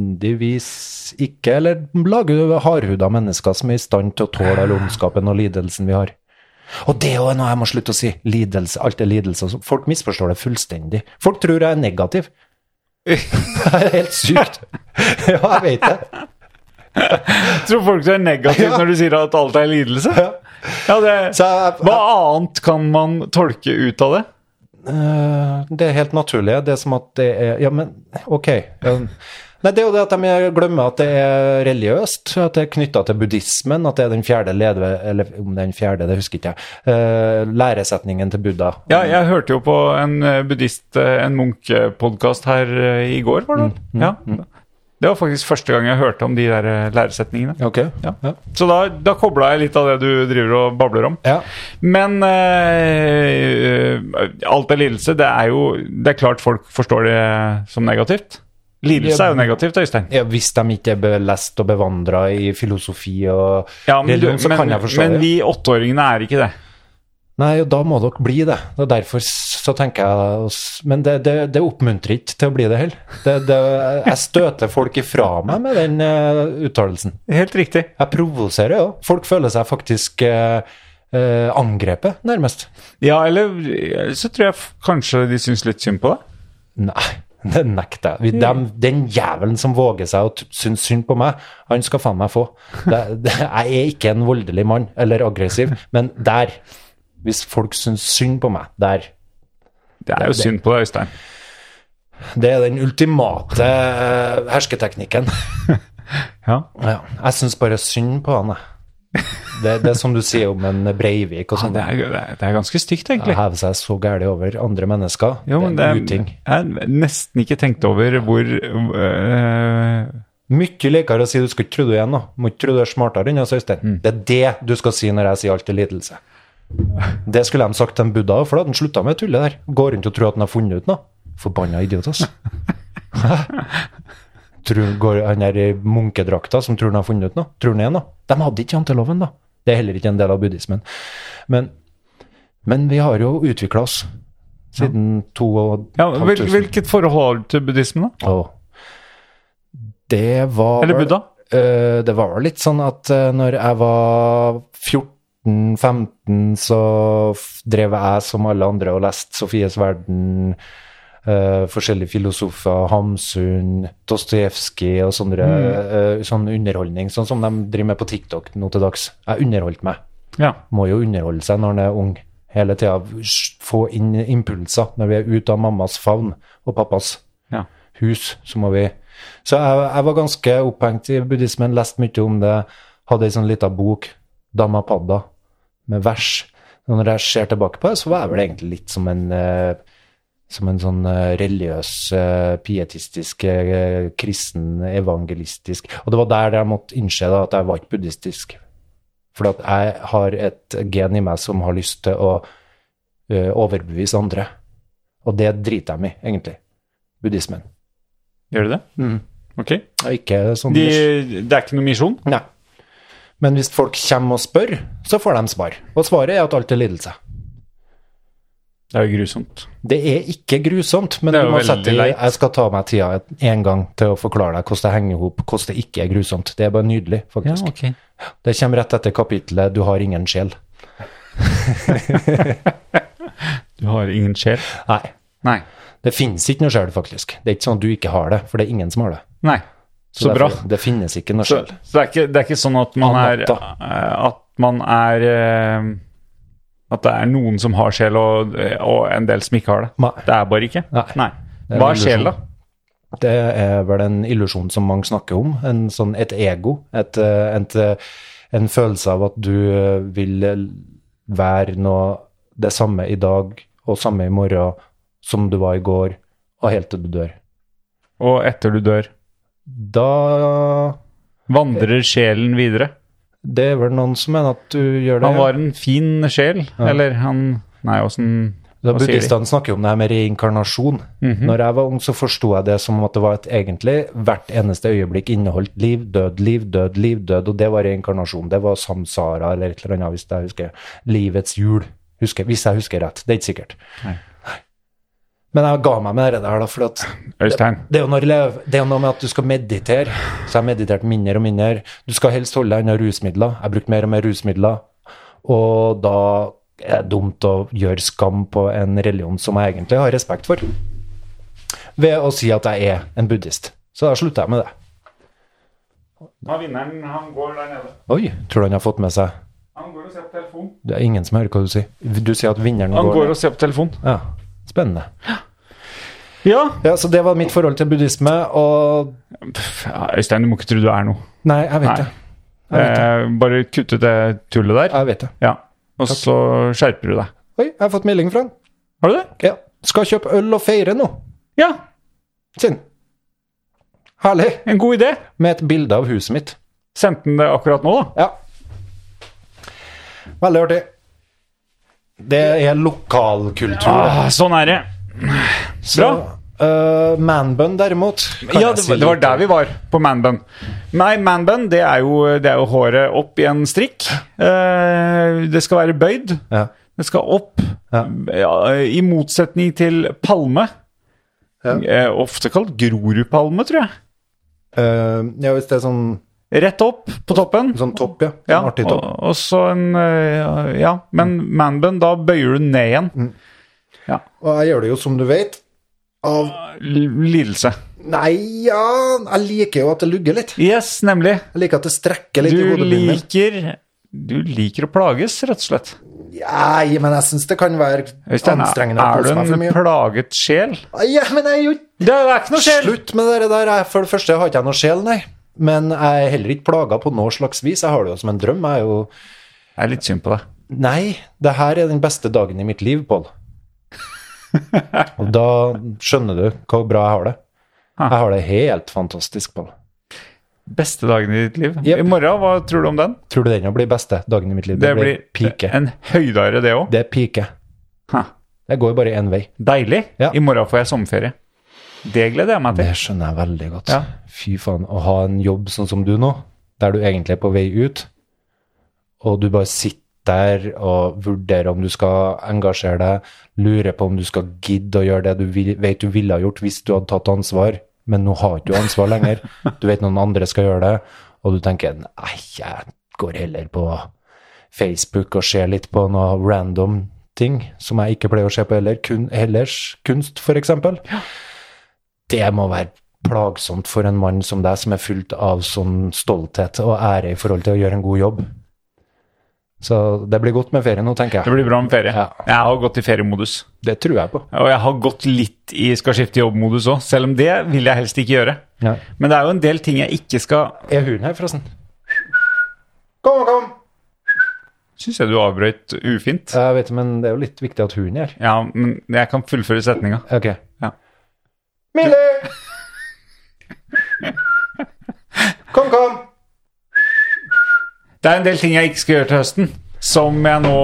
Speaker 1: Nødvendigvis ikke. Eller lager du hardhuda mennesker som er i stand til å tåle all ondskapen og lidelsen vi har? Og det er jo noe jeg må slutte å si. Lidelse. Alt er lidelse. og så- Folk misforstår det fullstendig. Folk tror jeg er negativ. Det er helt sykt. Ja, jeg vet det.
Speaker 2: Tror folk er negative
Speaker 1: Ja.
Speaker 2: når du sier at alt er lidelse?
Speaker 1: Ja.
Speaker 2: Ja, det,
Speaker 1: Så jeg,
Speaker 2: hva annet kan man tolke ut av det?
Speaker 1: Eh, det er helt naturlig. Det er som at det er Ja, men ok. Ja. Nei, det er jo det at de glemmer at det er religiøst, at det er knytta til buddhismen, at det er den fjerde ledve... Eller om det er den fjerde, det husker ikke jeg. eh, læresetningen til Buddha.
Speaker 2: Ja, jeg hørte jo på en eh, buddhist, eh, en munkepodkast her eh, i går, var det vel? Ja. Det var faktisk første gang jeg hørte om de der eh, læresetningene.
Speaker 1: Ok.
Speaker 2: Ja.
Speaker 1: Ja.
Speaker 2: Så da, da kobla jeg litt av det du driver og babler om.
Speaker 1: Ja.
Speaker 2: Men eh, eh, alt er lidelse. Det er jo Det er klart folk forstår det som negativt. Lidelse er jo negativt, Øystein.
Speaker 1: ja, hvis de ikke er belest og bevandra i filosofi og
Speaker 2: Ja, men, du,
Speaker 1: religion, så kan
Speaker 2: men,
Speaker 1: jeg forstå
Speaker 2: men
Speaker 1: det.
Speaker 2: vi åtteåringene er ikke det.
Speaker 1: Nei, og da må dere bli det. Det er derfor s- så tenker jeg s- Men det, det, det oppmuntrer ikke til å bli det heller. Det, det, jeg støter folk ifra meg med den eh, uttalelsen.
Speaker 2: Helt riktig.
Speaker 1: Jeg provoserer jo. Folk føler seg faktisk eh, eh, angrepet, nærmest.
Speaker 2: Ja, eller eh, så tror jeg f- kanskje de syns litt synd på deg.
Speaker 1: Nei, Det nekter jeg. Vi- dem- Den jævelen som våger seg å t- synes synd på meg, han skal faen meg få. Det, det, jeg er ikke en voldelig mann, eller aggressiv, men der Hvis folk syns synd på meg, der
Speaker 2: Det er jo synd på deg, Øystein.
Speaker 1: Det er den ultimate eh, hersketeknikken.
Speaker 2: Ja.
Speaker 1: Ja, jeg syns bare synd på han, jeg. Det, det er som du sier om en Breivik og sånn.
Speaker 2: det, er, det, er, det er ganske stygt, egentlig.
Speaker 1: Heve seg så gærent over andre mennesker.
Speaker 2: Jo,
Speaker 1: det
Speaker 2: men det
Speaker 1: er en
Speaker 2: er,
Speaker 1: uting.
Speaker 2: jeg er nesten ikke tenkt over hvor øh,
Speaker 1: Mye likere å si 'du skal ikke tro du er noe', må ikke tro du er smartere enn oss, Øystein.
Speaker 2: Mm.
Speaker 1: Det er det du skal si når jeg sier 'alt er lidelse'. Det skulle de sagt til en Buddha òg, for da hadde han slutta med tullet der. Går rundt og tror at han har funnet ut noe. Forbanna idiot, ass. tror, går han der i munkedrakta som tror han har funnet ut noe, tror han er noe. De hadde ikke janteloven, da. Det er heller ikke en del av buddhismen. Men, men vi har jo utvikla oss siden to og
Speaker 2: ja,
Speaker 1: et halvt
Speaker 2: hvil,
Speaker 1: tusen.
Speaker 2: Hvilket forhold har du til buddhismen, da?
Speaker 1: Å. Det var
Speaker 2: Eller
Speaker 1: vel-
Speaker 2: Buddha?
Speaker 1: Eh, det var litt sånn at eh, når jeg var 14-15, så f- drev jeg som alle andre og leste Sofies verden, eh, forskjellige filosofer, Hamsun, Dostojevskij og sånne, eh, sånn underholdning, sånn som de driver med på TikTok nå til dags. Jeg underholdt meg.
Speaker 2: Ja.
Speaker 1: Må jo underholde seg når en er ung. Hele tida sj- få inn impulser når vi er ute av mammas favn og pappas
Speaker 2: ja.
Speaker 1: hus, så må vi Så jeg, jeg var ganske opphengt i buddhismen, leste mye om det, hadde ei sånn lita bok, Dhammapada, med vers. Og når jeg ser tilbake på det, så var jeg vel egentlig litt som en eh, som en sånn eh, religiøs, eh, pietistisk, eh, kristen, evangelistisk Og det var der jeg måtte innse da, at jeg var ikke buddhistisk. For at jeg har et gen i meg som har lyst til å eh, overbevise andre. Og det driter jeg meg i, egentlig. Buddhismen.
Speaker 2: Gjør du det? Ok.
Speaker 1: Og ikke sånn
Speaker 2: De, det er ikke noe misjon?
Speaker 1: Nei. Men hvis folk kommer og spør, så får de svar. Og svaret er at alt er lidelse.
Speaker 2: Det er jo grusomt.
Speaker 1: Det er ikke grusomt, men
Speaker 2: Det er
Speaker 1: du
Speaker 2: jo
Speaker 1: må
Speaker 2: veldig
Speaker 1: sette
Speaker 2: leit.
Speaker 1: Jeg skal ta meg tida et- en gang til å forklare deg hvordan det henger ihop, hvordan det ikke er grusomt. Det er bare nydelig, faktisk. Det kommer rett etter kapitlet 'Du har ingen sjel'.
Speaker 2: Du har ingen sjel?
Speaker 1: Nei.
Speaker 2: Nei.
Speaker 1: Det finnes ikke noe sjel, faktisk. Det er ikke sånn at du ikke har det, for det er ingen som har det.
Speaker 2: Nei. Så, bra.
Speaker 1: derfor- Det finnes ikke noe
Speaker 2: Så,
Speaker 1: sjel.
Speaker 2: så det, er ikke, det er ikke sånn at man er
Speaker 1: Anatta.
Speaker 2: eh, At man er eh, At det er noen som har sjel, og, og en del som ikke har det.
Speaker 1: Nei.
Speaker 2: Det er bare ikke.
Speaker 1: Nei. Det er sånn.
Speaker 2: Hva
Speaker 1: en
Speaker 2: er sjel, da?
Speaker 1: illusjon. Det er vel en illusjon som mange snakker om. En sånn, et ego. Et, eh, et, eh, en følelse av at du eh, vil eh, være noe det samme i dag og samme i morgen som du var i går, og helt til du dør.
Speaker 2: Og etter du dør,
Speaker 1: Da
Speaker 2: vandrer sjelen videre?
Speaker 1: Det er vel noen som mener at du gjør det.
Speaker 2: Han var en fin sjel, eller han Nei, åssen
Speaker 1: Da
Speaker 2: hva sier de? Mhm.
Speaker 1: Buddhistene snakker jo om det her med reinkarnasjon. Når jeg var ung, så forsto jeg det som at det var et egentlig hvert eneste øyeblikk inneholdt liv, død, liv, død, liv, død, og det var reinkarnasjon. Det var samsara eller et eller annet, hvis jeg husker. Livets hjul, husker, hvis jeg husker rett. Det er ikke sikkert.
Speaker 2: Nei.
Speaker 1: Men jeg ga meg med det der, da, for at
Speaker 2: Øystein.
Speaker 1: det er, jo når elev, det er jo noe med at du skal meditere, så jeg mediterte mindre og mindre. Du skal helst holde deg unna rusmidler. Jeg brukte mer og mer rusmidler. Og da er det dumt å gjøre skam på en religion som jeg egentlig har respekt for, ved å si at jeg er en buddhist. Så da slutter jeg med det.
Speaker 2: Han vinneren, han går der nede.
Speaker 1: Oi, tror du han har fått med seg
Speaker 2: Han går og ser på telefon.
Speaker 1: Det er ingen som hører hva du sier. Du sier at vinneren
Speaker 2: Han går
Speaker 1: går
Speaker 2: og ser på telefon.
Speaker 1: Ja, spennende.
Speaker 2: Ja!
Speaker 1: Ja, så det var mitt forhold til buddhisme, og
Speaker 2: Pff, ja, Øystein, du må ikke tro du er noe.
Speaker 1: Nei, jeg vet
Speaker 2: Nei.
Speaker 1: det. Jeg vet det.
Speaker 2: Eh, bare kutt ut det tullet der.
Speaker 1: Jeg vet det.
Speaker 2: Ja. Og så skjerper du deg.
Speaker 1: Oi, jeg har fått melding fra han.
Speaker 2: Har du det?
Speaker 1: Ja. Skal kjøpe øl og feire nå,
Speaker 2: Ja!
Speaker 1: sin. Herlig.
Speaker 2: En god idé.
Speaker 1: Med et bilde av huset mitt.
Speaker 2: Sendte han det akkurat nå, da?
Speaker 1: Ja. Veldig artig. Det er lokalkultur.
Speaker 2: Ah, sånn er det.
Speaker 1: Så, øh, manbun, derimot kan
Speaker 2: Ja,
Speaker 1: jeg
Speaker 2: det,
Speaker 1: si
Speaker 2: var- det var
Speaker 1: litt eh?
Speaker 2: der
Speaker 1: om.
Speaker 2: vi var, på manbun. Nei, manbun, det er jo, det er jo håret opp i en strikk. Eh, det skal være bøyd.
Speaker 1: Ja.
Speaker 2: Det skal opp.
Speaker 1: Ja.
Speaker 2: Ja, I motsetning til palme.
Speaker 1: Ja.
Speaker 2: Eh, ofte kalt grorudpalme, tror jeg.
Speaker 1: Øh, ja, hvis det er sånn,
Speaker 2: Rett opp på toppen.
Speaker 1: sånn topp, ja. Sånn
Speaker 2: Ja,
Speaker 1: artig topp. Mm.
Speaker 2: Og, og så en eh, Ja, men manbun, da bøyer du ned igjen.
Speaker 1: Og jeg gjør det jo som du vet. av
Speaker 2: Lidelse.
Speaker 1: Nei, ja Jeg liker jo at det lugger litt.
Speaker 2: Yes, nemlig.
Speaker 1: Jeg liker at det strekker litt i
Speaker 2: Du
Speaker 1: hodet mitt.
Speaker 2: liker Du liker å plages, rett og slett.
Speaker 1: Nei, men jeg syns det kan være
Speaker 2: Øystein, er
Speaker 1: anstrengende å
Speaker 2: er
Speaker 1: kose meg
Speaker 2: du
Speaker 1: for
Speaker 2: en
Speaker 1: mye.
Speaker 2: plaget sjel?
Speaker 1: Ja, men jeg er jo
Speaker 2: Det er det er ikke noe sjel!
Speaker 1: Slutt med det der. Jeg- For det første har ikke jeg noe sjel, nei. Men jeg er heller ikke plaga på noe slags vis. Jeg har det jo som en drøm. Jeg er jo
Speaker 2: Jeg er litt synd på deg.
Speaker 1: Nei, det her er den beste dagen i mitt liv, Pål. Og da skjønner du hvor bra jeg har det. Jeg har det helt fantastisk, Pål.
Speaker 2: Beste dagen i ditt liv.
Speaker 1: Jep.
Speaker 2: I morgen, hva tror du om den?
Speaker 1: Tror du den blir beste dagen i mitt liv?
Speaker 2: Det, blir
Speaker 1: pike.
Speaker 2: en høydare, det òg.
Speaker 1: Det er pike. Det går bare én vei.
Speaker 2: Deilig.
Speaker 1: Ja.
Speaker 2: I morgen får jeg sommerferie. Det gleder jeg meg
Speaker 1: Det
Speaker 2: til.
Speaker 1: skjønner jeg veldig godt.
Speaker 2: Ja.
Speaker 1: Fy faen, å ha en jobb sånn som du nå, der du egentlig er på vei ut, og du bare sitter der og vurderer om du skal engasjere deg, lurer på om du skal gidde å gjøre det du vil, vet du ville ha gjort hvis du hadde tatt ansvar, men nå har ikke du ansvar lenger. Du vet noen andre skal gjøre det, og du tenker nei, jeg går heller på Facebook og ser litt på noe random ting som jeg ikke pleier å se på heller, kun, ellers kunst for eksempel. Det må være plagsomt for en mann som deg, som er fullt av sånn stolthet og ære i forhold til å gjøre en god jobb. Så det blir godt med ferie nå, tenker
Speaker 2: Det
Speaker 1: jeg.
Speaker 2: blir bra med ferie.
Speaker 1: Ja.
Speaker 2: Jeg har gått i feriemodus.
Speaker 1: Det tror jeg på.
Speaker 2: Og jeg har gått litt i skal skifte jobb-modus òg, selv om det vil jeg helst ikke gjøre.
Speaker 1: Ja.
Speaker 2: Men det er jo en del ting jeg ikke skal
Speaker 1: Er hunden her, forresten? Kom, kom!
Speaker 2: Syns jeg du avbrøt ufint.
Speaker 1: Jeg vet, men det er jo litt viktig at hunden er her.
Speaker 2: Ja, men jeg kan fullføre setninga.
Speaker 1: Ok.
Speaker 2: Ja.
Speaker 1: Mille! kom, kom!
Speaker 2: Det er en del ting jeg ikke skal gjøre til høsten, som jeg nå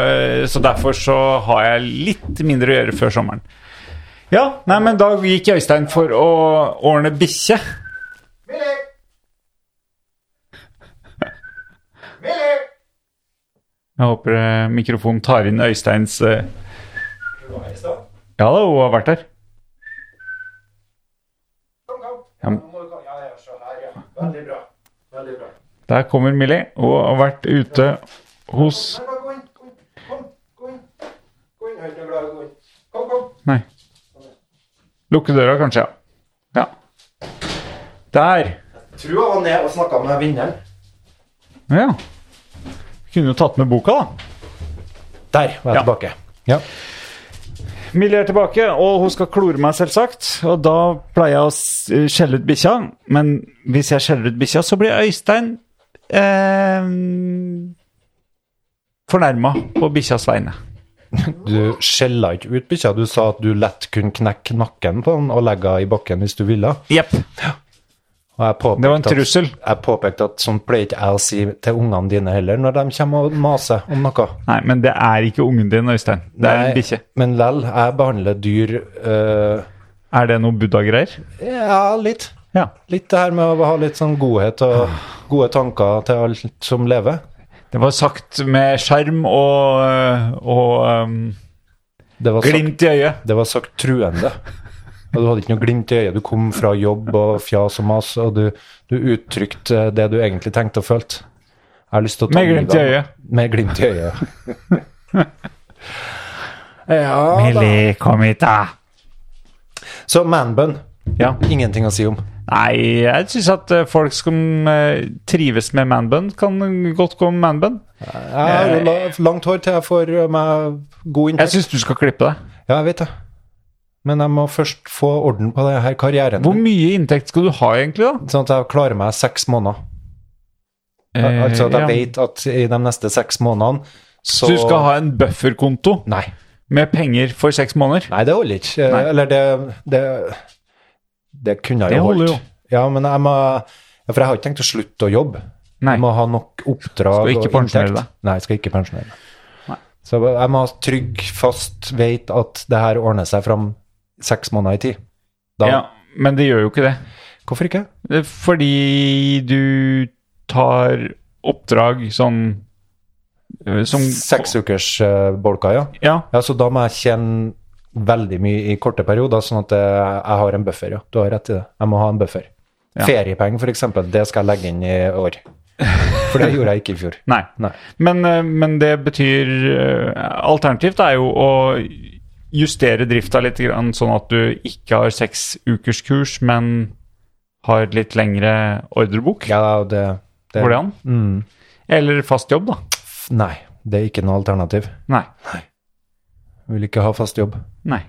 Speaker 2: eh, Så derfor så har jeg litt mindre å gjøre før sommeren. Ja, nei, men da gikk Øystein for å ordne bikkje. Jeg håper eh, mikrofonen tar inn Øysteins eh, Ja da, hun har vært her. Ja, men-
Speaker 1: Veldig bra. Veldig bra.
Speaker 2: Der kommer Millie og har vært ute hos
Speaker 1: Kom, gå inn. Kom, gå inn. Gå inn, Høyre Blad, gå inn. Kom, kom.
Speaker 2: Nei. Lukke døra, kanskje. Ja. ja. Der.
Speaker 1: Tror jeg var ned og snakka med vinneren.
Speaker 2: Ja. Kunne jo tatt med boka, da.
Speaker 1: Der var jeg
Speaker 2: Ja.
Speaker 1: tilbake. Ja.
Speaker 2: Millie er tilbake, og hun skal klore meg, selvsagt. Og da pleier jeg å s- eh, skjelle ut bikkja. Men hvis jeg skjeller ut bikkja, så blir Øystein eh, fornærma på bikkjas vegne.
Speaker 1: Du skjella ikke ut bikkja. Du sa at du lett kunne knekke nakken på den og legge henne i bakken hvis du ville.
Speaker 2: Jepp.
Speaker 1: Og jeg påpekte
Speaker 2: Det var en
Speaker 1: at-
Speaker 2: trussel.
Speaker 1: Jeg påpekte at sånn pleier ikke jeg å si til ungene dine heller, når de kommer og maser om noe.
Speaker 2: Nei, men det er ikke ungen din, Øystein. Det er
Speaker 1: Nei,
Speaker 2: en bikkje.
Speaker 1: Men lell, jeg behandler dyr øh,
Speaker 2: Er det noe buddha-greier?
Speaker 1: Ja, litt.
Speaker 2: Ja.
Speaker 1: Litt det her med å ha litt sånn godhet og gode tanker til alt som lever.
Speaker 2: Det var sagt med skjerm og, eh, og um,
Speaker 1: Det var sagt
Speaker 2: glimt i øyet.
Speaker 1: Det var sagt truende. Og du hadde ikke noe glimt i øyet. Du kom fra jobb og fjas og mas, og du, du uttrykte det du egentlig tenkte og følte. Jeg har lyst til å ta
Speaker 2: Med glimt i
Speaker 1: livet av-
Speaker 2: øyet.
Speaker 1: Med glimt i øyet. ja da.
Speaker 2: Millie, kom hit, da!
Speaker 1: Så manbun.
Speaker 2: Ja.
Speaker 1: Ingenting å si om.
Speaker 2: Nei, jeg syns at eh, folk som eh, trives med manbun, kan godt gå med manbun.
Speaker 1: Jeg har jo la- langt hår til jeg får eh, meg god
Speaker 2: Jeg
Speaker 1: inntekt.
Speaker 2: syns du skal klippe deg.
Speaker 1: Ja, jeg vet det. Men jeg må først få orden på det her karrieren.
Speaker 2: Hvor mye inntekt skal du ha, egentlig, da?
Speaker 1: Sånn at jeg klarer meg seks måneder. Al-
Speaker 2: Eh,
Speaker 1: Altså at jeg
Speaker 2: ja.
Speaker 1: vet at i de neste seks månedene så
Speaker 2: Så du skal ha en bufferkonto
Speaker 1: Nei.
Speaker 2: med penger for seks måneder?
Speaker 1: Nei, det holder ikke. Eh,
Speaker 2: Nei.
Speaker 1: Eller det Det, det kunne jeg jo
Speaker 2: Det holder
Speaker 1: holdt.
Speaker 2: jo.
Speaker 1: Ja, men jeg må ja, For jeg har ikke tenkt å slutte å jobbe.
Speaker 2: Nei.
Speaker 1: Jeg må ha nok oppdrag
Speaker 2: Skal ikke
Speaker 1: og
Speaker 2: pensjonere deg.
Speaker 1: Nei, jeg skal ikke pensjonere meg. Så jeg må ha trygg, fast, veit at det her ordner seg fram seks måneder i tid. Da,
Speaker 2: Ja, men det gjør jo ikke det.
Speaker 1: Hvorfor ikke?
Speaker 2: Det er Fordi du tar oppdrag sånn eh, som
Speaker 1: Seks ukers eh, bolka, ja.
Speaker 2: Ja.
Speaker 1: Ja, så da må jeg tjene veldig mye i korte perioder, sånn at eh, jeg har en buffer, ja. Du har rett i det. Jeg må ha en buffer.
Speaker 2: Ja.
Speaker 1: Feriepenger, for eksempel, det skal jeg legge inn i år. For det gjorde jeg ikke i fjor.
Speaker 2: Nei.
Speaker 1: Nei.
Speaker 2: Men, eh, men det betyr eh, Alternativt er jo å justere drifta litt, grann, sånn at du ikke har seks ukers kurs, men har litt lengre ordrebok.
Speaker 1: Ja, det, det
Speaker 2: Går det an?
Speaker 1: Mm.
Speaker 2: Eller fast jobb, da.
Speaker 1: F- Nei, det er ikke noe alternativ.
Speaker 2: Nei.
Speaker 1: Jeg vil ikke ha fast jobb.
Speaker 2: Nei.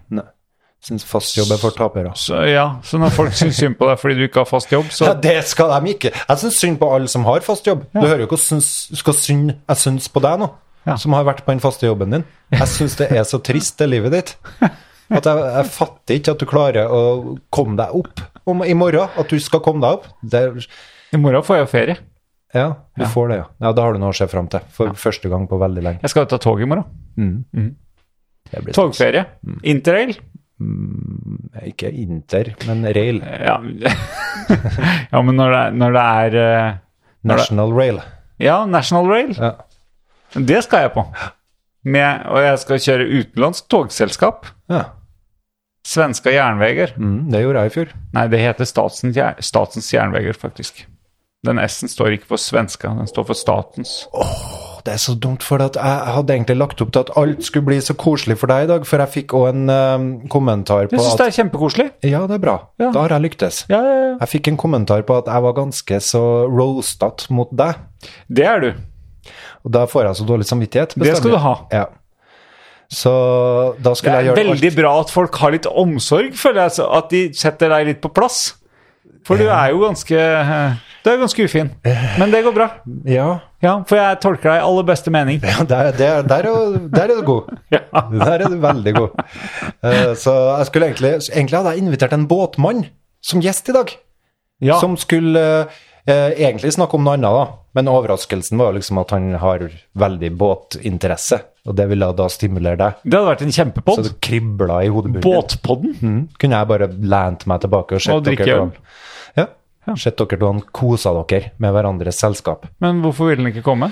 Speaker 1: Syns fast jobb er for tapere.
Speaker 2: Så, ja, så når folk syns synd på deg fordi du ikke har fast jobb, så
Speaker 1: Ja, det skal de ikke. Jeg syns synd på alle som har fast jobb. Du hører jo ikke hvordan syns- skal synd jeg syns på deg nå,
Speaker 2: Ja.
Speaker 1: som har vært på den faste jobben din. Jeg syns det er så trist, det livet ditt. At jeg, jeg fatter ikke at du klarer å komme deg opp om, i morgen. At du skal komme deg opp. Det,
Speaker 2: I morgen får jeg jo ferie.
Speaker 1: ja, du får det, ja. ja. Da har du noe å se fram til. For første gang på veldig lenge.
Speaker 2: Jeg skal jo ta tog i morgen.
Speaker 1: Mm, Det Mm. blir sånn
Speaker 2: Togferie. Interrail.
Speaker 1: Ikke Inter, men Rail.
Speaker 2: Ja, ja men når det, er- når det er eh,
Speaker 1: National Rail.
Speaker 2: Ja, National Rail.
Speaker 1: Ja.
Speaker 2: Det skal jeg på. Med, og jeg skal kjøre utenlandsk togselskap.
Speaker 1: ja.
Speaker 2: Svenska Järnvägar.
Speaker 1: Mm, det gjorde jeg i fjor.
Speaker 2: Nei, det heter Statens, Jær- statens Järnvägar, faktisk. Den S-en står ikke for svenska, den står for statens.
Speaker 1: Det er så dumt, for at jeg hadde egentlig lagt opp til at alt skulle bli så koselig for deg i dag, for jeg fikk òg en eh, kommentar på
Speaker 2: Jeg syns
Speaker 1: at
Speaker 2: det er kjempekoselig.
Speaker 1: Ja, det er bra.
Speaker 2: Ja.
Speaker 1: Da har jeg lyktes.
Speaker 2: Ja, ja, ja.
Speaker 1: Jeg fikk en kommentar på at jeg var ganske så roastet mot deg.
Speaker 2: Det er du.
Speaker 1: Og da får jeg så dårlig samvittighet.
Speaker 2: Det skal du ha.
Speaker 1: Ja. Så da
Speaker 2: Det
Speaker 1: skulle
Speaker 2: er
Speaker 1: jeg gjøre
Speaker 2: veldig bra at folk har litt omsorg, føler jeg. så At de setter deg litt på plass. For du er jo ganske eh, Du er ganske ufin. Men det går bra.
Speaker 1: alt Ja,
Speaker 2: Ja, for jeg tolker deg i aller beste mening.
Speaker 1: ja der, der, der, er jo- der er du god.
Speaker 2: Ja.
Speaker 1: Der er du veldig god. Eh, så jeg skulle egentlig Egentlig hadde jeg invitert en båtmann som gjest i dag.
Speaker 2: Ja.
Speaker 1: som skulle eh, egentlig snakke om noe annet, da. Men overraskelsen var jo liksom at han har veldig båtinteresse, og det ville da stimulere deg.
Speaker 2: Det hadde vært en
Speaker 1: Så
Speaker 2: kjempepod.
Speaker 1: det kribla i hodebunnen.
Speaker 2: Båtpodden.
Speaker 1: Mm. Kunne jeg bare lent meg tilbake og sett
Speaker 2: Og drikke
Speaker 1: dere
Speaker 2: øl.
Speaker 1: to- Ja. Sett dere to han kosa dere med hverandres selskap.
Speaker 2: Men hvorfor ville den ikke komme?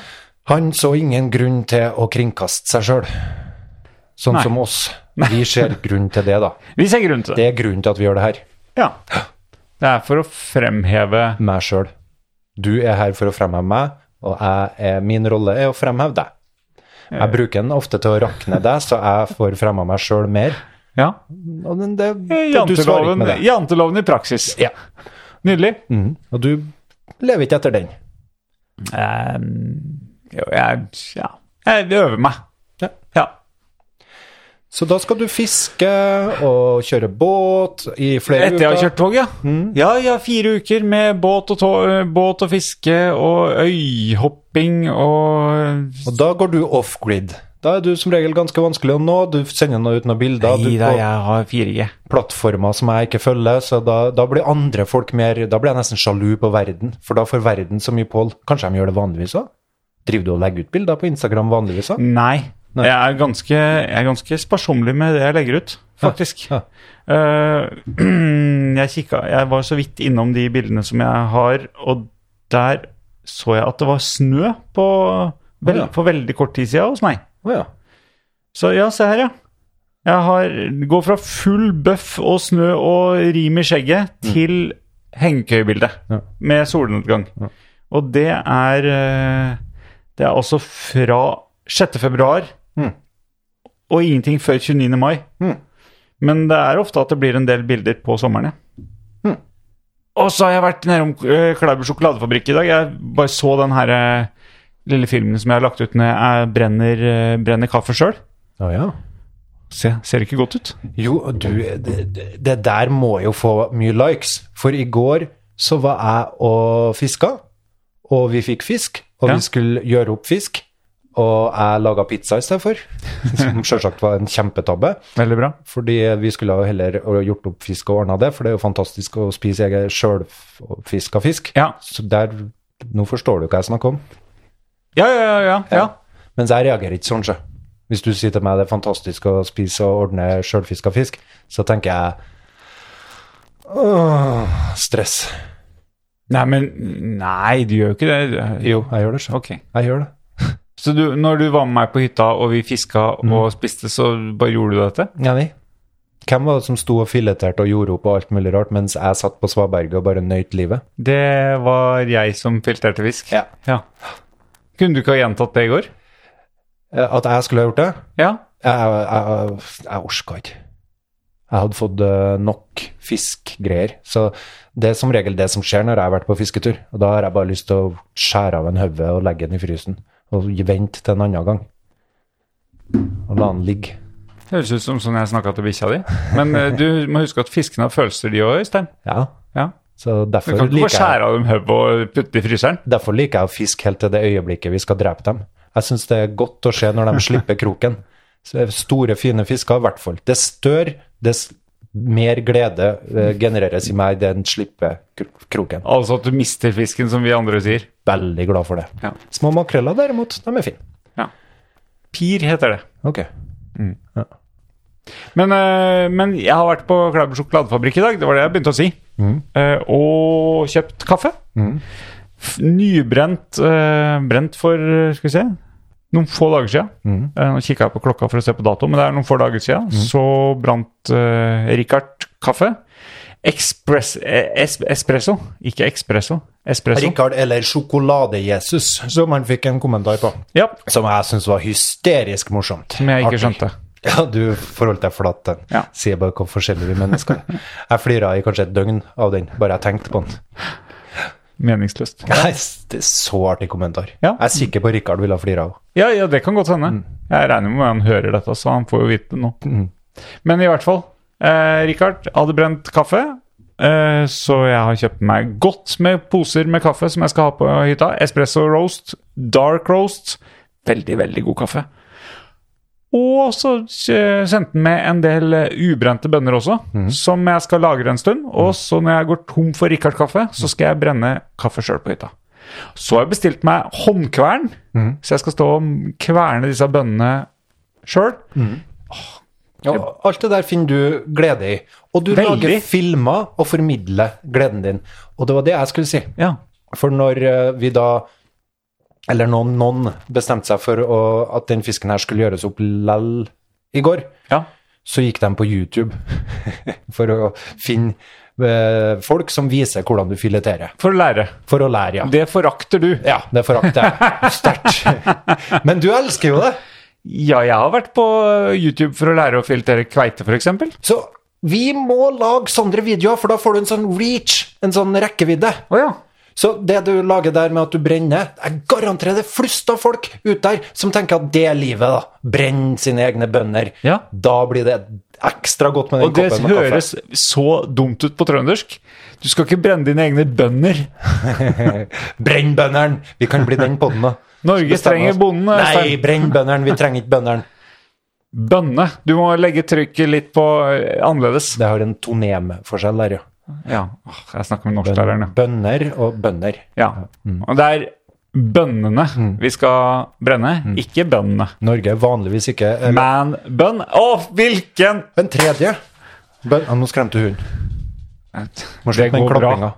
Speaker 1: Han så ingen grunn til å kringkaste seg sjøl, sånn
Speaker 2: Nei.
Speaker 1: som oss. Vi ser grunn til det, da.
Speaker 2: Vi ser grunn til det.
Speaker 1: Det er grunnen til at vi gjør det her.
Speaker 2: Ja. Det er for å fremheve
Speaker 1: Meg sjøl. Du er her for å fremheve meg, og jeg er, min rolle er å fremheve deg. Jeg bruker den ofte til å rakne deg, så jeg får fremma meg sjøl mer.
Speaker 2: Ja.
Speaker 1: Og den- det, det, du svarer ikke
Speaker 2: Janteloven,
Speaker 1: med det.
Speaker 2: janteloven i praksis.
Speaker 1: Ja.
Speaker 2: Nydelig.
Speaker 1: Mm. Og du lever ikke etter den.
Speaker 2: Ehm, jo, jeg Ja. Jeg øver meg.
Speaker 1: Ja.
Speaker 2: ja.
Speaker 1: Så da skal du fiske og kjøre båt i flere
Speaker 2: Etter
Speaker 1: uker.
Speaker 2: jeg har
Speaker 1: Mhm.
Speaker 2: kjørt tog, ja. Ja, ja, fire uker med båt og, tå- båt og fiske og øyhopping og
Speaker 1: Og da går du off-grid. Da er du som regel ganske vanskelig å nå. Du sender nå ut noen bilder.
Speaker 2: Nei
Speaker 1: du
Speaker 2: da,
Speaker 1: på-
Speaker 2: jeg har 4G.
Speaker 1: plattformer som jeg ikke følger, så da, da blir andre folk mer Da blir jeg nesten sjalu på verden, for da får verden så mye pål. Kanskje de gjør det vanligvis òg? Driver du og legger ut bilder på Instagram vanligvis òg?
Speaker 2: Nei.
Speaker 1: Nei.
Speaker 2: Jeg, er ganske, jeg er ganske sparsommelig med det jeg legger ut, faktisk.
Speaker 1: Ja,
Speaker 2: Eh, jeg, kikka, jeg var så vidt innom de bildene som jeg har, og der så jeg at det var snø på, vel,
Speaker 1: Å, ja.
Speaker 2: for veldig kort tid siden hos meg.
Speaker 1: Å ja.
Speaker 2: Så ja, se her, ja. Jeg har, går fra full bøff og snø og rim i skjegget til hengekøyebilde
Speaker 1: Mm. Ja.
Speaker 2: med solnedgang. Og det er eh, Det er altså fra 6. februar
Speaker 1: Mm.
Speaker 2: og ingenting før 29. mai.
Speaker 1: Mm.
Speaker 2: Men det er ofte at det blir en del bilder på sommeren, ja.
Speaker 1: Mm.
Speaker 2: Og så har jeg vært nede om eh, Klæbu sjokoladefabrikk i dag. Jeg bare så den her eh, lille filmen som jeg har lagt ut når jeg brenner, eh, brenner kaffe sjøl.
Speaker 1: Å ja.
Speaker 2: Se, ser det ikke godt ut?
Speaker 1: Jo, du, det, det- det der må jo få mye likes, for i går så var jeg og fiska, og vi fikk fisk, og
Speaker 2: Ja.
Speaker 1: vi skulle gjøre opp fisk, og jeg laga pizza istedenfor, som sjølsagt var en kjempetabbe.
Speaker 2: Veldig bra.
Speaker 1: Fordi vi skulle ha heller gjort opp fisk og ordna det, for det er jo fantastisk å spise egen sjølfiska fisk.
Speaker 2: Ja.
Speaker 1: Så der Nå forstår du hva jeg snakker om.
Speaker 2: Ja, ja, ja. ja, ja.
Speaker 1: Mens jeg reagerer ikke sånn, sjø. Hvis du sier til meg det er fantastisk å spise og ordne sjølfiska fisk, så tenker jeg Åh, stress.
Speaker 2: Nei, men Nei, du gjør jo ikke det.
Speaker 1: Jo, jeg gjør det, sjø.
Speaker 2: Ok.
Speaker 1: Jeg gjør det.
Speaker 2: Så du, når du var med meg på hytta, og vi fiska og spiste, så bare gjorde du dette?
Speaker 1: Ja, vi. Hvem var det som sto og fileterte og gjorde opp og alt mulig rart, mens jeg satt på svaberget og bare nøyt livet?
Speaker 2: Det var jeg som filtrerte fisk.
Speaker 1: Ja.
Speaker 2: Kunne du ikke ha gjentatt det i går?
Speaker 1: Eh, At jeg skulle ha gjort det?
Speaker 2: Ja.
Speaker 1: Jeg, jeg, jeg orka ikke. Jeg hadde fått eh, nok fiskgreier. Så det er som regel det som skjer når jeg har vært på fisketur. Og da har jeg bare lyst til å skjære av en hode og legge den i frysen. Og vente til en annen gang. Og la den ligge.
Speaker 2: Høres ut som sånn jeg snakka til bikkja di. Men eh, du må huske at fiskene har følelser, de òg, Øystein.
Speaker 1: Ja.
Speaker 2: Ja.
Speaker 1: Så
Speaker 2: Du
Speaker 1: derfor
Speaker 2: kan ikke bare
Speaker 1: liker, jeg,
Speaker 2: skjære av dem hodet og putte i fryseren.
Speaker 1: derfor liker jeg å fiske helt til det øyeblikket vi skal drepe dem. Jeg syns det er godt å se når de slipper kroken. Så det er Store, fine fisker, i hvert fall. Dess større, dess mer glede eh, genereres i meg den slipper kro- kroken.
Speaker 2: Altså at du mister fisken, som vi andre sier.
Speaker 1: Veldig glad for det.
Speaker 2: Ja.
Speaker 1: Små makreller derimot, de er fine.
Speaker 2: Pir heter det.
Speaker 1: Ok.
Speaker 2: Men, eh, men jeg har vært på Klæbu sjokoladefabrikk i dag, det var det jeg begynte å si. Eh, og kjøpt kaffe. F- Nybrent eh, brent for eh, skal vi se, noen få dager siden. Eh, nå kikka jeg på klokka for å se på dato, men det er noen få dager siden. Så brant eh, Richard kaffe. Express, eh, es, espresso, ikke expresso. Espresso.
Speaker 1: Rikard eller Sjokolade-Jesus, som han fikk en kommentar på.
Speaker 2: Ja,
Speaker 1: Som jeg syns var hysterisk morsomt.
Speaker 2: som jeg ikke
Speaker 1: Artig.
Speaker 2: skjønte.
Speaker 1: Ja, du forholdt deg flat til den.
Speaker 2: Ja.
Speaker 1: Sier bare hvor forskjellige vi mennesker er. Jeg flira i kanskje et døgn av den, bare jeg tenkte på den.
Speaker 2: Meningsløst.
Speaker 1: Nei, det er så artig kommentar.
Speaker 2: Ja.
Speaker 1: Jeg er sikker på Rikard ville ha flira av.
Speaker 2: Ja, ja, det kan godt hende. Jeg regner med han hører dette, så han får jo vite det nå. Men i hvert fall, eh, Richard hadde brent kaffe, eh, så jeg har kjøpt meg godt med poser med kaffe som jeg skal ha på hytta. Espresso roast, dark roast. Veldig, veldig god kaffe. Og så eh, sendte han med en del eh, ubrente bønner også, som jeg skal lagre en stund. Og så når jeg går tom for Richard-kaffe, så skal jeg brenne kaffe sjøl på hytta. Så har jeg bestilt meg håndkvern, så jeg skal stå og kverne disse bønnene sjøl.
Speaker 1: Ja, alt det der finner du glede i. Og du
Speaker 2: Veldig.
Speaker 1: lager filmer og formidler gleden din. Og det var det jeg skulle si.
Speaker 2: Ja.
Speaker 1: For når eh, vi da Eller noen, noen bestemte seg for å, at den fisken her skulle gjøres opp lell i går,
Speaker 2: Ja.
Speaker 1: så gikk de på YouTube for å finne eh, folk som viser hvordan du fileterer.
Speaker 2: For å lære.
Speaker 1: For å lære, ja.
Speaker 2: Det forakter du.
Speaker 1: Ja, det forakter jeg sterkt. Men du elsker jo det!
Speaker 2: Ja, jeg har vært på YouTube for å lære å filtrere kveite, f.eks. Å
Speaker 1: Så vi må lage sånne videoer, for da får du en sånn reach, en sånn rekkevidde.
Speaker 2: ja.
Speaker 1: Så det du lager der med at du brenner Jeg garanterer det er flust av folk ut der som tenker at det er livet, da. Brenn sine egne bønder.
Speaker 2: Ja.
Speaker 1: Da blir det ekstra godt med den
Speaker 2: Og det
Speaker 1: koppen med
Speaker 2: høres så dumt ut på trøndersk. Du skal ikke brenne dine egne bønder.
Speaker 1: kaffe. Brenn bønderen! Vi kan bli den podden, da.
Speaker 2: Norge
Speaker 1: Bestemmer
Speaker 2: trenger
Speaker 1: oss.
Speaker 2: bonden. altså.
Speaker 1: Nei,
Speaker 2: Øystein.
Speaker 1: brenn bønderen! Vi trenger ikke bønderen.
Speaker 2: Bønne. Du må legge trykket litt på eh, annerledes.
Speaker 1: Det har en tonemforskjell der, ja.
Speaker 2: Ja, Åh, jeg snakker med norsklæreren, ja.
Speaker 1: Bønder og bønder.
Speaker 2: Ja. Mm. Og det er bønnene vi skal brenne, ikke bøndene.
Speaker 1: Norge er vanligvis ikke eller,
Speaker 2: Man bønn Å, hvilken
Speaker 1: En tredje bønn... Ah, Nå skremte hunden. Må
Speaker 2: Det
Speaker 1: slutte med den
Speaker 2: går bra.
Speaker 1: klappinga.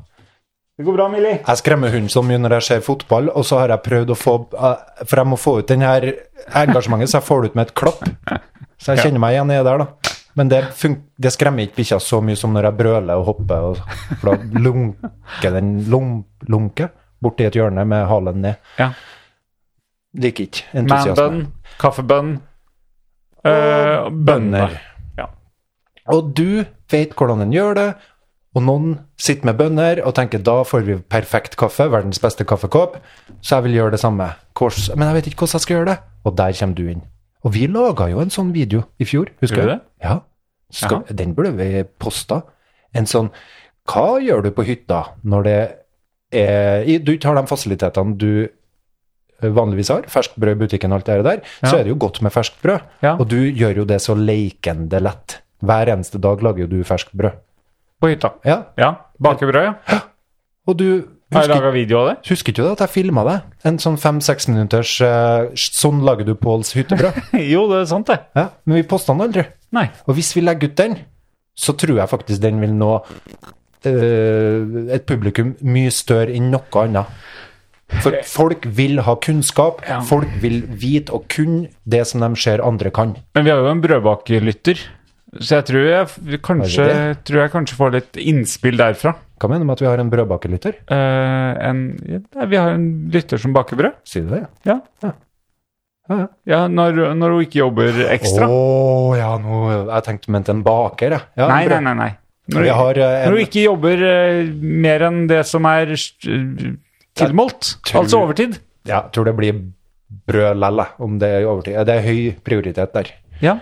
Speaker 2: Det går bra, Millie.
Speaker 1: Jeg skremmer hunden så mye når jeg ser fotball, og så har jeg prøvd å få eh, For jeg må få ut den her engasjementet, så jeg får det ut med et klapp. Så jeg kjenner meg igjen i det der, da. Men det, fun- det skremmer ikke bikkja så mye som når jeg brøler og hopper, og, for da lunker den lum, lunker borti et hjørne med halen ned.
Speaker 2: Ja.
Speaker 1: Liker ikke
Speaker 2: Man
Speaker 1: entusiasme.
Speaker 2: bønn, kaffebønn øh, Bønner. Ja.
Speaker 1: Og du vet hvordan den gjør det, og noen sitter med bønner og tenker da får vi perfekt kaffe, verdens beste kaffekopp, så jeg vil gjøre det samme. Kors, men jeg vet ikke hvordan jeg skal gjøre det. Og der kommer du inn. Og vi laga jo en sånn video i fjor, husker
Speaker 2: Gjorde
Speaker 1: du?
Speaker 2: vi det?
Speaker 1: Ja. Skal, den burde vi posta. En sånn Hva gjør du på hytta når det er i- Du ikke har de fasilitetene du vanligvis har, ferskt brød i butikken og alt det der, så
Speaker 2: Ja.
Speaker 1: er det jo godt med ferskt brød.
Speaker 2: Ja.
Speaker 1: Og du gjør jo det så leikende lett. Hver eneste dag lager jo du ferskt brød.
Speaker 2: På hytta.
Speaker 1: Ja,
Speaker 2: Ja. Bakebrød, ja.
Speaker 1: og du
Speaker 2: Har jeg
Speaker 1: husker,
Speaker 2: laga video av det?
Speaker 1: husker ikke du at jeg filma deg? En sånn fem-seks minutters eh, Sånn lager du Påls hyttebrød.
Speaker 2: jo, det er sant, det.
Speaker 1: Ja, men vi posta den aldri.
Speaker 2: Nei.
Speaker 1: Og hvis vi legger ut den, så tror jeg faktisk den vil nå eh, et publikum mye større enn noe annet. For folk vil ha kunnskap,
Speaker 2: Ja.
Speaker 1: folk vil vite og kunne det som de ser andre kan.
Speaker 2: Men vi har jo en brødbakerlytter, så jeg tror jeg, f- kanskje,
Speaker 1: Har
Speaker 2: tror jeg kanskje får litt innspill derfra.
Speaker 1: Hva mener du med at vi har en brødbakerlytter?
Speaker 2: Eh, en, ja, vi har en lytter som baker brød.
Speaker 1: Sier du det?
Speaker 2: Ja. Ja, når, når hun ikke jobber ekstra.
Speaker 1: Å ja, nå Jeg tenkte du mente en baker, jeg. Ja,
Speaker 2: nei,
Speaker 1: en brød-
Speaker 2: nei, nei, nei. Når,
Speaker 1: Vi har eh,
Speaker 2: når
Speaker 1: en
Speaker 2: hun ikke jobber eh, mer enn det som er eh, tilmålt,
Speaker 1: tror-
Speaker 2: altså overtid.
Speaker 1: Ja, jeg tror det blir brød lell, jeg, om det er overtid. Det er høy prioritet der.
Speaker 2: Ja.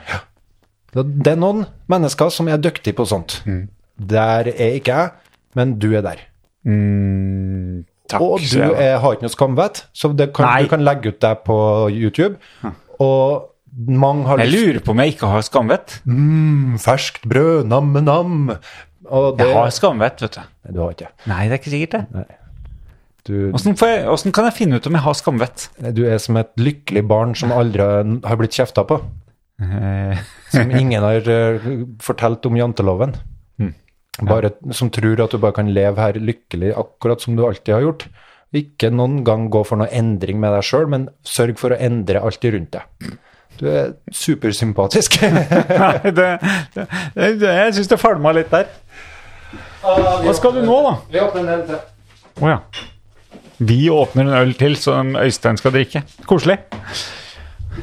Speaker 1: Så Det er noen mennesker som er dyktige på sånt.
Speaker 2: Mm.
Speaker 1: Der er ikke jeg, men du er der.
Speaker 2: Takk.
Speaker 1: Og du
Speaker 2: sier jeg.
Speaker 1: er, har ikke noe skamvett, så det kan,
Speaker 2: Nei.
Speaker 1: du kan legge ut deg på YouTube. Og mange har
Speaker 2: Jeg lurer på om jeg ikke har skamvett.
Speaker 1: mm, ferskt brød, nam-nam. Og det
Speaker 2: Jeg har skamvett, vet du.
Speaker 1: Nei, Du har ikke
Speaker 2: Nei, det er ikke sikkert det.
Speaker 1: du,
Speaker 2: Åssen får jeg- åssen kan jeg finne ut om jeg har skamvett?
Speaker 1: du er som et lykkelig barn som aldri har blitt kjefta på.
Speaker 2: Eh,
Speaker 1: Som ingen har eh, fortalt om janteloven.
Speaker 2: Mm.
Speaker 1: Bare, som tror at du bare kan leve her lykkelig akkurat som du alltid har gjort. Ikke noen gang gå for noe endring med deg sjøl, men sørg for å endre alt rundt deg. Du er supersympatisk.
Speaker 2: Nei, det, det, det, jeg syns det falma litt der. Hva skal du nå, da?
Speaker 1: Vi åpner en øl til.
Speaker 2: Å ja. Vi åpner en øl til som Øystein skal drikke. Koselig.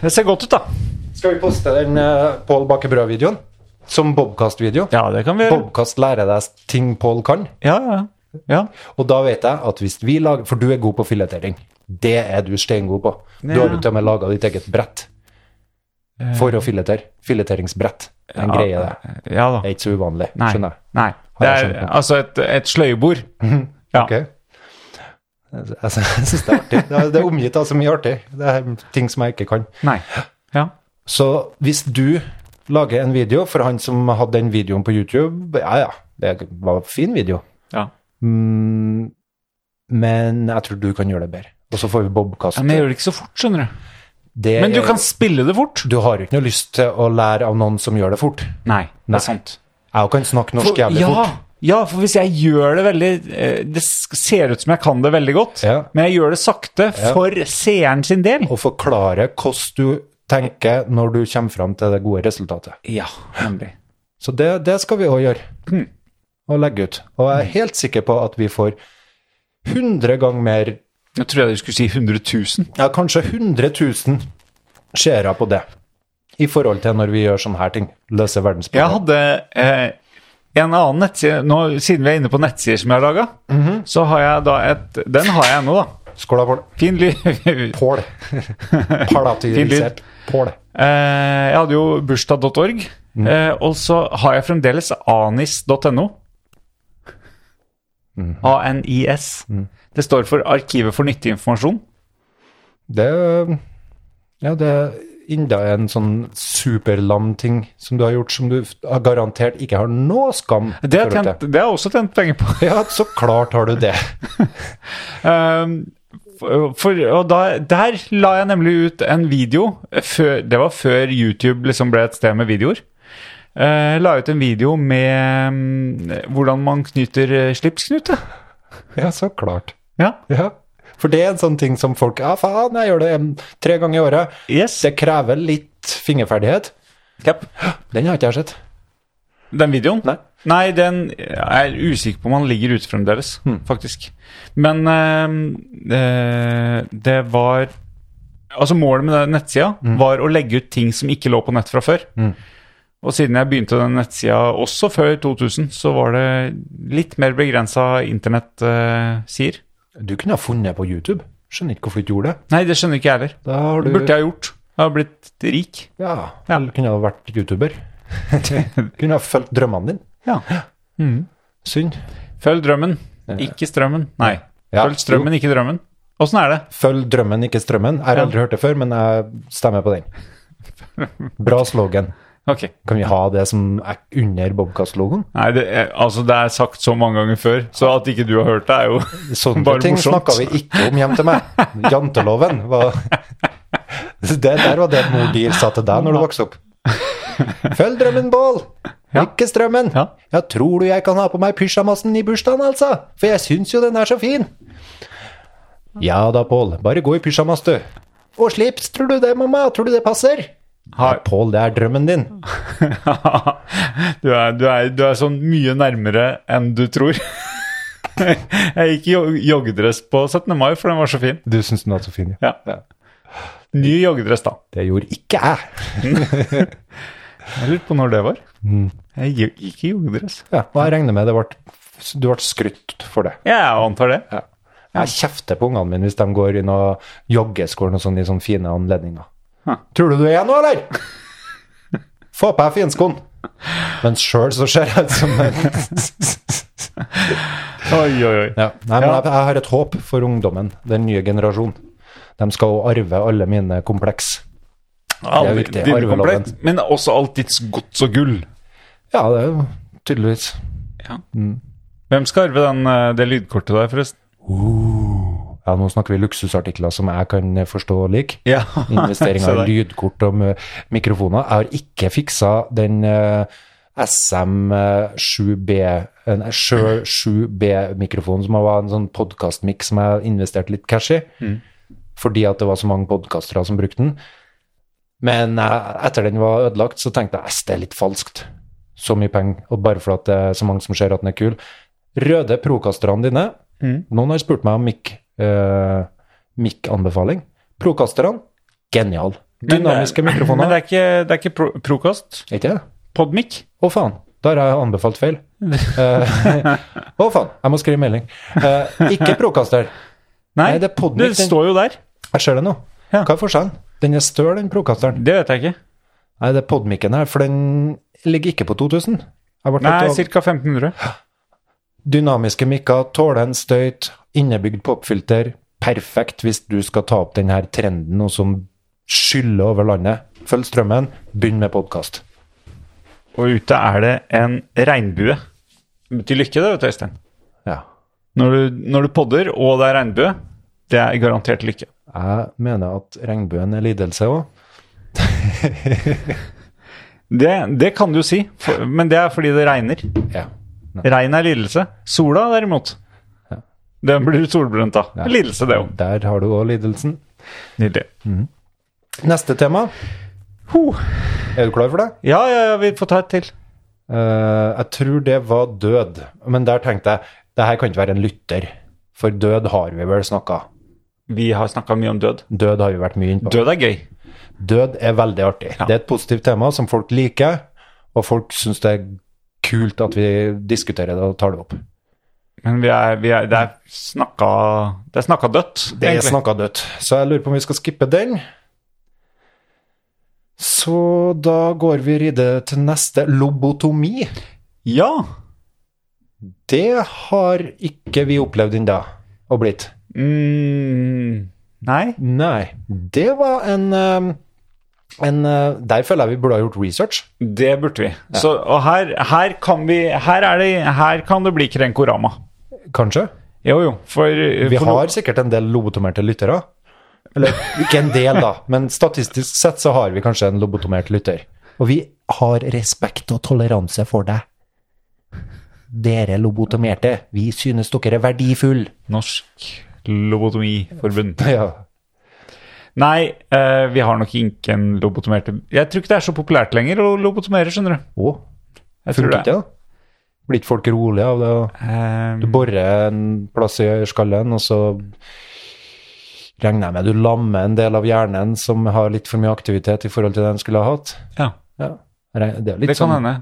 Speaker 2: Det ser godt ut, da.
Speaker 1: Skal vi poste den uh, Pål baker brød-videoen? Som Bobkast-video?
Speaker 2: Ja, det kan vi gjøre.
Speaker 1: Bobkast lærer deg ting Pål kan.
Speaker 2: Ja, ja. ja.
Speaker 1: Og da vet jeg at hvis vi lager For du er god på filetering. Det er du steingod på. Du har jo til og med laga ditt eget brett for å filetere. Fileteringsbrett. Det er En
Speaker 2: Ja.
Speaker 1: greie, det.
Speaker 2: ja da.
Speaker 1: Det er ikke så uvanlig.
Speaker 2: Nei.
Speaker 1: Skjønner jeg.
Speaker 2: Nei.
Speaker 1: Har
Speaker 2: Det
Speaker 1: jeg
Speaker 2: er
Speaker 1: skjønt nå.
Speaker 2: altså et, et sløyebord. Ja.
Speaker 1: Ok. Jeg, sy- jeg syns det er artig. Det er, det er omgitt av så mye artig. Det er ting som jeg ikke kan.
Speaker 2: Nei. Ja.
Speaker 1: Så hvis du lager en video for han som hadde den videoen på YouTube Ja, ja, det var en fin video.
Speaker 2: ja.
Speaker 1: Mm, men jeg tror du kan gjøre det bedre. Og så får vi Bobkast.
Speaker 2: Men jeg gjør det ikke så fort, skjønner du.
Speaker 1: Det
Speaker 2: Men du
Speaker 1: er-
Speaker 2: kan spille det fort.
Speaker 1: Du har jo ikke noe lyst til å lære av noen som gjør det fort.
Speaker 2: Nei, det
Speaker 1: Nei.
Speaker 2: er sant.
Speaker 1: Jeg kan snakke norsk
Speaker 2: For,
Speaker 1: jævlig
Speaker 2: ja,
Speaker 1: fort.
Speaker 2: ja, for hvis jeg gjør det veldig eh, Det sk- ser ut som jeg kan det veldig godt,
Speaker 1: Ja.
Speaker 2: men jeg gjør det sakte for seeren sin del.
Speaker 1: Og forklare hvordan du tenker når du kommer fram til det gode resultatet.
Speaker 2: Ja, nemlig.
Speaker 1: Så det, det skal vi òg gjøre.
Speaker 2: Hm.
Speaker 1: Og legge ut. Og jeg er helt sikker på at vi får 100 ganger mer,
Speaker 2: Nå tror jeg du skulle si 100 000.
Speaker 1: ja, kanskje 100 000 seere på det. I forhold til når vi gjør sånne her ting. Løser
Speaker 2: Jeg
Speaker 1: verdensproblemer.
Speaker 2: hadde eh, en annen nettside nå, Siden vi er inne på nettsider som jeg har laga,
Speaker 1: Mhm.
Speaker 2: så har jeg da et Den har jeg nå, da.
Speaker 1: Skål da, Pål.
Speaker 2: Fin lyd.
Speaker 1: Pål. Palatirisert. Pål.
Speaker 2: Eh, jeg hadde jo bursdag.org, eh, og så har jeg fremdeles anis.no. Mm. ANIS. Det står for Arkivet for nyttig informasjon.
Speaker 1: Det Ja, det er enda en sånn superlam ting som du har gjort, som du f- har garantert ikke har noe skam
Speaker 2: Det har,
Speaker 1: forhold
Speaker 2: tjent, det har jeg også tjent penger på.
Speaker 1: til. Ja, så klart har du det.
Speaker 2: Ehm, for, for, og da, der la jeg nemlig ut en video før, Det var før YouTube liksom ble et sted med videoer. Eh, la ut en video med mm, hvordan man knyter eh, slipsknute.
Speaker 1: Ja, så klart.
Speaker 2: Ja.
Speaker 1: Ja. For det er en sånn ting som folk Ja, faen, jeg gjør det em, tre ganger i året.
Speaker 2: Yes.
Speaker 1: Det krever litt fingerferdighet.
Speaker 2: Japp.
Speaker 1: Den har ikke jeg sett.
Speaker 2: Den videoen?
Speaker 1: Nei.
Speaker 2: den er jeg usikker på om han ligger ute fremdeles,
Speaker 1: Hmm.
Speaker 2: faktisk. Men eh, eh, det var Altså, målet med den nettsida
Speaker 1: Hmm.
Speaker 2: var å legge ut ting som ikke lå på nett fra før. Og siden jeg begynte den nettsida også før 2000, så var det litt mer eh, begrensa internett-sider.
Speaker 1: Du kunne ha funnet på YouTube. Skjønner ikke hvorfor du ikke gjorde det.
Speaker 2: Nei, det skjønner ikke jeg heller.
Speaker 1: Da har du
Speaker 2: Det burde jeg ha gjort. Jeg har blitt rik.
Speaker 1: Ja,
Speaker 2: Ja.
Speaker 1: du kunne ha vært YouTuber. kunne ha fulgt drømmene dine.
Speaker 2: Ja. Mm.
Speaker 1: Synd.
Speaker 2: Følg drømmen, ikke strømmen. Nei.
Speaker 1: Ja.
Speaker 2: Følg strømmen, ikke drømmen. Åssen er det?
Speaker 1: Følg drømmen, ikke strømmen. Jeg har
Speaker 2: Ja.
Speaker 1: aldri hørt det før, men jeg stemmer på den. Bra slogan.
Speaker 2: Ok.
Speaker 1: Kan vi ha det som er under Bobkast-logoen?
Speaker 2: Nei, det er, altså det er sagt så mange ganger før, så at ikke du har hørt det, er jo
Speaker 1: Sånne
Speaker 2: Bare
Speaker 1: ting
Speaker 2: morsomt.
Speaker 1: snakka vi ikke om hjem til meg. Janteloven var Så det, Der var det mor di sa til deg når du vokste opp. Følg drømmen, Bål! Ikke strømmen!
Speaker 2: Ja.
Speaker 1: Ja, tror du jeg kan ha på meg pysjamasen i bursdagen, altså? For jeg syns jo den er så fin! Ja da, Pål. Bare gå i pysjamas, du. Og slips, tror du det, mamma? Tror du det passer?
Speaker 2: Har-
Speaker 1: Ja, Pål, det er drømmen din.
Speaker 2: du, er, du, er, du er sånn mye nærmere enn du tror. Jeg gikk i jo- joggedress på 17. mai, for den var så fin.
Speaker 1: Du syns den er så fin,
Speaker 2: Ja. Ny joggedress, da.
Speaker 1: Det gjorde ikke jeg.
Speaker 2: Jeg lurer på når det var.
Speaker 1: Mm.
Speaker 2: Jeg gikk- gikk i joggedress.
Speaker 1: Ja, og jeg regner med det ble, du ble skrytt for det.
Speaker 2: Jeg antar det.
Speaker 1: Ja. Jeg kjefter på ungene mine hvis de går i noe joggeskolen og sånn i sånne fine anledninger. Tror du du er noe, eller? Få på deg finskoen! Men sjøl så ser jeg ut som en
Speaker 2: Oi, oi, oi.
Speaker 1: ja. Nei, men
Speaker 2: Ja.
Speaker 1: jeg, jeg har et håp for ungdommen, den nye generasjonen. De skal jo arve alle mine kompleks.
Speaker 2: Aldri-
Speaker 1: viktig,
Speaker 2: dine
Speaker 1: arveloven.
Speaker 2: kompleks, Men også alt ditt gods og gull.
Speaker 1: Ja, det er jo tydeligvis
Speaker 2: Hvem skal arve den, eh, det lydkortet der, forresten?
Speaker 1: Ja, nå snakker vi luksusartikler som jeg kan forstå og like.
Speaker 2: Ja. Se
Speaker 1: Investeringer
Speaker 2: der.
Speaker 1: i lydkort og mø- mikrofoner. Jeg har ikke fiksa den eh, SM7B en eh, Sjø 7B-mikrofonen, som var en sånn podkastmikk som jeg investerte litt cash i,
Speaker 2: Mm.
Speaker 1: fordi at det var så mange podkastere som brukte den. Men eh, etter den var ødelagt, så tenkte jeg at det er litt falskt. Så mye penger, og bare for at det er så mange som ser at den er kul. Røde Procasterne dine
Speaker 2: Mm.
Speaker 1: Noen har spurt meg om mic, eh, mic-anbefaling. Procasterne genial.
Speaker 2: Men det er-
Speaker 1: Dynamiske
Speaker 2: Men
Speaker 1: mikrofoner.
Speaker 2: det er ikke, det er ikke pro Procast?
Speaker 1: Er ikke det?
Speaker 2: Podmic?
Speaker 1: Å, faen. Der har jeg anbefalt feil. Eh, Å, faen. Jeg må skrive melding. Eh, ikke Procaster. Nei, det er Podmic,
Speaker 2: Det
Speaker 1: den-
Speaker 2: står jo der.
Speaker 1: Jeg ser det nå.
Speaker 2: Ja.
Speaker 1: Hva er forskjellen? Den er støl, den Procasteren.
Speaker 2: Det vet jeg ikke.
Speaker 1: Nei, det er Podmicen her, for den ligger ikke på 2000. Jeg ble
Speaker 2: Nei,
Speaker 1: litt av-
Speaker 2: ca. 1500.
Speaker 1: Dynamiske mikker, tåler en støyt, innebygd popfilter. Perfekt hvis du skal ta opp denne trenden nå som skyller over landet. Følg strømmen, begynn med podkast.
Speaker 2: Og ute er det en regnbue. Til lykke, det, vet du, Øystein.
Speaker 1: Ja.
Speaker 2: Når du, når du podder, og det er regnbue, det er garantert lykke.
Speaker 1: Jeg mener at regnbuen er lidelse òg.
Speaker 2: Det, det kan du si, for, men det er fordi det regner.
Speaker 1: Ja.
Speaker 2: Regn er lidelse. Sola, derimot, den blir du solbrent av. Lidelse, det òg.
Speaker 1: Der har du òg lidelsen.
Speaker 2: Nydelig.
Speaker 1: Neste tema.
Speaker 2: Ho.
Speaker 1: Er du klar for det?
Speaker 2: Ja, ja, ja, vi får ta et til.
Speaker 1: Eh, jeg tror det var død. Men der tenkte jeg det her kan ikke være en lytter. For død har vi vel snakka.
Speaker 2: Vi har snakka mye om død.
Speaker 1: Død har vi vært mye innpå.
Speaker 2: Død er gøy.
Speaker 1: Død er veldig artig. Det er et positivt tema som folk liker, og folk syns det er kult at vi diskuterer det og tar det opp.
Speaker 2: Men vi er, vi er, det er snakka Det er snakka dødt,
Speaker 1: Det er snakka dødt, så jeg lurer på om vi skal skippe den. Så da går vi videre til neste. Lobotomi.
Speaker 2: Ja.
Speaker 1: Det har ikke vi opplevd ennå og blitt.
Speaker 2: Mm, nei.
Speaker 1: Nei. Det var en, eh, en eh, Der føler jeg vi burde ha gjort research.
Speaker 2: Det burde vi. Så, og her, her kan vi her, er det, her kan det bli Krenkorama.
Speaker 1: Kanskje.
Speaker 2: Jo, jo. For eh,
Speaker 1: Vi
Speaker 2: for
Speaker 1: har sikkert en del lobotomerte lyttere. Eller ikke en del, da, men statistisk sett så har vi kanskje en lobotomert lytter. Og vi har respekt og toleranse for deg. Dere lobotomerte, vi synes dere er verdifulle.
Speaker 2: Norsk Lobotomiforbund.
Speaker 1: Ja.
Speaker 2: Nei, eh, vi har nok ikke en lobotomert Jeg tror ikke det er så populært lenger å lobotomere, skjønner du.
Speaker 1: Å,
Speaker 2: Jeg tror
Speaker 1: funker
Speaker 2: det.
Speaker 1: ikke det? Blir ikke folk rolige av det? og
Speaker 2: Eh,
Speaker 1: Du borer en plass i øyerskallen, og så regner jeg med du lammer en del av hjernen som har litt for mye aktivitet i forhold til det den skulle ha hatt.
Speaker 2: ja,
Speaker 1: Ja. Det er jo litt
Speaker 2: det kan
Speaker 1: sånn
Speaker 2: hende.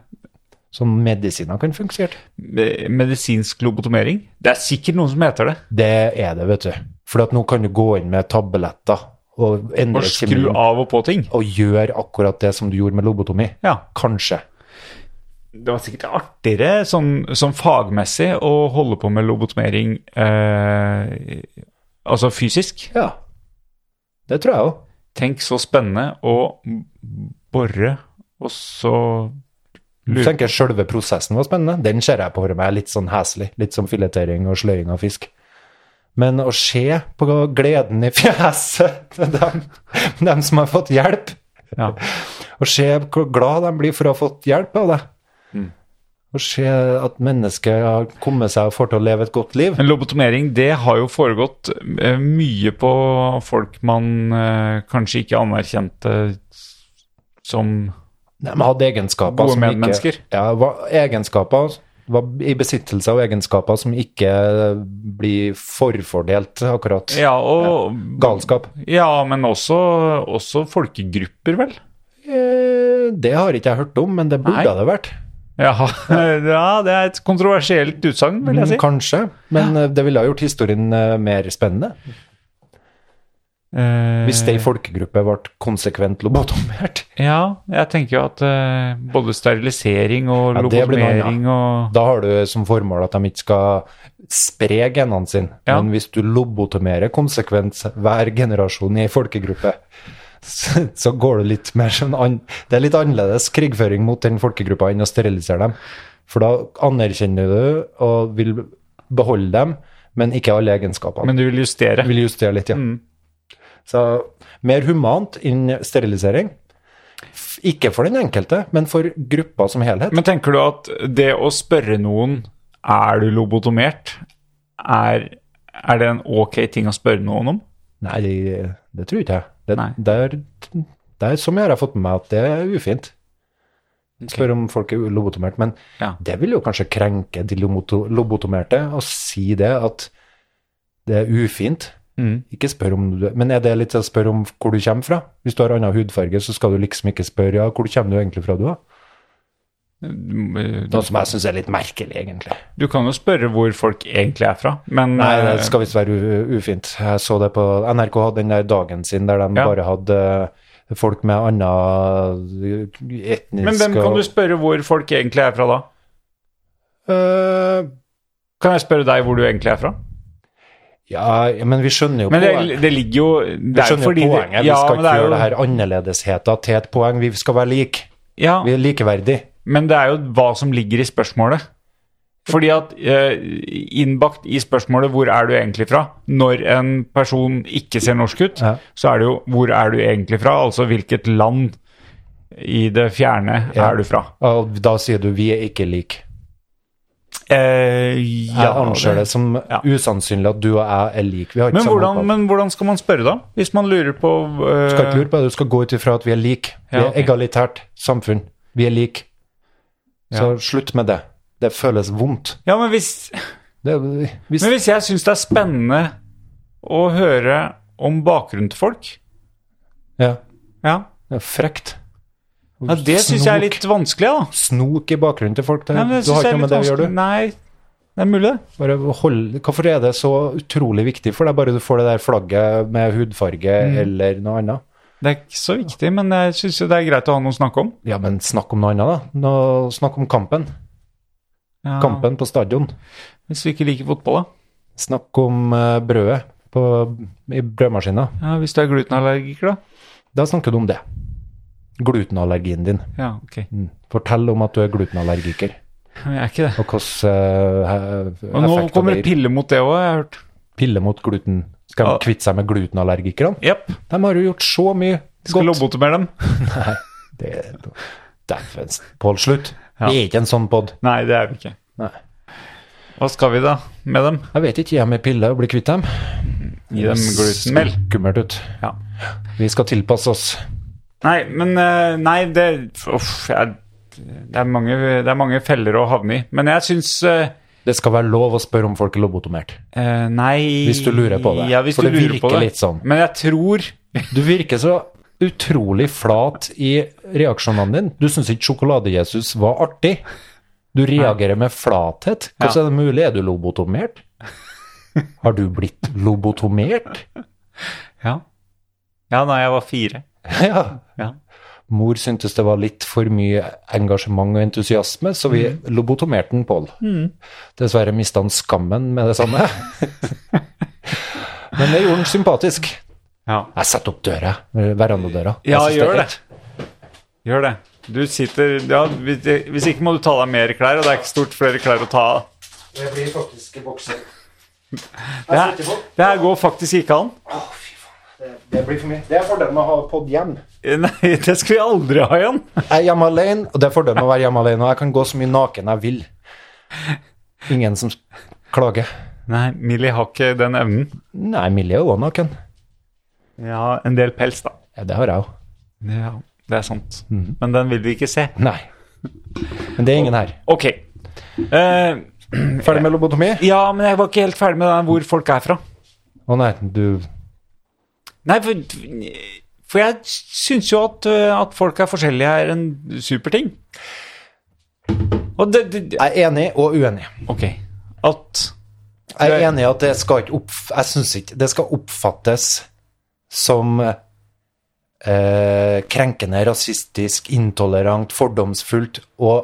Speaker 1: Sånn medisiner kan funke sikkert.
Speaker 2: Me- Medisinsk lobotomering? Det er sikkert noen som heter det.
Speaker 1: Det er det, vet du. For at nå kan du gå inn med tabletter og endre
Speaker 2: Å skru
Speaker 1: kjemien
Speaker 2: av og på ting.
Speaker 1: og gjøre akkurat det som du gjorde med lobotomi.
Speaker 2: Ja.
Speaker 1: Kanskje.
Speaker 2: Det var sikkert artigere sånn, sånn fagmessig å holde på med lobotomering eh, altså fysisk.
Speaker 1: Ja. Det tror jeg òg.
Speaker 2: Tenk så spennende å bore, og så
Speaker 1: Du
Speaker 2: lure
Speaker 1: tenker selve prosessen var spennende. Den ser jeg på for meg litt sånn heslig. Litt som filetering og sløying av fisk. Men å se på gleden i fjeset til dem, dem som har fått hjelp,
Speaker 2: Ja.
Speaker 1: og se hvor glad de blir for å ha fått hjelp av deg,
Speaker 2: Mm.
Speaker 1: og se at mennesket har kommet seg og får til å leve et godt liv
Speaker 2: Men lobotomering, det har jo foregått eh, mye på folk man eh, kanskje ikke anerkjente som
Speaker 1: De hadde egenskaper
Speaker 2: Gode
Speaker 1: som ikke-
Speaker 2: medmennesker.
Speaker 1: Ja, var egenskaper var i besittelse av egenskaper som ikke blir forfordelt, akkurat.
Speaker 2: Ja, og,
Speaker 1: Galskap.
Speaker 2: ja men også, også folkegrupper, vel?
Speaker 1: Eh, Det har ikke jeg hørt om, men det burde
Speaker 2: Nei.
Speaker 1: det vært.
Speaker 2: Ja, ja, det er et kontroversielt utsagn,
Speaker 1: Mm,
Speaker 2: vil jeg si.
Speaker 1: Kanskje, men eh, det ville ha gjort historien eh, mer spennende.
Speaker 2: Eh,
Speaker 1: Hvis det i folkegruppe ble konsekvent lobotomert.
Speaker 2: Ja, jeg tenker jo at eh, både sterilisering og
Speaker 1: Ja, det blir noe annet.
Speaker 2: lobotomering og
Speaker 1: Da har du som formål at de ikke skal spre genene sine.
Speaker 2: Ja.
Speaker 1: Men hvis du lobotomerer konsekvent hver generasjon i ei folkegruppe, så så går det litt mer sånn an Det er litt annerledes krigføring mot den folkegruppa enn å sterilisere dem. For da anerkjenner du og vil beholde dem, men ikke alle egenskapene.
Speaker 2: Men du vil justere.
Speaker 1: vil justere litt, ja.
Speaker 2: Mm.
Speaker 1: Så mer humant enn sterilisering. F- Ikke for den enkelte, men for gruppa som helhet.
Speaker 2: Men tenker du at det å spørre noen er du lobotomert, er, er det en ok ting å spørre noen om?
Speaker 1: Nei, det, det tror ikke jeg. Det,
Speaker 2: Nei.
Speaker 1: det, er, det er som jeg har fått med meg at det er ufint. Spør om folk er lobotomert, men
Speaker 2: Ja.
Speaker 1: det vil jo kanskje krenke de lomoto- lobotomerte å si det at det er ufint.
Speaker 2: Mm.
Speaker 1: Ikke spør om du Men er det litt å spørre om hvor du kommer fra? Hvis du har annen hudfarge, så skal du liksom ikke spørre ja, hvor kommer du egentlig fra, du, da?
Speaker 2: Du,
Speaker 1: Noe som jeg syns er litt merkelig, egentlig.
Speaker 2: Mm. du kan jo spørre hvor folk egentlig er fra, men
Speaker 1: Nei, det
Speaker 2: eh,
Speaker 1: skal visst være u- ufint. Jeg så det på NRK hadde den der dagen sin der de
Speaker 2: Ja.
Speaker 1: bare hadde eh, folk med annen etnisk
Speaker 2: men hvem kan du spørre hvor folk egentlig er fra da?
Speaker 1: Eh,
Speaker 2: Kan jeg spørre deg hvor du egentlig er fra?
Speaker 1: ja, ja, men vi skjønner jo
Speaker 2: Men det,
Speaker 1: poenget.
Speaker 2: det ligger jo
Speaker 1: Vi
Speaker 2: det er jo
Speaker 1: skjønner jo
Speaker 2: fordi det-
Speaker 1: poenget.
Speaker 2: Ja,
Speaker 1: vi skal
Speaker 2: men
Speaker 1: ikke
Speaker 2: er
Speaker 1: gjøre
Speaker 2: jo-
Speaker 1: det her annerledesheten til et poeng. Vi skal være like.
Speaker 2: Ja,
Speaker 1: Vi er likeverdige.
Speaker 2: Men det er jo hva som ligger i spørsmålet. Fordi at eh, innbakt i spørsmålet 'hvor er du egentlig fra?' når en person ikke ser norsk ut,
Speaker 1: Ja.
Speaker 2: så er det jo 'hvor er du egentlig fra?' Altså hvilket land i det fjerne
Speaker 1: Ja.
Speaker 2: er du fra?
Speaker 1: Og da sier du 'vi er ikke like'.
Speaker 2: Eh,
Speaker 1: Jeg anser det som
Speaker 2: Ja.
Speaker 1: usannsynlig at du og jeg er like. Vi har ikke
Speaker 2: men
Speaker 1: samme
Speaker 2: hvordan,
Speaker 1: opphav.
Speaker 2: men hvordan skal man spørre, da? Hvis man lurer på eh,
Speaker 1: Du skal ikke lure på det, du skal gå ut ifra at vi er like. Vi
Speaker 2: Ja,
Speaker 1: er
Speaker 2: ok.
Speaker 1: egalitært samfunn. Vi er like. Så
Speaker 2: Ja.
Speaker 1: slutt med det. Det føles vondt.
Speaker 2: Ja, men hvis,
Speaker 1: Det, hvis,
Speaker 2: men hvis jeg syns det er spennende å høre om bakgrunnen til folk
Speaker 1: ja,
Speaker 2: Ja,
Speaker 1: det er frekt.
Speaker 2: ja det syns jeg er litt vanskelig, da.
Speaker 1: Snok i bakgrunnen til folk. Det,
Speaker 2: Nei, men det
Speaker 1: du har
Speaker 2: synes jeg er
Speaker 1: ikke noe med
Speaker 2: litt
Speaker 1: det å gjøre,
Speaker 2: vanskelig.
Speaker 1: du.
Speaker 2: Nei, det er mulig, det.
Speaker 1: Bare hold, hvorfor er det så utrolig viktig for deg, bare du får det der flagget med hudfarge
Speaker 2: Mm.
Speaker 1: eller noe annet?
Speaker 2: Det er ikke så viktig, men jeg syns det er greit å ha noe å snakke om.
Speaker 1: Ja, men snakk om noe annet, da. Nå, snakk om kampen.
Speaker 2: Ja,
Speaker 1: Kampen på stadion.
Speaker 2: Hvis vi ikke liker fotball, da.
Speaker 1: Snakk om eh, brødet på, i brødmaskina.
Speaker 2: Ja, Hvis du er glutenallergiker, da.
Speaker 1: Da snakker du om det. Glutenallergien din. Mm.
Speaker 2: Ja, ok.
Speaker 1: Fortell om at du er glutenallergiker,
Speaker 2: Men jeg er ikke det.
Speaker 1: og hvilken
Speaker 2: Og nå
Speaker 1: effekt
Speaker 2: kommer
Speaker 1: det
Speaker 2: det
Speaker 1: gir.
Speaker 2: piller mot det òg, jeg har hørt.
Speaker 1: Pille mot gluten. Skal de
Speaker 2: Ja.
Speaker 1: kvitte seg med glutenallergikerne?
Speaker 2: Jepp.
Speaker 1: De har jo gjort så mye
Speaker 2: Skal
Speaker 1: godt.
Speaker 2: lobotomere dem.
Speaker 1: Nei, det er Dæven, Pål, slutt.
Speaker 2: Ja.
Speaker 1: Vi er ikke en sånn pod.
Speaker 2: Nei, det er vi ikke.
Speaker 1: Nei.
Speaker 2: Hva skal vi da med dem?
Speaker 1: Jeg vet ikke, gi dem ei pille og bli kvitt dem.
Speaker 2: Gi dem glutenmel?
Speaker 1: Skummelt ut.
Speaker 2: Ja.
Speaker 1: Vi skal tilpasse oss.
Speaker 2: Nei, men eh, Nei, det Uff. Jeg, det, er mange, det er mange feller å havne i. Men jeg syns
Speaker 1: Det skal være lov å spørre om folk er lobotomert.
Speaker 2: Eh, nei
Speaker 1: Hvis du lurer på det.
Speaker 2: Ja, hvis
Speaker 1: For
Speaker 2: du
Speaker 1: det
Speaker 2: lurer på
Speaker 1: virker
Speaker 2: det.
Speaker 1: litt sånn.
Speaker 2: Men jeg tror
Speaker 1: Du virker så utrolig flat i reaksjonene dine. Du syns ikke Sjokolade-Jesus var artig. Du reagerer med flathet. Hvordan
Speaker 2: Ja.
Speaker 1: er det mulig? Er du lobotomert? Har du blitt lobotomert?
Speaker 2: Ja. Ja, da jeg var fire.
Speaker 1: Ja.
Speaker 2: Ja.
Speaker 1: Mor syntes det var litt for mye engasjement og entusiasme, så vi
Speaker 2: Mm.
Speaker 1: lobotomerte den, Pål. Dessverre mista han skammen med det samme. Men det gjorde han sympatisk.
Speaker 2: Ja,
Speaker 1: Jeg setter opp døra, eh, verandadøra. Jeg
Speaker 2: ja
Speaker 1: synes er
Speaker 2: gjør det.
Speaker 1: ekkelt.
Speaker 2: Gjør det. Du sitter Ja, hvis, hvis ikke må du ta av deg mer klær, og det er ikke stort flere klær å ta av.
Speaker 1: Det blir faktisk bokser.
Speaker 2: Det, her- det her går faktisk ikke an.
Speaker 1: Å, fy faen. Det, det blir for mye. Det er fordelen med å ha pod hjem.
Speaker 2: Eh, Nei, det skal vi aldri ha igjen.
Speaker 1: Jeg er hjemme alene, og det er fordelen med å være hjemme alene. Og jeg kan gå så mye naken jeg vil. Ingen som klager.
Speaker 2: Nei, Millie har ikke den evnen.
Speaker 1: Nei, Millie er jo også naken.
Speaker 2: Ja, en del pels, da.
Speaker 1: Ja, det har jeg òg.
Speaker 2: Mhm. Ja, det er sant. Men den vil vi ikke se.
Speaker 1: Nei. Men det er ingen her.
Speaker 2: Ok. Eh,
Speaker 1: Ferdig med lobotomi?
Speaker 2: ja, men jeg var ikke helt ferdig med den hvor folk er fra.
Speaker 1: Å nei, du
Speaker 2: Nei, for, for jeg syns jo at, eh, at folk er forskjellige er en super ting. Og det, det
Speaker 1: Jeg er enig og uenig.
Speaker 2: Ok. At
Speaker 1: Jeg er enig i at det skal ikke opp... Jeg synes ikke det skal oppfattes som eh, krenkende, rasistisk, intolerant, fordomsfullt å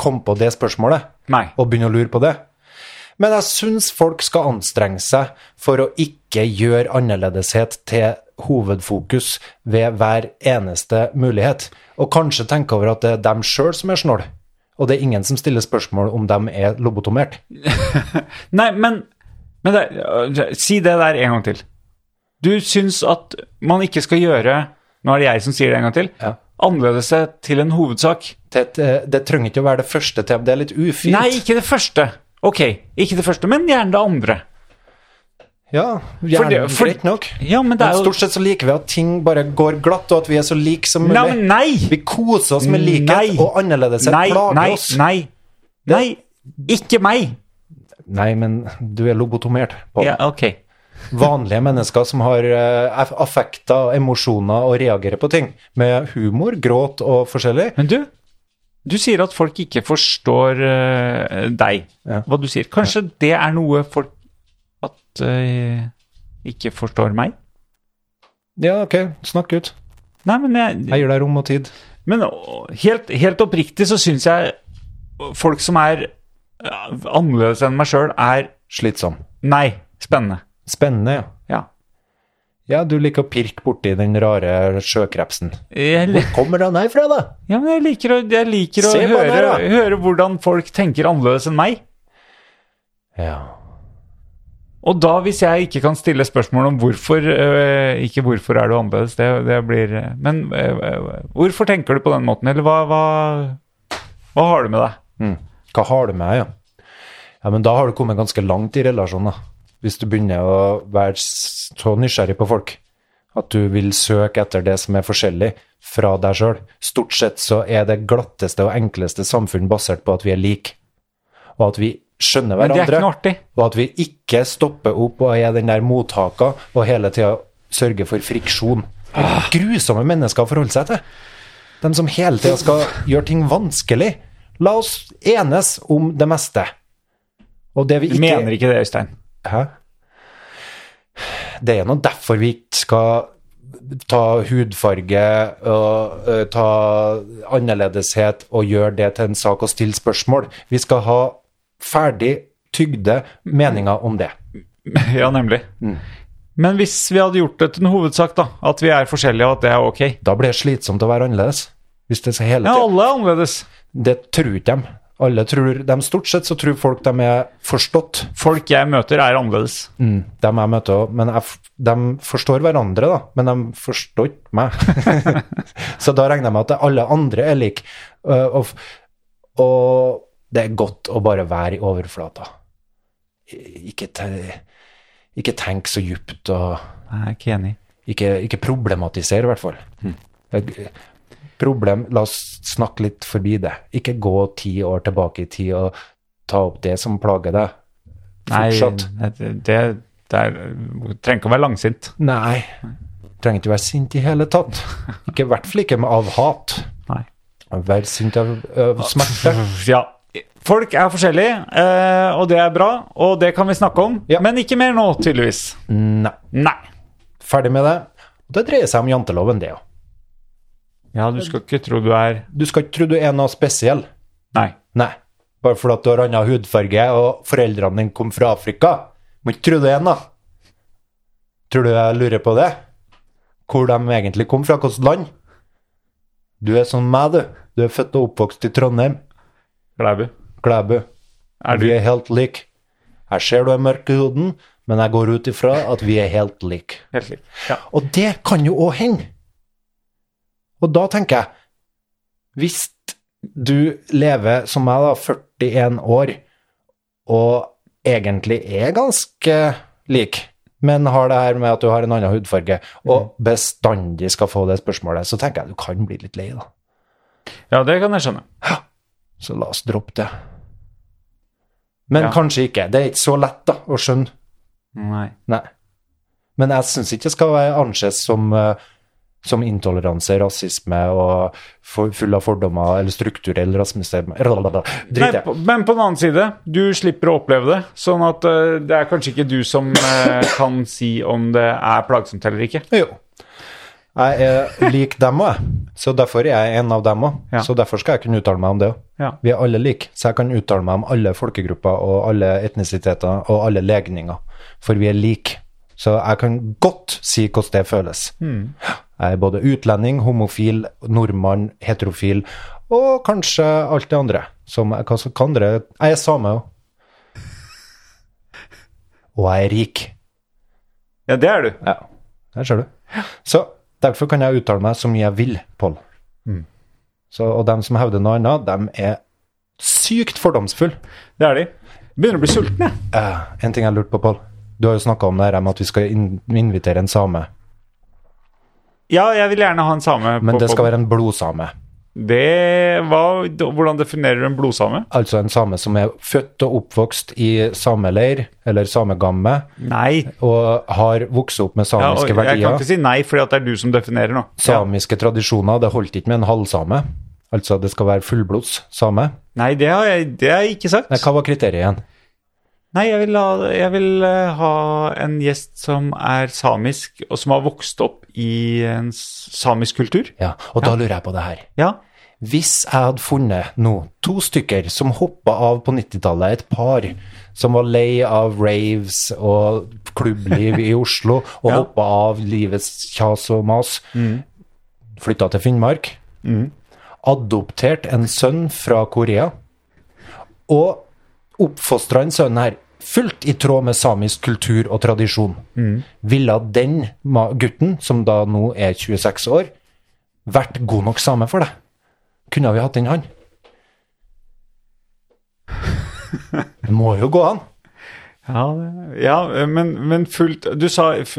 Speaker 1: komme på det spørsmålet
Speaker 2: Nei.
Speaker 1: og begynne å lure på det. Men jeg syns folk skal anstrenge seg for å ikke gjøre annerledeshet til hovedfokus ved hver eneste mulighet, og kanskje tenke over at det er dem sjøl som er snål, og det er ingen som stiller spørsmål om dem er lobotomert.
Speaker 2: Nei, men, men det, øh, Si det der en gang til. Du syns at man ikke skal gjøre Nå er det jeg som sier det en gang til.
Speaker 1: Ja.
Speaker 2: Annerledes til en hovedsak.
Speaker 1: Det, det, det trenger ikke å være det første til, det er litt ufint.
Speaker 2: Nei, ikke det første. Ok, ikke det første, men gjerne det andre.
Speaker 1: Ja,
Speaker 2: For
Speaker 1: gjerne
Speaker 2: det- for-
Speaker 1: greit nok.
Speaker 2: Ja, men
Speaker 1: Men
Speaker 2: det er jo
Speaker 1: stort sett så liker vi at ting bare går glatt, og at vi er så like som mulig.
Speaker 2: Nei, men nei!
Speaker 1: Vi koser oss med likhet
Speaker 2: Nei.
Speaker 1: og annerledeshet,
Speaker 2: Nei,
Speaker 1: plager
Speaker 2: nei,
Speaker 1: oss.
Speaker 2: nei. Nei, ikke meg!
Speaker 1: Nei, men du er lobotomert. På.
Speaker 2: Ja, ok.
Speaker 1: Vanlige mennesker som har eh, aff- affekter, emosjoner og reagerer på ting. Med humor, gråt og forskjellig.
Speaker 2: Men du, du sier at folk ikke forstår eh, deg,
Speaker 1: Ja.
Speaker 2: hva du sier. Kanskje det er noe folk at eh, ikke forstår meg?
Speaker 1: Ja, ok, snakk ut.
Speaker 2: Nei, men, jeg,
Speaker 1: Jeg gir deg rom og tid.
Speaker 2: men å, helt, helt oppriktig så syns jeg folk som er ja, annerledes enn meg sjøl, er
Speaker 1: Slitsom.
Speaker 2: Nei, spennende.
Speaker 1: Spennende, ja.
Speaker 2: Ja.
Speaker 1: Ja, du liker å pirke borti den rare sjøkrepsen.
Speaker 2: Jeg, li-
Speaker 1: Hvor kommer den her fra, da?
Speaker 2: ja, men jeg liker å, jeg liker å
Speaker 1: Se på den
Speaker 2: høre,
Speaker 1: her, da.
Speaker 2: høre hvordan folk tenker annerledes enn meg.
Speaker 1: Ja.
Speaker 2: Og da, hvis jeg ikke kan stille spørsmål om hvorfor øh, Ikke hvorfor er du annerledes, det, det blir øh, Men øh, øh, hvorfor tenker du på den måten, eller hva, hva, hva har du med deg?
Speaker 1: Hva har du med, ja? Ja, men da har du kommet ganske langt i relasjonen, da. Hvis du begynner å være s- så nysgjerrig på folk at du vil søke etter det som er forskjellig fra deg sjøl. Stort sett så er det glatteste og enkleste samfunn basert på at vi er like, og at vi skjønner
Speaker 2: Men det er ikke noe
Speaker 1: hverandre,
Speaker 2: artig.
Speaker 1: og at vi ikke stopper opp og er den der mottaker og hele tida sørger for friksjon. Det er grusomme mennesker å forholde seg til. De som hele tida skal gjøre ting vanskelig. La oss enes om det meste. Og det vi
Speaker 2: Du
Speaker 1: ikke
Speaker 2: mener ikke det, Øystein.
Speaker 1: Hæ? Det er nå derfor vi ikke skal ta hudfarge og eh, ta annerledeshet og gjøre det til en sak og stille spørsmål. Vi skal ha ferdig tygde meninger om det.
Speaker 2: ja, nemlig. Men hvis vi hadde gjort det til en hovedsak, da, at vi er forskjellige, og at det er ok
Speaker 1: Da blir det slitsomt å være annerledes. Hvis det er hele
Speaker 2: Ja,
Speaker 1: tiden.
Speaker 2: alle er annerledes.
Speaker 1: Det tror ikke de. Alle tror, de stort sett så tror folk de er forstått.
Speaker 2: Folk jeg møter, er annerledes.
Speaker 1: Mm, dem jeg møter også, men jeg, f- de forstår hverandre, da, men de forstår ikke meg. så da regner jeg med at alle andre er like. Eh, og, f- og det er godt å bare være i overflata. I- Ikke, te, ikke tenk så djupt, og
Speaker 2: Jeg er ikke enig.
Speaker 1: ikke, ikke problematisere, i hvert fall. Jeg- Problem, la oss snakke litt forbi det. Ikke gå ti år tilbake i tid og ta opp det som plager deg. Fortsatt.
Speaker 2: Nei, det, det, det er, trenger ikke å være langsint.
Speaker 1: Nei. Trenger ikke være sint i hele tatt. Ikke i hvert fall ikke med av hat.
Speaker 2: Nei.
Speaker 1: Vær sint av, av smerte.
Speaker 2: Ja. Folk er forskjellige, eh, og det er bra, og det kan vi snakke om.
Speaker 1: Ja.
Speaker 2: Men ikke mer nå, tydeligvis.
Speaker 1: Nei.
Speaker 2: Nei.
Speaker 1: Ferdig med det. Og det dreier seg om janteloven, det òg.
Speaker 2: Ja, du skal ikke tro du er
Speaker 1: Du skal ikke tro du er noe spesiell.
Speaker 2: Nei.
Speaker 1: Nei. Bare fordi at du har annen hudfarge og foreldrene dine kom fra Afrika. Må ikke tro det ennå. Tror du jeg lurer på det? Hvor de egentlig kom fra? Hvilket land? Du er sånn meg, du. Du er født og oppvokst i Trondheim.
Speaker 2: Klæbu.
Speaker 1: Klæbu.
Speaker 2: Er du
Speaker 1: Vi er helt like. Jeg ser du er mørk i huden, men jeg går ut ifra at vi er helt like.
Speaker 2: helt lik? Ja.
Speaker 1: Og det kan jo òg hende. Og da tenker jeg Hvis du lever som meg, da, 41 år, og egentlig er ganske lik, men har det her med at du har en annen hudfarge, og bestandig skal få det spørsmålet, så tenker jeg du kan bli litt lei, da.
Speaker 2: ja, det kan jeg skjønne.
Speaker 1: Så la oss droppe det. Men
Speaker 2: Ja.
Speaker 1: kanskje ikke. Det er ikke så lett da, å skjønne.
Speaker 2: Nei.
Speaker 1: Nei. Men jeg syns ikke det skal være anses som, eh, som intoleranse, rasisme og for, full av fordommer eller strukturell rasisme. Blablabla. Drit
Speaker 2: Nei,
Speaker 1: i.
Speaker 2: på, men på den annen side, du slipper å oppleve det. Sånn at eh, det er kanskje ikke du som eh, kan si om det er plagsomt eller ikke.
Speaker 1: Jo. Jeg er lik dem òg, så derfor er jeg en av dem òg.
Speaker 2: Ja.
Speaker 1: Så derfor skal jeg kunne uttale meg om det òg.
Speaker 2: Ja.
Speaker 1: Vi er alle like, så jeg kan uttale meg om alle folkegrupper og alle etnisiteter og alle legninger, for vi er like. Så jeg kan godt si hvordan det føles. Jeg er både utlending, homofil, nordmann, heterofil og kanskje alt det andre. Som jeg, hva, hva andre Jeg er same òg. Og jeg er rik.
Speaker 2: Ja, det er du.
Speaker 1: Ja, der ser du. Så derfor kan jeg uttale meg så mye jeg vil, Pål.
Speaker 2: Mm.
Speaker 1: Så, og dem som hevder noe annet, dem er sykt fordomsfulle.
Speaker 2: Det er de. Begynner å bli sulten, jeg.
Speaker 1: Eh, en ting jeg lurte på, Pål. Du har jo snakka om det her med at vi skal in invitere en same,
Speaker 2: Ja, jeg vil gjerne ha en same.
Speaker 1: men
Speaker 2: på
Speaker 1: det skal
Speaker 2: podden.
Speaker 1: være en blodsame.
Speaker 2: det, hva, d- Hvordan definerer du en blodsame?
Speaker 1: Altså en same som er født og oppvokst i sameleir eller samegamme,
Speaker 2: Nei.
Speaker 1: og har vokst opp med
Speaker 2: Ja, og
Speaker 1: samiske
Speaker 2: jeg kan
Speaker 1: verdier,
Speaker 2: ikke si nei, fordi at det er du som definerer nå.
Speaker 1: samiske tradisjoner. Det holdt ikke med en halvsame. Altså det skal være fullblods same.
Speaker 2: Nei, det har jeg, det har jeg ikke sagt.
Speaker 1: Nei, Hva var kriteriet igjen?
Speaker 2: Nei, jeg vil, ha, jeg vil eh, ha en gjest som er samisk, og som har vokst opp i en s- samisk kultur.
Speaker 1: Ja, og da lurer jeg på det her.
Speaker 2: Ja.
Speaker 1: Hvis jeg hadde funnet nå to stykker som hoppa av på 90-tallet, et par som var lei av raves og klubbliv i Oslo, og
Speaker 2: Ja.
Speaker 1: hoppa av livets kjas og mas, flytta til Finnmark, adoptert en sønn fra Korea, og oppfostra en sønn her fullt i tråd med samisk kultur og tradisjon, ville den ma- gutten, som da nå er 26 år, vært god nok same for deg? Kunne vi hatt inn han? Det må jo gå an.
Speaker 2: Ja, det- ja men, men fullt Du sa f-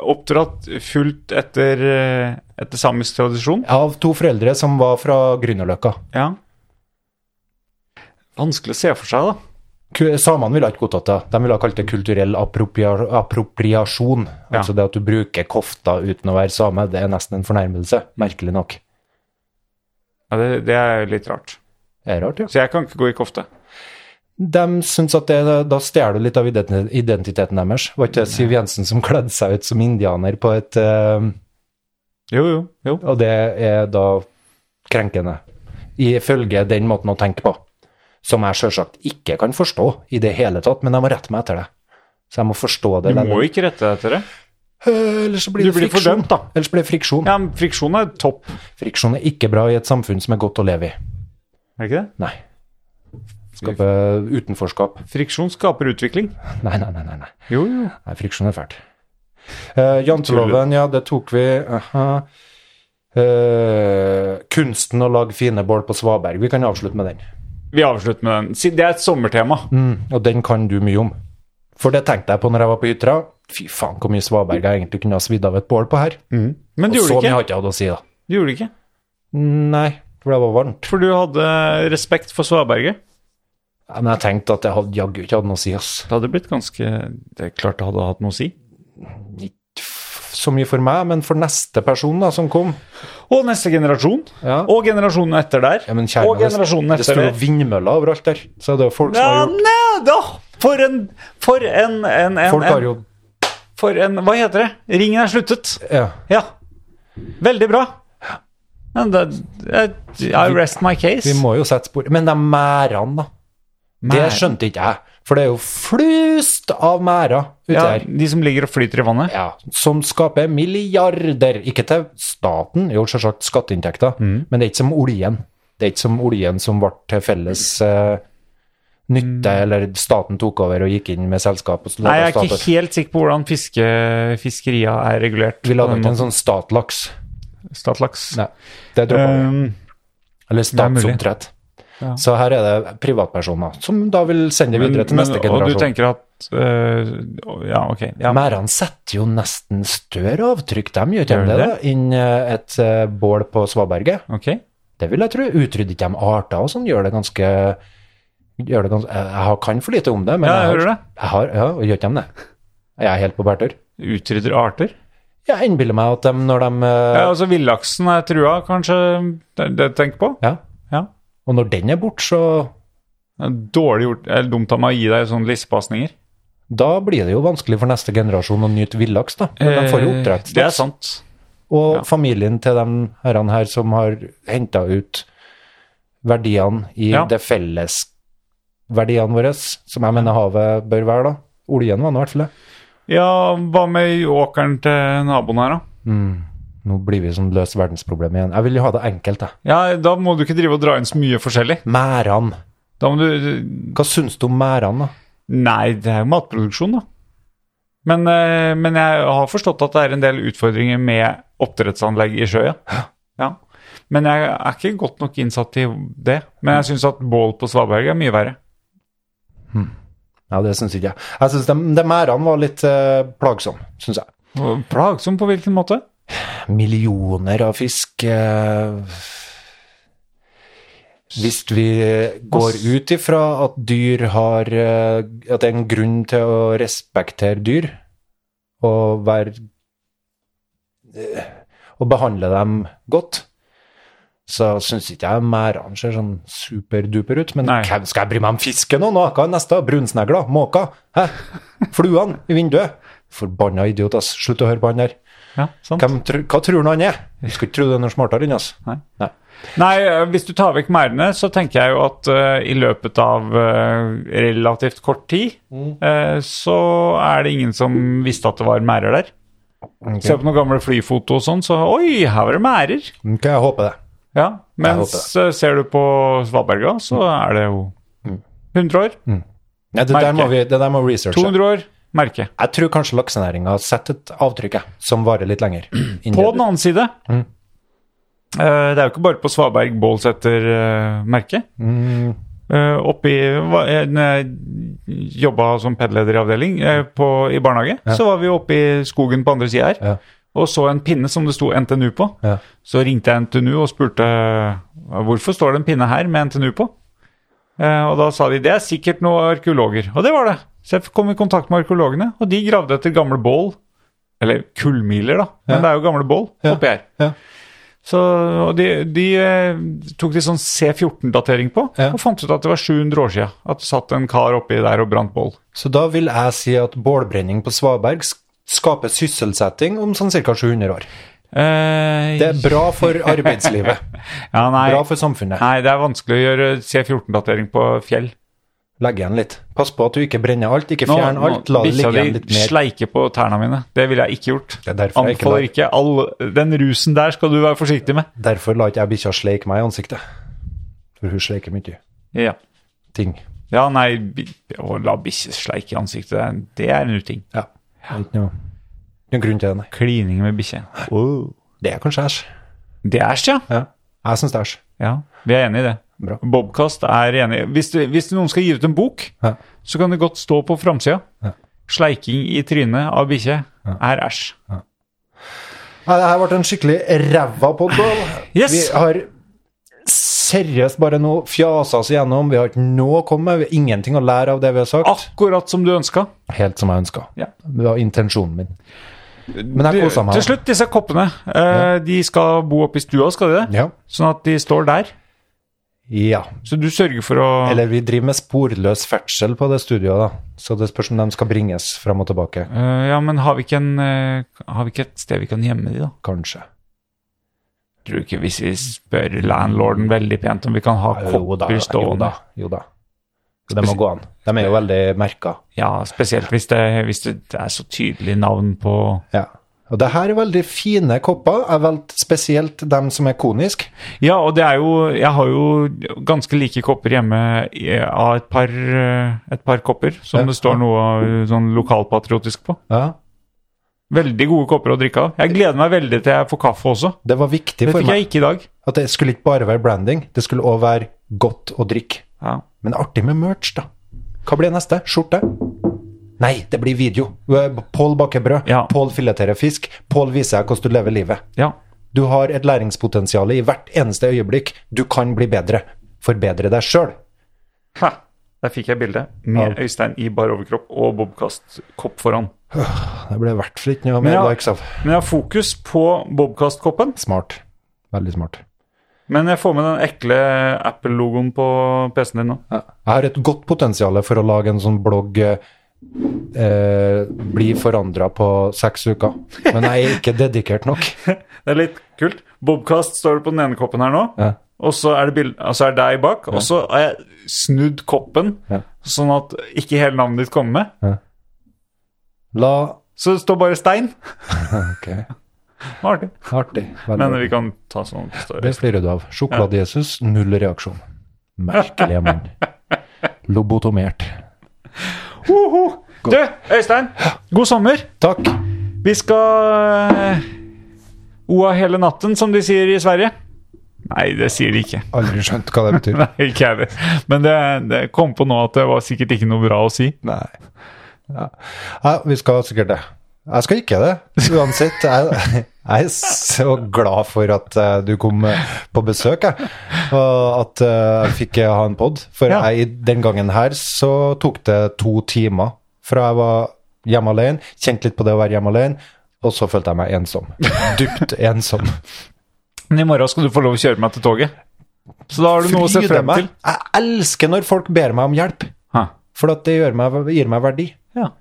Speaker 2: oppdratt fullt etter, eh, etter samisk tradisjon?
Speaker 1: Av to foreldre som var fra Grünerløkka.
Speaker 2: Ja. Vanskelig å se for seg, da.
Speaker 1: Ku- Samene ville ikke godtatt det. De ville ha kalt det kulturell appropria appropriasjon.
Speaker 2: Ja.
Speaker 1: Altså det at du bruker kofta uten å være same, det er nesten en fornærmelse. Merkelig nok.
Speaker 2: Ja, det, det er litt rart.
Speaker 1: Det er rart, ja.
Speaker 2: Så jeg kan ikke gå i kofte.
Speaker 1: De syns at det, da stjeler du litt av identi- identiteten deres. Var ikke det Siv Jensen som kledde seg ut som indianer på et eh,
Speaker 2: Jo, jo. jo.
Speaker 1: Og det er da krenkende. Ifølge den måten å tenke på. Som jeg sjølsagt ikke kan forstå i det hele tatt, men jeg må rette meg etter det. Så jeg må forstå det.
Speaker 2: Du må ikke rette deg etter det.
Speaker 1: Ellers så blir
Speaker 2: Du
Speaker 1: det
Speaker 2: blir
Speaker 1: friksjon.
Speaker 2: fordømt, da.
Speaker 1: Ellers blir det friksjon.
Speaker 2: Ja, men friksjon er topp,
Speaker 1: Friksjon er ikke bra i et samfunn som er godt å leve i.
Speaker 2: er det ikke det?
Speaker 1: Nei. Skape utenforskap.
Speaker 2: Friksjon skaper utvikling.
Speaker 1: Nei, nei, nei. nei, nei.
Speaker 2: Jo, jo.
Speaker 1: nei friksjon er fælt. Eh, janteloven, ja, det tok vi. aha. Eh, kunsten å lage fine bål på svaberg. Vi kan avslutte med den.
Speaker 2: Vi avslutter med den. Si- Det er et sommertema.
Speaker 1: Mm, og den kan du mye om. For det tenkte jeg på når jeg var på Ytra. Fy faen, hvor mye svaberg jeg egentlig kunne ha svidd av et bål på her.
Speaker 2: Mm. Men
Speaker 1: Og
Speaker 2: du
Speaker 1: så
Speaker 2: gjorde det
Speaker 1: mye har
Speaker 2: ikke.
Speaker 1: ikke jeg hatt å si, da.
Speaker 2: Du gjorde det ikke.
Speaker 1: Nei, for det var varmt.
Speaker 2: For du hadde respekt for svaberget.
Speaker 1: Ja, Men jeg tenkte at jeg hadde jaggu ikke hatt noe å si, ass.
Speaker 2: Det hadde blitt ganske Det er klart det hadde hatt noe å si.
Speaker 1: Så mye for meg, men for neste person da, som kom
Speaker 2: Og neste generasjon.
Speaker 1: Ja.
Speaker 2: Og generasjonen etter der.
Speaker 1: Ja, men kjære,
Speaker 2: og
Speaker 1: det-
Speaker 2: generasjonen
Speaker 1: Det
Speaker 2: etter
Speaker 1: står jo
Speaker 2: der.
Speaker 1: vindmøller overalt der. Så det er jo folk som
Speaker 2: Ja,
Speaker 1: har gjort
Speaker 2: nei, da! For en For en, en, en,
Speaker 1: Folk har
Speaker 2: en
Speaker 1: jo
Speaker 2: For en Hva heter det? Ringen er sluttet.
Speaker 1: Ja.
Speaker 2: Ja. Veldig bra. Men det, det- I rest my case.
Speaker 1: Vi må jo sette spor. Men de merdene, da. Det
Speaker 2: Mær-
Speaker 1: skjønte ikke jeg. For det er jo flust av merder ute
Speaker 2: ja,
Speaker 1: her.
Speaker 2: De som ligger og flyter i vannet.
Speaker 1: ja, som skaper milliarder, ikke til staten, jo selvsagt skatteinntekter,
Speaker 2: Mm.
Speaker 1: men det er ikke som oljen. Det er ikke som oljen som ble til felles eh, nytte, eller staten tok over og gikk inn med selskap. Og så
Speaker 2: Mm. Nei, jeg
Speaker 1: laget
Speaker 2: er ikke
Speaker 1: stater.
Speaker 2: helt sikker på hvordan fiske, fiskeria er regulert.
Speaker 1: Vi
Speaker 2: på
Speaker 1: lager
Speaker 2: den
Speaker 1: ikke en
Speaker 2: måten.
Speaker 1: sånn statlaks.
Speaker 2: Statlaks.
Speaker 1: Nei, det dropper vi.
Speaker 2: Um,
Speaker 1: Eller
Speaker 2: er mulig.
Speaker 1: statsoppdrett.
Speaker 2: Ja.
Speaker 1: Så her er det privatpersoner som da vil sende det
Speaker 2: men,
Speaker 1: videre til
Speaker 2: men,
Speaker 1: neste
Speaker 2: og du
Speaker 1: generasjon.
Speaker 2: tenker at øh, Ja, ok. Ja.
Speaker 1: Merdene setter jo nesten større avtrykk, de gjør ikke
Speaker 2: Gjør
Speaker 1: de
Speaker 2: de
Speaker 1: det, da, inn eh, et eh, bål på svaberget.
Speaker 2: ok.
Speaker 1: Det vil jeg tro. Utrydder ikke de arter og sånn, gjør det ganske gjør det ganske, jeg, jeg har- kan for lite om det, men
Speaker 2: Ja, jeg
Speaker 1: jeg, har,
Speaker 2: hører det.
Speaker 1: jeg har ja, og gjør ikke de det. Jeg er helt på bærtur.
Speaker 2: Utrydder arter?
Speaker 1: Jeg innbiller meg at de, når de eh,
Speaker 2: Ja, altså Villaksen er trua, kanskje? Det det du tenker på?
Speaker 1: ja.
Speaker 2: Ja.
Speaker 1: Og når den er borte, så
Speaker 2: Dårlig gjort, eller dumt av meg å gi deg sånne lissepasninger.
Speaker 1: Da blir det jo vanskelig for neste generasjon å nyte villaks, da. Men de får jo
Speaker 2: Eh, Det er
Speaker 1: oppdrettslaks.
Speaker 2: sant.
Speaker 1: Og familien til de herrene her som har henta ut verdiene i
Speaker 2: Ja.
Speaker 1: det felles verdiene våre, som jeg mener havet bør være, da. Oljen var nå i hvert fall det.
Speaker 2: Ja, hva med åkeren til naboen her, da?
Speaker 1: Nå blir vi sånn løs verdensproblem igjen. Jeg vil jo ha det enkelt, jeg.
Speaker 2: Ja, Da må du ikke drive og dra inn så mye forskjellig.
Speaker 1: Mærene.
Speaker 2: Da må du
Speaker 1: Hva syns du om mærene, da?
Speaker 2: Nei, det er jo matproduksjon, da. Men, eh, men jeg har forstått at det er en del utfordringer med oppdrettsanlegg i sjø, ja. ja. Men jeg er ikke godt nok innsatt i det. Men jeg syns at bål på svaberg er mye verre.
Speaker 1: Ja, det syns ikke jeg. Jeg syns de, de mærene var litt eh, plagsomme, syns jeg.
Speaker 2: Og Plagsom på hvilken måte?
Speaker 1: millioner av fisk eh, Hvis vi går ut ifra at dyr har eh, At det er en grunn til å respektere dyr og være eh, Og behandle dem godt, så syns ikke jeg merdene ser sånn superduper ut. Men
Speaker 2: Nei.
Speaker 1: hvem skal jeg bry meg om fisken og noe av det neste? Brunsnegler, måker, hæ? Fluene i vinduet? Forbanna idiot, ass. Slutt å høre på han der.
Speaker 2: Ja, sant?
Speaker 1: Hvem, tr- hva tror han han er? Du skal ikke tro det er noe smartere enn oss.
Speaker 2: Nei.
Speaker 1: Nei.
Speaker 2: Nei, eh, hvis du tar vekk merdene, så tenker jeg jo at eh, i løpet av eh, relativt kort tid, eh, så er det ingen som visste at det var merder der. Se på noen gamle flyfoto og sånn, så oi, her var det merder.
Speaker 1: Ok, jeg håper det.
Speaker 2: Ja,
Speaker 1: håper
Speaker 2: mens eh, ser du på Svaberga, så er det jo 100 år,
Speaker 1: Nei, det, der
Speaker 2: Merke.
Speaker 1: må vi, det der må vi researche.
Speaker 2: 200 år, merke.
Speaker 1: Jeg tror kanskje laksenæringa setter et avtrykk jeg, som varer litt lenger.
Speaker 2: På den annen side, eh, det er jo ikke bare på Svaberg Bålsetter eh, merke. Eh, oppi hva- en, eh, Jobba som pedleder i avdeling eh, på, i barnehage. Så var vi oppe i skogen på andre sida her
Speaker 1: Ja.
Speaker 2: og så en pinne som det sto NTNU på.
Speaker 1: Ja.
Speaker 2: Så ringte jeg NTNU og spurte hvorfor står det en pinne her med NTNU på. Eh, og da sa de det er sikkert noen arkeologer. Og det var det. Så jeg kom i kontakt med arkeologene, og de gravde etter gamle bål. Eller kullmiler, da. Men
Speaker 1: Ja.
Speaker 2: det er jo gamle bål
Speaker 1: Ja.
Speaker 2: oppi her.
Speaker 1: Ja.
Speaker 2: Så, og de, de eh, tok de sånn C14-datering på,
Speaker 1: Ja.
Speaker 2: og fant ut at det var 700 år siden at det satt en kar oppi der og brant bål.
Speaker 1: Så da vil jeg si at bålbrenning på Svaberg sk- skaper sysselsetting om sånn ca. 700 år.
Speaker 2: Eh,
Speaker 1: Det er bra for arbeidslivet.
Speaker 2: ja, nei,
Speaker 1: Bra for samfunnet.
Speaker 2: nei, det er vanskelig å gjøre C14-datering på fjell.
Speaker 1: Legg igjen litt. Pass på at du ikke brenner alt, ikke
Speaker 2: Nå-
Speaker 1: fjern alt.
Speaker 2: nå-
Speaker 1: La det
Speaker 2: bikkja
Speaker 1: ligge
Speaker 2: di
Speaker 1: igjen litt mer.
Speaker 2: sleiker på tærne mine. Det ville jeg ikke gjort.
Speaker 1: Det er derfor jeg ikke
Speaker 2: Anbefaler ikke all Den rusen der skal du være forsiktig med.
Speaker 1: Derfor la ikke jeg bikkja sleike meg i ansiktet. For hun sleiker mye
Speaker 2: Ja,
Speaker 1: ting.
Speaker 2: ja nei, bi- å la bikkjer sleike i ansiktet, det er- det er en uting.
Speaker 1: Ja. Det er Ikke noe, noen grunn til det, nei.
Speaker 2: Klining med bikkje.
Speaker 1: Det er kanskje æsj.
Speaker 2: Det er æsj, ja.
Speaker 1: Ja. Jeg syns det er æsj.
Speaker 2: Ja, vi er enige i det.
Speaker 1: Bra.
Speaker 2: Bobkast er enig. Hvis, det- hvis noen skal gi ut en bok,
Speaker 1: Ja.
Speaker 2: så kan det godt stå på framsida. Sleiking i trynet av bikkje er æsj.
Speaker 1: Nei, det her ble en skikkelig ræva podkall.
Speaker 2: Yes.
Speaker 1: Vi har seriøst bare nå fjasa oss igjennom. Vi har ikke noe å komme med. Vi har ingenting å lære av det vi har sagt.
Speaker 2: Akkurat som du ønska.
Speaker 1: Helt som jeg ønska.
Speaker 2: Ja.
Speaker 1: Det var intensjonen min. Men jeg
Speaker 2: Du,
Speaker 1: kosa meg.
Speaker 2: Til slutt, disse koppene. Eh, De skal bo oppe i stua, skal de det?
Speaker 1: Ja.
Speaker 2: Sånn at de står der.
Speaker 1: ja.
Speaker 2: Så du sørger for å
Speaker 1: Eller vi driver med sporløs ferdsel på det studioet, da. Så det spørs om de skal bringes fram og tilbake.
Speaker 2: Eh, Ja, men har vi, ikke en, eh, har vi ikke et sted vi kan gjemme de, da?
Speaker 1: Kanskje.
Speaker 2: Tror du ikke hvis vi spør landlorden veldig pent om vi kan ha
Speaker 1: Jo da.
Speaker 2: kopper
Speaker 1: Jo da.
Speaker 2: stående?
Speaker 1: Jo da. Det må gå an. De er jo veldig merka.
Speaker 2: Ja, spesielt hvis det, hvis det er så tydelig navn på
Speaker 1: Ja. Og det her er veldig fine kopper. Jeg valgte spesielt dem som er konisk.
Speaker 2: Ja, og det er jo Jeg har jo ganske like kopper hjemme i- av et par, eh, et par kopper som
Speaker 1: Ja.
Speaker 2: det står noe eh, sånn lokalpatriotisk på.
Speaker 1: Ja.
Speaker 2: Veldig gode kopper å drikke av. Jeg gleder meg veldig til jeg får kaffe også.
Speaker 1: Det var viktig
Speaker 2: Det
Speaker 1: for
Speaker 2: fikk jeg
Speaker 1: meg.
Speaker 2: ikke i dag.
Speaker 1: At det skulle ikke bare være branding, det skulle òg være godt å drikke.
Speaker 2: Ja.
Speaker 1: Men artig med merch, da. Hva blir neste? Skjorte? Nei, det blir video. Pål baker brød.
Speaker 2: Ja.
Speaker 1: Pål fileterer fisk. Pål viser deg hvordan du lever livet.
Speaker 2: ja.
Speaker 1: Du har et læringspotensial i hvert eneste øyeblikk. Du kan bli bedre. Forbedre deg sjøl.
Speaker 2: Ha. Der fikk jeg bildet med
Speaker 1: Ja.
Speaker 2: Øystein i bar overkropp og bobkastkopp foran.
Speaker 1: Det ble i hvert fall ikke noe
Speaker 2: Men
Speaker 1: mer
Speaker 2: ja.
Speaker 1: likes av.
Speaker 2: Men jeg har fokus på bobkastkoppen.
Speaker 1: Smart. Veldig smart.
Speaker 2: Men jeg får med den ekle Apple-logoen på PC-en din nå.
Speaker 1: Ja. Jeg har et godt potensial for å lage en sånn blogg eh, eh, bli forandra på seks uker. Men jeg er ikke dedikert nok.
Speaker 2: Det er litt kult. Bobkast står det på den ene koppen her nå.
Speaker 1: Ja.
Speaker 2: Og så er det, bild- altså er det deg bak, og så har jeg snudd koppen,
Speaker 1: Ja.
Speaker 2: sånn at ikke hele navnet ditt kommer med.
Speaker 1: La
Speaker 2: Så det står bare Stein.
Speaker 1: Ok,
Speaker 2: Det var Artig.
Speaker 1: artig. Veldig
Speaker 2: Men
Speaker 1: bra.
Speaker 2: vi kan ta sånn at det står-
Speaker 1: Det flirer du av. Sjokolade-Jesus, null reaksjon. Merkelige mann. Lobotomert.
Speaker 2: Hoho! Du, Øystein, god sommer.
Speaker 1: Takk.
Speaker 2: Vi skal eh, oa hele natten, som de sier i Sverige. Nei, det sier de ikke.
Speaker 1: Aldri skjønt hva det betyr.
Speaker 2: Nei, ikke jeg heller. Men det, det kom på nå at det var sikkert ikke noe bra å si.
Speaker 1: Nei. Ja. ja, vi skal sikkert det. Jeg skal ikke det, uansett. Jeg, jeg er så glad for at eh, du kom eh, på besøk, jeg. Og at eh, jeg fikk eh, ha en pod. For
Speaker 2: Ja.
Speaker 1: jeg, den gangen her så tok det to timer fra jeg var hjemme alene, kjente litt på det å være hjemme alene, og så følte jeg meg ensom. Dypt ensom.
Speaker 2: Men i morgen skal du få lov å kjøre meg til toget. Så da har du noe å se
Speaker 1: Fryder
Speaker 2: frem
Speaker 1: meg.
Speaker 2: til.
Speaker 1: Jeg elsker når folk ber meg om hjelp,
Speaker 2: Hæ.
Speaker 1: for at det gjør meg, gir meg verdi.
Speaker 2: Ja.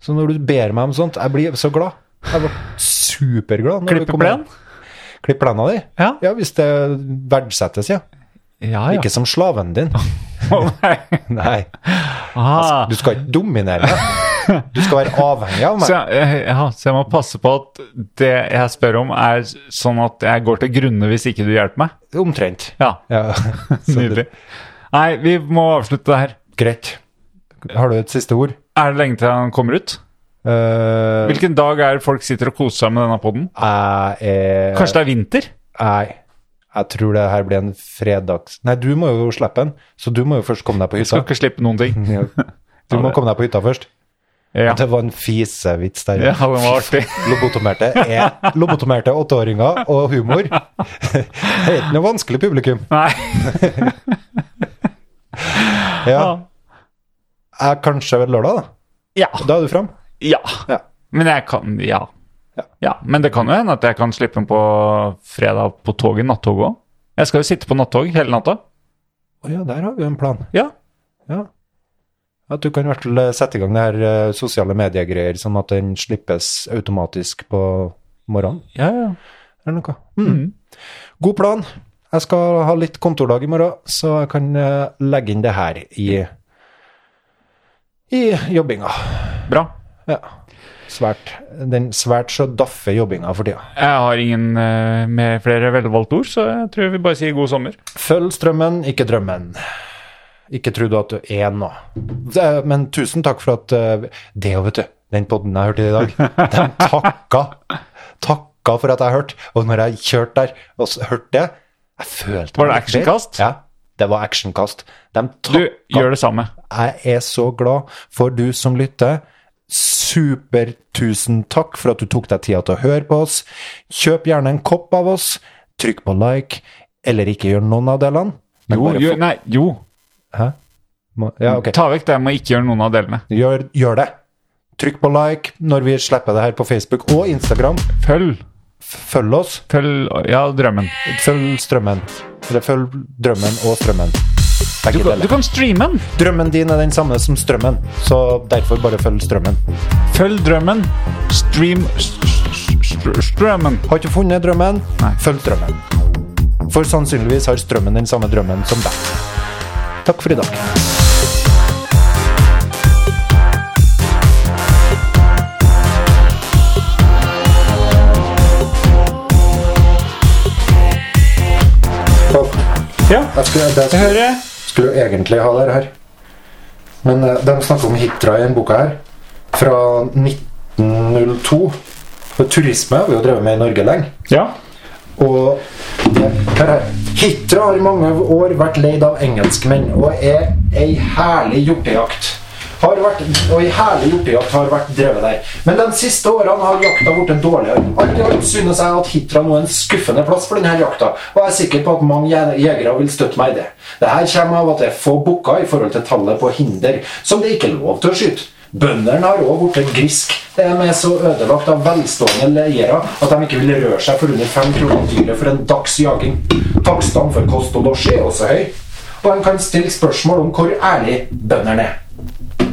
Speaker 1: Så når du ber meg om sånt, jeg blir så glad. Jeg ble superglad. når du
Speaker 2: Klippe
Speaker 1: kom
Speaker 2: plen?
Speaker 1: hjem. Klipp plena di?
Speaker 2: Ja.
Speaker 1: Ja, hvis det verdsettes, ja.
Speaker 2: Ja, ja.
Speaker 1: Ikke som slaven din.
Speaker 2: Å, nei.
Speaker 1: Nei, Altså,
Speaker 2: Ah.
Speaker 1: du skal ikke dominere meg. Du skal være avhengig av
Speaker 2: Så
Speaker 1: meg.
Speaker 2: jeg, eh, ja, så jeg må passe på at det jeg spør om, er sånn at jeg går til grunne hvis ikke du hjelper meg.
Speaker 1: Omtrent.
Speaker 2: Ja,
Speaker 1: Ja. så det-
Speaker 2: Nydelig. Nei, vi må avslutte det her.
Speaker 1: Greit. Har du et siste ord?
Speaker 2: Er det lenge til han kommer ut?
Speaker 1: Eh,
Speaker 2: Hvilken dag er det folk sitter og koser seg med denne poden?
Speaker 1: jeg er
Speaker 2: Kanskje det er vinter?
Speaker 1: Nei. Jeg tror det her blir en fredags... Nei, du må jo slippe den, så du må jo først komme deg på
Speaker 2: Skal
Speaker 1: hytta.
Speaker 2: ikke slippe noen ting.
Speaker 1: Ja. Du må komme deg på hytta først.
Speaker 2: Ja,
Speaker 1: Det var en fisevits der.
Speaker 2: ja den var artig.
Speaker 1: Lobotomerte er lobotomerte åtteåringer og humor. Det er ikke noe vanskelig publikum.
Speaker 2: Nei.
Speaker 1: Ja. Jeg kanskje ved lørdag, da.
Speaker 2: Ja.
Speaker 1: Da er du fram.
Speaker 2: Ja.
Speaker 1: Ja.
Speaker 2: Men jeg kan Ja.
Speaker 1: Ja.
Speaker 2: Ja, Men det kan jo hende at jeg kan slippe den på fredag på toget, nattog òg. Jeg skal jo sitte på nattog hele natta.
Speaker 1: Å ja, der har vi jo en plan.
Speaker 2: Ja.
Speaker 1: Ja. At du kan i hvert fall eh, sette i gang det her eh, sosiale mediegreier, sånn at den slippes automatisk på morgenen
Speaker 2: Ja, ja.
Speaker 1: eller noe. God plan. Jeg skal ha litt kontordag i morgen, så jeg kan eh, legge inn det her i, i jobbinga.
Speaker 2: Bra.
Speaker 1: Ja. Svært, den svært så daffe jobbinga for tida.
Speaker 2: Jeg har ingen eh, med flere velvalgte ord, så jeg tror vi bare sier god sommer.
Speaker 1: Følg strømmen, ikke drømmen. Ikke tro du at du er noe. Det- Men tusen takk for at eh, Det jo, vet du. Den podden jeg hørte i dag, de takka. Takka for at jeg hørte. Og når jeg kjørte der og s- hørte det, jeg følte meg litt
Speaker 2: Var det
Speaker 1: bedre.
Speaker 2: actionkast?
Speaker 1: Ja. Det var actionkast. De
Speaker 2: Du,
Speaker 1: takka.
Speaker 2: gjør det samme.
Speaker 1: Jeg er så glad for du som lytter. Super tusen takk for at du tok deg tida til å høre på oss. Kjøp gjerne en kopp av oss. Trykk på like, eller ikke gjør noen av delene. Men
Speaker 2: Jo,
Speaker 1: bare
Speaker 2: jo,
Speaker 1: få-
Speaker 2: nei, jo.
Speaker 1: må- Ja, ok.
Speaker 2: Ta vekk det med å ikke gjøre noen av delene.
Speaker 1: Gjør, gjør det. Trykk på like når vi slipper det her på Facebook og Instagram.
Speaker 2: Følg.
Speaker 1: Følg oss.
Speaker 2: Følg Ja, drømmen.
Speaker 1: Følg strømmen. Eller følg drømmen og strømmen. Begge
Speaker 2: Du kan, du
Speaker 1: deler.
Speaker 2: kan streame den!
Speaker 1: Drømmen din er den samme som strømmen, så derfor bare følg strømmen.
Speaker 2: Følg drømmen. Stream s- s- s- Strømmen.
Speaker 1: Har ikke funnet drømmen,
Speaker 2: Nei.
Speaker 1: følg drømmen. For sannsynligvis har strømmen den samme drømmen som deg. Takk for i dag.
Speaker 2: Ja,
Speaker 1: Jeg skulle, det
Speaker 2: jeg
Speaker 1: skulle,
Speaker 2: hører.
Speaker 1: skulle jo egentlig ha det her. Men eh, de snakker om Hitra i den boka her. Fra 1902. For turisme har vi jo drevet med i Norge lenge.
Speaker 2: Ja.
Speaker 1: Og det, hør her. Hitra har i mange år vært leid av engelskmenn og er ei herlig hjortejakt. Har
Speaker 8: vært, og i herlig hjortejakt har vært drevet der. Men de siste årene har jakta blitt dårligere. Alt i alt synes jeg at Hitra nå er en skuffende plass for denne jakta, og jeg er sikker på at mange je- jegere vil støtte meg i det. Dette kommer av at det er få bukker i forhold til tallet på hinder, som det ikke er lov til å skyte. Bøndene har òg blitt grisk. De er så ødelagt av velstående leiere at de ikke vil røre seg for under fem kroner dyret for en dags jaging. Takstene for kost og losji er også høy, og en kan stille spørsmål om hvor ærlig bøndene er.